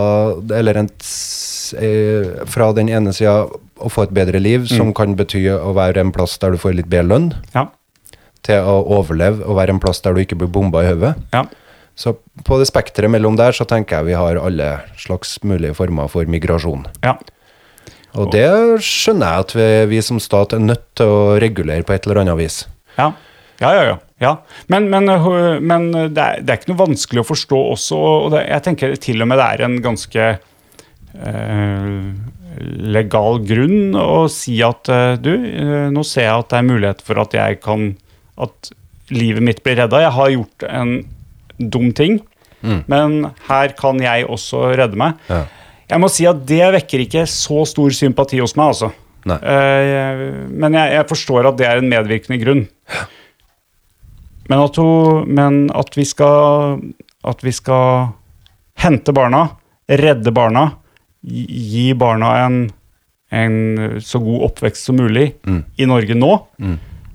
[SPEAKER 2] eller en s- eh, fra den ene sida å få et bedre liv, som kan bety å være en plass der du får litt bedre lønn,
[SPEAKER 4] Ja.
[SPEAKER 2] til å overleve og være en plass der du ikke blir bomba i hodet.
[SPEAKER 4] ja.
[SPEAKER 2] Så på det spekteret mellom der, så tenker jeg vi har alle slags mulige former for migrasjon.
[SPEAKER 4] ja.
[SPEAKER 2] Og det skjønner jeg at vi, vi som stat er nødt til å regulere på et eller annet vis.
[SPEAKER 4] Ja, ja, ja. ja. ja. Men, men, øh, men det, er, det er ikke noe vanskelig å forstå også. Og det, jeg tenker til og med det er en ganske øh, legal grunn å si at øh, du, øh, nå ser jeg at det er mulighet for at jeg kan At livet mitt blir redda. Jeg har gjort en dum ting, men her kan jeg også redde meg.
[SPEAKER 2] Ja.
[SPEAKER 4] Jeg må si at det vekker ikke så stor sympati hos meg, altså.
[SPEAKER 2] Nei.
[SPEAKER 4] Eh, jeg- men jeg, jeg forstår at det er en medvirkende grunn. Men at, hun, men at vi skal At vi skal hente barna, redde barna, gi- gi barna en, en så god oppvekst som mulig i Norge nå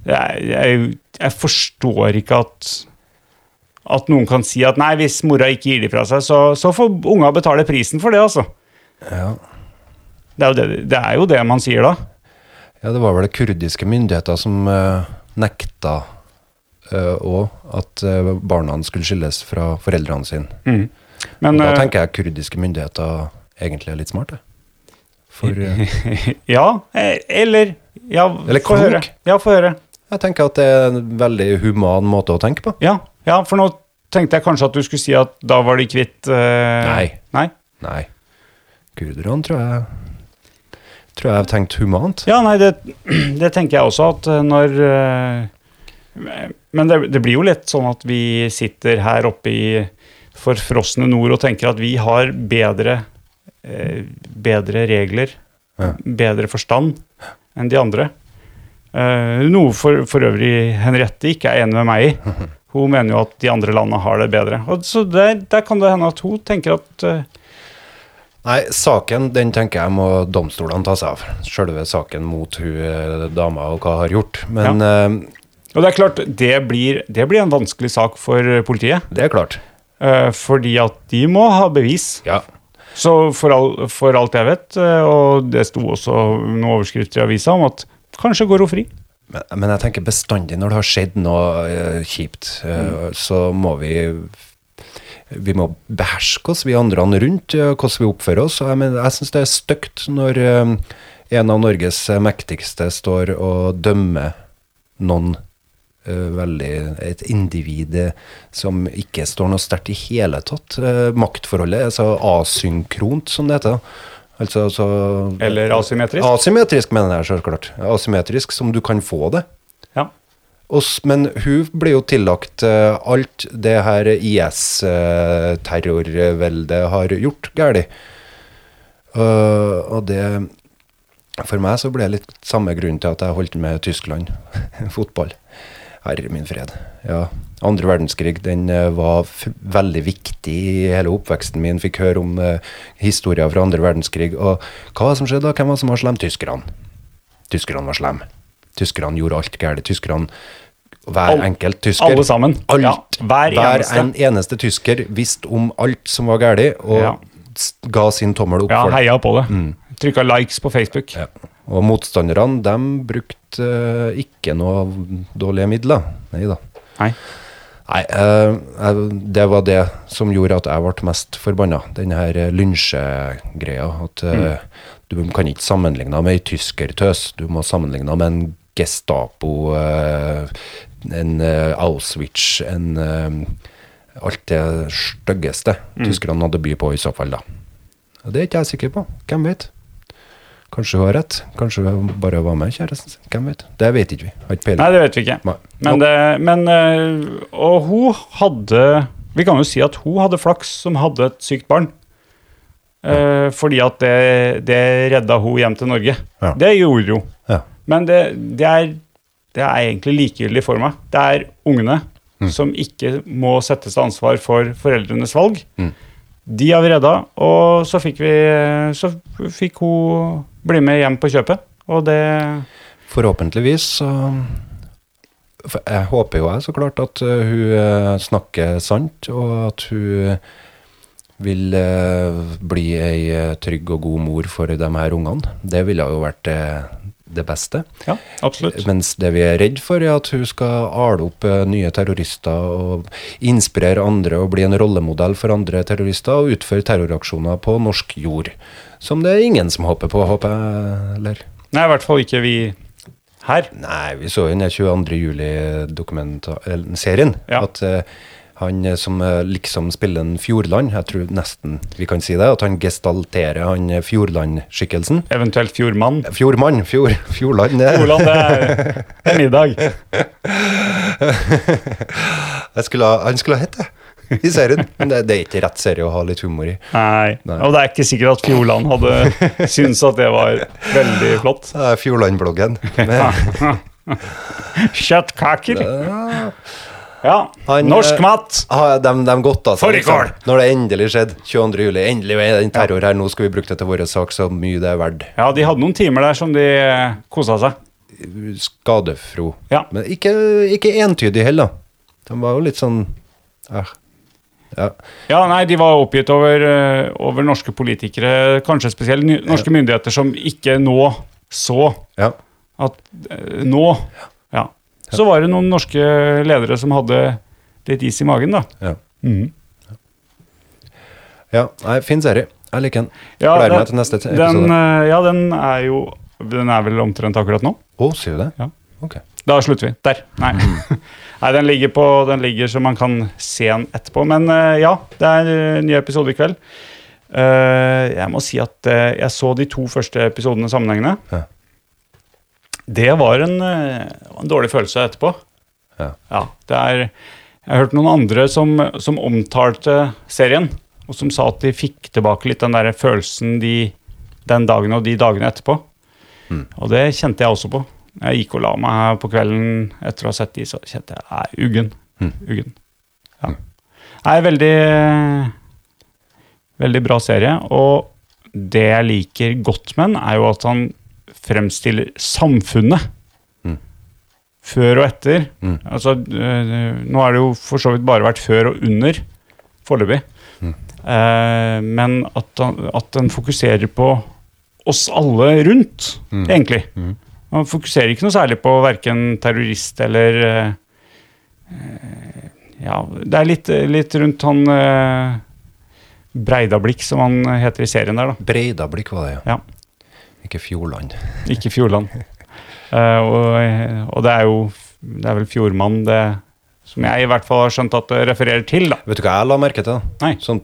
[SPEAKER 4] jeg, jeg, jeg forstår ikke at at noen kan si at nei, hvis mora ikke gir de fra seg, så, så får unga betale prisen for det, altså. Det, er jo det, det er jo det man sier da.
[SPEAKER 2] Ja, det var vel det kurdiske myndigheter som eh, nekta òg at eh, barna skulle skilles fra foreldrene sine.
[SPEAKER 4] Men,
[SPEAKER 2] Og da
[SPEAKER 4] eh,
[SPEAKER 2] tenker jeg kurdiske myndigheter egentlig er litt smarte. For eh,
[SPEAKER 4] Ja, eh, eller ja,
[SPEAKER 2] Eller
[SPEAKER 4] få høre.
[SPEAKER 2] klok.
[SPEAKER 4] Ja, få høre.
[SPEAKER 2] jeg tenker at det er en veldig human måte å tenke på.
[SPEAKER 4] Ja, ja, for nå tenkte jeg kanskje at du skulle si at da var de kvitt eh,
[SPEAKER 2] Nei.
[SPEAKER 4] Nei?
[SPEAKER 2] Nei, kurderne tror jeg Tror jeg har tenkt humant.
[SPEAKER 4] Ja, nei, det, det tenker jeg også at eh, når eh, Men det, det blir jo litt sånn at vi sitter her oppe i forfrosne nord og tenker at vi har bedre, eh, bedre regler,
[SPEAKER 2] Ja.
[SPEAKER 4] bedre forstand enn de andre. Eh, noe for, for øvrig Henriette ikke er enig med meg i. Hun mener jo at de andre landene har det bedre. Og så der, der kan det hende at hun tenker at eh,
[SPEAKER 2] Nei, saken den tenker jeg må domstolene ta seg av. Selve saken mot hun eh, dama og hva hun har gjort. Men eh,
[SPEAKER 4] Og det er klart, det blir, det blir en vanskelig sak for eh, politiet.
[SPEAKER 2] det er klart.
[SPEAKER 4] Eh, fordi at de må ha bevis.
[SPEAKER 2] Ja.
[SPEAKER 4] Så for, all, for alt jeg vet, eh, og det sto også noen overskrifter i avisa om at kanskje går hun fri.
[SPEAKER 2] Men, men jeg tenker bestandig når det har skjedd noe eh, kjipt, eh, så må vi vi må beherske oss, vi andre rundt, eh, hvordan vi oppfører oss. Og Jeg, mener, jeg syns det er stygt når eh, en av Norges mektigste står og dømmer noen eh, veldig Et individ eh, som ikke står noe sterkt i hele tatt. Eh, maktforholdet er så asynkront, som det heter. Altså, så
[SPEAKER 4] Eller asymmetrisk.
[SPEAKER 2] Asymmetrisk, mener jeg så klart. Asymmetrisk som du kan få det.
[SPEAKER 4] Ja.
[SPEAKER 2] Og s- men hun ble jo tillagt eh, alt det her IS-terrorveldet har gjort galt. Eh, og det For meg så ble det litt samme grunn til at jeg holdt med Tyskland. Fotball. Herre min fred. Ja. Andre verdenskrig den eh, var f veldig viktig i hele oppveksten min. Fikk høre om eh, historier fra andre verdenskrig. Og hva som skjedde da? Hvem var det som var slem? Tyskerne. Tyskerne var slemme. Tyskerne gjorde alt galt. Tyskerne Hver
[SPEAKER 4] Alle-
[SPEAKER 2] enkelt tysker.
[SPEAKER 4] alle sammen.
[SPEAKER 2] Alt.
[SPEAKER 4] Ja, hver eneste.
[SPEAKER 2] en eneste tysker visste om alt som var galt, og
[SPEAKER 4] Ja.
[SPEAKER 2] s- ga sin tommel opp
[SPEAKER 4] Ja,
[SPEAKER 2] for det. Mm.
[SPEAKER 4] heia på det. Trykka likes på Facebook.
[SPEAKER 2] Ja. Og motstanderne, de brukte eh, ikke noe dårlige midler. Nei da.
[SPEAKER 4] Nei.
[SPEAKER 2] Nei, eh, jeg- det var det som gjorde at jeg ble mest forbanna. Den her eh, lynsjegreia. At eh, du kan ikke sammenligne med ei tyskertøs, du må sammenligne med en Gestapo, eh, en eh, Auschwitz, en eh, Alt det styggeste tyskerne hadde by på, i så fall, da. Og Det er ikke jeg sikker på. Hvem vet? Kanskje hun har rett. Kanskje hun bare var med kjæresten sin. Hvem vet? Det vet ikke vi. Har
[SPEAKER 4] Nei,
[SPEAKER 2] ikke peiling.
[SPEAKER 4] det vet vi ikke.
[SPEAKER 2] Nei.
[SPEAKER 4] Men, det, men eh, Og hun hadde Vi kan jo si at hun hadde flaks som hadde et sykt barn. Eh, eh, fordi at det, det redda hun hjem til Norge.
[SPEAKER 2] Ja.
[SPEAKER 4] Det gjorde hun.
[SPEAKER 2] Ja.
[SPEAKER 4] Men det, det, er, det er egentlig likegyldig for meg. Det er ungene som ikke må settes til ansvar for foreldrenes valg. De har vi redda, og så fikk, vi, så fikk hun bli med hjem på kjøpet. Og det
[SPEAKER 2] Forhåpentligvis så for Jeg håper jo jeg så klart at eh, hun eh, snakker sant, og at hun vil eh, bli ei eh, trygg og god mor for de her ungene. Det ville jo vært eh, det beste.
[SPEAKER 4] Ja, absolutt.
[SPEAKER 2] Mens det vi er redd for, er at hun skal ale opp eh, nye terrorister og inspirere andre og bli en rollemodell for andre terrorister og utføre terroraksjoner på norsk jord. Som det er ingen som håper på, håper jeg. Eller?
[SPEAKER 4] Nei, i hvert fall ikke vi her.
[SPEAKER 2] Nei, vi så jo den der 22. juli-serien.
[SPEAKER 4] Ja.
[SPEAKER 2] At eh, han eh, som eh, liksom spiller en Fjordland, jeg tror nesten vi kan si det, at han gestalterer han eh, Fjordland-skikkelsen.
[SPEAKER 4] Eventuelt Fjordmann.
[SPEAKER 2] Fjordmann, fjord, Fjordland. eh.
[SPEAKER 4] Olav, det er, det er middag.
[SPEAKER 2] Jeg skulle, ha- han skulle ha hett det i serien. Men det, det er ikke rett serie å ha litt humor i.
[SPEAKER 4] Nei.
[SPEAKER 2] Nei.
[SPEAKER 4] Og det er ikke sikkert at Fjordland hadde syntes at det var veldig flott.
[SPEAKER 2] Det er Fjordland-bloggen. Men-
[SPEAKER 4] Kjøttkaker. Ja.
[SPEAKER 2] Han, eh,
[SPEAKER 4] Norsk mat.
[SPEAKER 2] Ah, de, de godta seg. liksom.
[SPEAKER 4] Fårikål!
[SPEAKER 2] Når det endelig skjedde. 22. juli. Endelig er det en terror her. Nå skal vi bruke det til vår sak så mye det er verdt.
[SPEAKER 4] Ja, de hadde noen timer der som de kosa seg.
[SPEAKER 2] skadefro.
[SPEAKER 4] Ja.
[SPEAKER 2] Men ikke, ikke entydig heller. De var jo litt sånn eh, ja.
[SPEAKER 4] Ja, nei, de var oppgitt over, eh, over norske politikere, kanskje spesielt ny- norske myndigheter, som ikke nå så
[SPEAKER 2] ja.
[SPEAKER 4] at eh, Nå. Ja. Så var det noen norske ledere som hadde litt is i magen, da.
[SPEAKER 2] Ja.
[SPEAKER 4] Mhm.
[SPEAKER 2] ja. Nei, fin serie. Jeg liker den.
[SPEAKER 4] Ja,
[SPEAKER 2] Gleder
[SPEAKER 4] den-
[SPEAKER 2] meg til neste t-
[SPEAKER 4] Den,
[SPEAKER 2] episode.
[SPEAKER 4] eh, ja, den er jo Den er vel omtrent akkurat nå.
[SPEAKER 2] Å, sier du det?
[SPEAKER 4] Ja.
[SPEAKER 2] Ok.
[SPEAKER 4] Da slutter vi. Der. Nei.
[SPEAKER 2] Mhm.
[SPEAKER 4] Nei, den ligger, på, den ligger så man kan se den etterpå. Men eh, ja, det er eh, ny episode i kveld. Eh, jeg må si at eh, jeg så de to første episodene sammenhengende.
[SPEAKER 2] Ja.
[SPEAKER 4] Det var en, eh, en dårlig følelse etterpå.
[SPEAKER 2] Ja.
[SPEAKER 4] det er, jeg har hørt noen andre som, som omtalte serien, og som sa at de fikk tilbake litt den der følelsen de, den dagen og de dagene etterpå. Og det kjente jeg også på. Jeg gikk og la meg her på kvelden etter å ha sett de, så kjente jeg nei, uggen. Uggen. Ja. Nei, veldig Veldig bra serie. Og det jeg liker godt med den, er jo at han fremstiller samfunnet. Før og etter. Altså, øh, nå har det jo for så vidt bare vært før og under foreløpig. Eh, men at, han- at den fokuserer på oss alle rundt, egentlig. Han fokuserer ikke noe særlig på verken terrorist eller eh, eh, Ja, det er litt, litt rundt han eh, Breidablikk, som han heter i serien der, da.
[SPEAKER 2] Breidablikk var det, ja.
[SPEAKER 4] Ja,
[SPEAKER 2] Ikke Fjordland.
[SPEAKER 4] ikke Fjordland. Eh, og, og det er jo Det er vel Fjordmann det som jeg i hvert fall har skjønt at det refererer til, da.
[SPEAKER 2] Vet du hva jeg la merke til? da?
[SPEAKER 4] Nei.
[SPEAKER 2] Sånn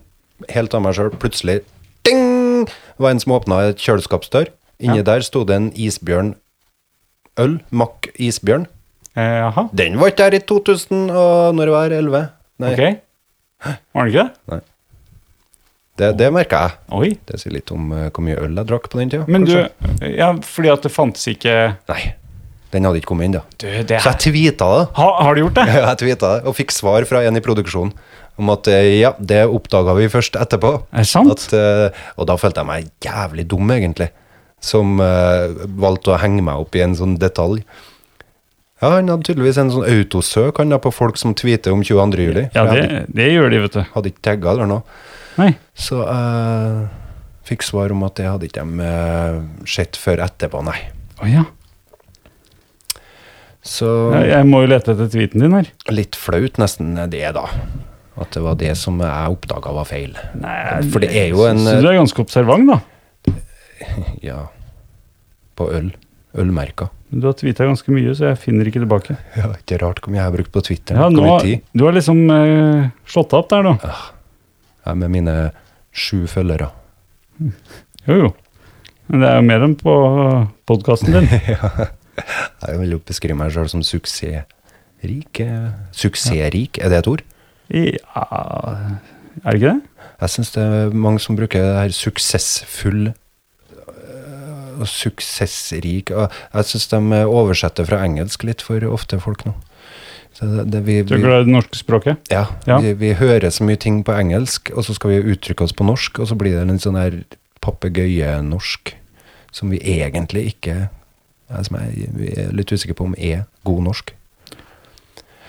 [SPEAKER 2] helt av meg sjøl. Plutselig ding! var en som åpna et kjøleskapsdør. Inni der sto det en isbjørn. Øl. Mack isbjørn.
[SPEAKER 4] Eh, Jaha,
[SPEAKER 2] Den var ikke der i 2000 og når var det? 11? Nei,
[SPEAKER 4] ok. Var det ikke det?
[SPEAKER 2] det, det merka jeg.
[SPEAKER 4] Oi.
[SPEAKER 2] Det sier litt om eh, hvor mye øl jeg drakk på den tida.
[SPEAKER 4] Men du,
[SPEAKER 2] kanskje.
[SPEAKER 4] ja, fordi at det fantes ikke
[SPEAKER 2] Nei, den hadde ikke kommet inn, da.
[SPEAKER 4] Du, det
[SPEAKER 2] Så
[SPEAKER 4] er
[SPEAKER 2] jeg tweeta det.
[SPEAKER 4] ha, Har du gjort det?
[SPEAKER 2] Jeg tweeta det, og fikk svar fra en i produksjonen om at eh, ja, det oppdaga vi først etterpå.
[SPEAKER 4] Er det sant?
[SPEAKER 2] At, eh, og da følte jeg meg jævlig dum, egentlig. Som eh, valgte å henge meg opp i en sånn detalj. Ja, han hadde tydeligvis en sånn autosøk han da, på folk som tweeter om 22. juli.
[SPEAKER 4] Ja,
[SPEAKER 2] for jeg
[SPEAKER 4] det,
[SPEAKER 2] hadde,
[SPEAKER 4] det gjør de, vet du.
[SPEAKER 2] hadde ikke tagga eller noe.
[SPEAKER 4] Nei.
[SPEAKER 2] Så jeg fikk svar om at det hadde ikke de eh, sett før etterpå, nei.
[SPEAKER 4] Å ja.
[SPEAKER 2] Så
[SPEAKER 4] Jeg, jeg må jo lete etter tweeten din her.
[SPEAKER 2] litt flaut nesten er det, da. At det var det som jeg oppdaga var feil. For det er jo en eh,
[SPEAKER 4] Så du er ganske observant, da.
[SPEAKER 2] Ja. På øl. Ølmerka.
[SPEAKER 4] Du har tweeta ganske mye, så jeg finner ikke tilbake.
[SPEAKER 2] Ja, ikke rart hvor mye jeg har brukt på Twitter.
[SPEAKER 4] Ja,
[SPEAKER 2] nå,
[SPEAKER 4] nå,
[SPEAKER 2] hvor mye tid.
[SPEAKER 4] du har liksom eh, slått deg opp der, da.
[SPEAKER 2] Jeg med mine sju følgere.
[SPEAKER 4] Jo, jo. Men det er jo mer enn på podkasten din.
[SPEAKER 2] Jeg vil jo beskrive meg sjøl som suksessrik. eh, Suksessrik, er det et ord?
[SPEAKER 4] Ja ah, Er det ikke det?
[SPEAKER 2] Jeg syns det er mange som bruker det her suksessfull øh, og suksessrik og Jeg syns de oversetter fra engelsk litt for ofte, folk nå. Så det, det, vi,
[SPEAKER 4] Du er
[SPEAKER 2] vi,
[SPEAKER 4] glad i det norske språket?
[SPEAKER 2] ja,
[SPEAKER 4] Ja.
[SPEAKER 2] Vi, vi hører så mye ting på engelsk, og så skal vi uttrykke oss på norsk, og så blir det en sånn her papegøyenorsk som vi egentlig ikke ja, Som jeg vi er litt usikker på om er god norsk.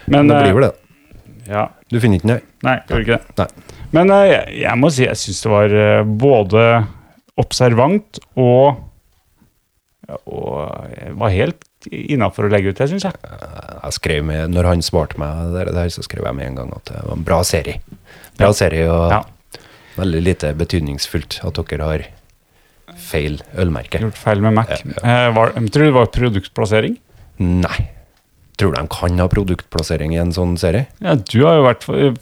[SPEAKER 4] Men,
[SPEAKER 2] Men det blir
[SPEAKER 4] eh,
[SPEAKER 2] vel det.
[SPEAKER 4] Ja.
[SPEAKER 2] Du finner ikke den?
[SPEAKER 4] Nei, jeg gjør ikke det.
[SPEAKER 2] Nei.
[SPEAKER 4] Men eh, jeg, jeg må si jeg syns det var eh, både observant og ja, Og jeg var helt innafor å legge ut det, syns jeg.
[SPEAKER 2] jeg skrev med, når han svarte meg det der, så skrev jeg med en gang at det var en bra serie. Bra serie, og
[SPEAKER 4] Ja,
[SPEAKER 2] veldig lite betydningsfullt at dere har feil ølmerke.
[SPEAKER 4] Gjort feil med Mac. Eh, var, jeg tror det var produktplassering.
[SPEAKER 2] Nei. Tror du de kan ha produktplassering i en sånn serie?
[SPEAKER 4] Ja, du har jo vært for-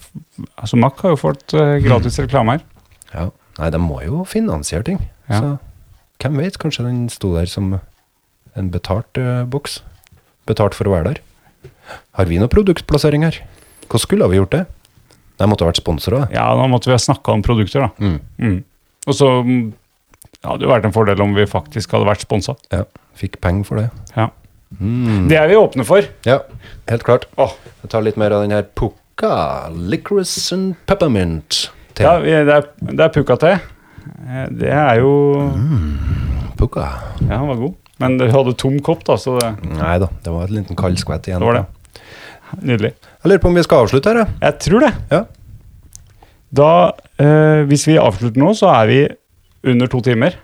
[SPEAKER 4] Altså, Mac har jo fått eh, gratis reklame her.
[SPEAKER 2] Ja. Nei, de må jo finansiere ting.
[SPEAKER 4] Ja.
[SPEAKER 2] Så hvem vet, kanskje den sto der som en betalt eh, boks. Betalt for å være der. Har vi noe produktplassering her? Hvordan skulle vi gjort det? De måtte ha vært sponsorer. da.
[SPEAKER 4] Ja, nå måtte vi ha snakka om produkter, da.
[SPEAKER 2] Mm.
[SPEAKER 4] Mm. Og så mm, hadde det jo vært en fordel om vi faktisk hadde vært sponsa.
[SPEAKER 2] Ja. Fikk penger for det.
[SPEAKER 4] Ja. Det er vi åpne for.
[SPEAKER 2] Ja, helt klart.
[SPEAKER 4] Åh.
[SPEAKER 2] Jeg tar litt mer av den her Pukka licorice and peppermint. Te.
[SPEAKER 4] Ja, vi, det er, det er pukkate. Eh, Det er jo
[SPEAKER 2] Pukka.
[SPEAKER 4] Ja, han var god. Men du hadde tom kopp, da, så det,
[SPEAKER 2] Nei da, det var et liten kald skvett igjen.
[SPEAKER 4] det var det. Nydelig.
[SPEAKER 2] Jeg lurer på om vi skal avslutte her,
[SPEAKER 4] Jeg tror det.
[SPEAKER 2] ja.
[SPEAKER 4] Da, eh, hvis vi avslutter nå, så er vi under to timer.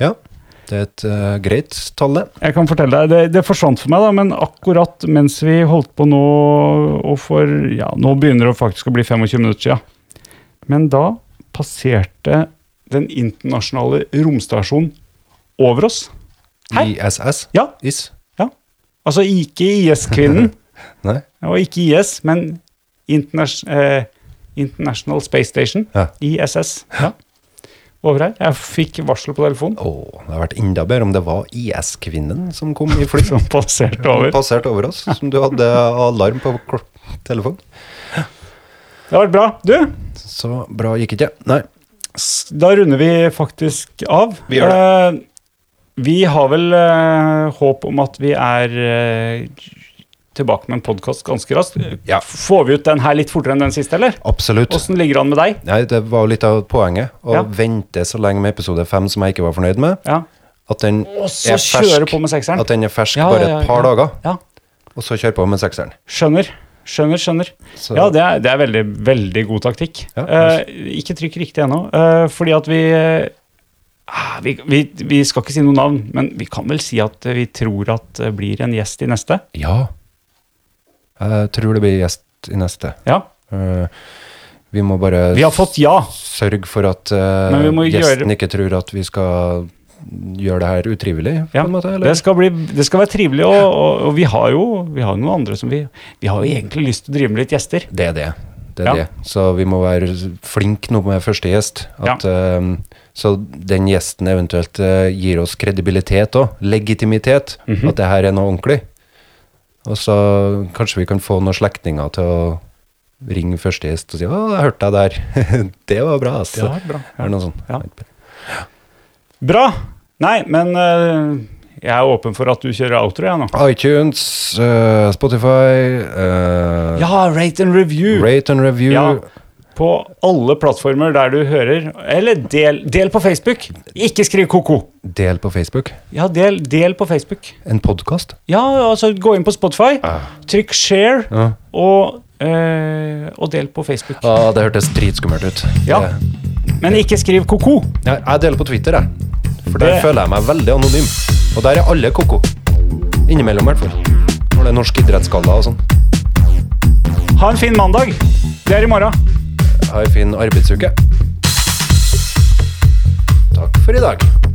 [SPEAKER 2] ja. Ja. Det er et eh, greit tall, det.
[SPEAKER 4] Jeg kan fortelle deg, det, det forsvant for meg, da, men akkurat mens vi holdt på nå og for, ja, Nå begynner det faktisk å bli 25 minutter siden. Men da passerte den internasjonale romstasjonen over oss. Hei.
[SPEAKER 2] ISS.
[SPEAKER 4] Ja,
[SPEAKER 2] Is.
[SPEAKER 4] ja. Altså ikke IS-kvinnen,
[SPEAKER 2] Nei.
[SPEAKER 4] og ikke IS, men Internas eh, International Space Station,
[SPEAKER 2] Ja.
[SPEAKER 4] ISS. Ja. Over her. Jeg fikk varsel på telefonen.
[SPEAKER 2] Å, det har vært enda bedre om det var IS-kvinnen som kom i fly.
[SPEAKER 4] Som passerte over.
[SPEAKER 2] Passert over oss, som du hadde alarm på kl- telefon.
[SPEAKER 4] Det har vært bra. Du,
[SPEAKER 2] Så bra gikk ikke. Nei.
[SPEAKER 4] S- Da runder vi faktisk av.
[SPEAKER 2] Vi gjør
[SPEAKER 4] Eh, vi har vel eh, håp om at vi er eh, tilbake med en podkast ganske raskt.
[SPEAKER 2] Ja.
[SPEAKER 4] Får vi ut den her litt fortere enn den siste, eller?
[SPEAKER 2] Absolutt.
[SPEAKER 4] Åssen ligger det an med deg?
[SPEAKER 2] Nei, det var jo litt av poenget. Å
[SPEAKER 4] Ja.
[SPEAKER 2] vente så lenge med episode fem som jeg ikke var fornøyd med.
[SPEAKER 4] Ja.
[SPEAKER 2] At den
[SPEAKER 4] Og så kjøre på med sekseren.
[SPEAKER 2] At den er fersk
[SPEAKER 4] Ja, ja,
[SPEAKER 2] bare
[SPEAKER 4] ja,
[SPEAKER 2] et par
[SPEAKER 4] ja.
[SPEAKER 2] dager,
[SPEAKER 4] Ja.
[SPEAKER 2] og så kjøre på med sekseren.
[SPEAKER 4] Skjønner. Skjønner, skjønner.
[SPEAKER 2] Så-
[SPEAKER 4] Ja, det er, det er veldig, veldig god taktikk.
[SPEAKER 2] Ja,
[SPEAKER 4] Eh, ikke trykk riktig ennå, eh, fordi at vi ah, vi, vi, vi skal ikke si noe navn, men vi kan vel si at vi tror at det blir en gjest i neste.
[SPEAKER 2] Ja. Jeg tror det blir gjest i neste.
[SPEAKER 4] Ja,
[SPEAKER 2] Eh, Vi må bare
[SPEAKER 4] Vi har fått ja.
[SPEAKER 2] sørge for at eh,
[SPEAKER 4] Men vi må
[SPEAKER 2] gjesten
[SPEAKER 4] gjøre-
[SPEAKER 2] ikke tror at vi skal gjøre det her utrivelig,
[SPEAKER 4] ja.
[SPEAKER 2] på en måte.
[SPEAKER 4] det,
[SPEAKER 2] Eller?
[SPEAKER 4] skal bli, det skal være trivelig, og, og, og vi har jo vi har noen andre som vi Vi har jo egentlig lyst til å drive med litt gjester.
[SPEAKER 2] Det er det. Det er
[SPEAKER 4] Ja.
[SPEAKER 2] det. Så vi må være flinke nå med første gjest. At, eh, så den gjesten eventuelt eh, gir oss kredibilitet òg. Legitimitet.
[SPEAKER 4] Mhm.
[SPEAKER 2] At det her er noe ordentlig. Og så kanskje vi kan få noen slektninger til å ringe første gjest og si 'Å, jeg hørte deg der'. det var bra, altså.
[SPEAKER 4] var bra, ja.
[SPEAKER 2] Eller noe sånt.
[SPEAKER 4] Ja. Bra! Nei, men eh, jeg er åpen for at du kjører outro, jeg nå.
[SPEAKER 2] iTunes, eh, Spotify, eh,
[SPEAKER 4] Ja, rate and review!
[SPEAKER 2] rate and review.
[SPEAKER 4] Ja, på alle plattformer der du hører. Eller del, del på Facebook! Ikke skriv ko-ko!
[SPEAKER 2] Del på Facebook.
[SPEAKER 4] Ja, del, del på Facebook.
[SPEAKER 2] En podkast.
[SPEAKER 4] Ja, altså gå inn på Spotify, trykk share,
[SPEAKER 2] Ja.
[SPEAKER 4] og, eh, og del på Facebook.
[SPEAKER 2] Å, det hørtes dritskummelt ut.
[SPEAKER 4] Ja.
[SPEAKER 2] Det-
[SPEAKER 4] Men ikke skriv ko-ko!
[SPEAKER 2] Jeg, jeg deler på Twitter, jeg. For der
[SPEAKER 4] Det-
[SPEAKER 2] føler jeg meg veldig anonym. Og der er alle koko. Innimellom, i hvert fall. Når det er norsk idrettsgalla og sånn.
[SPEAKER 4] Ha en fin mandag. Det er i morgen.
[SPEAKER 2] Ha ei en fin arbeidsuke. Takk for i dag.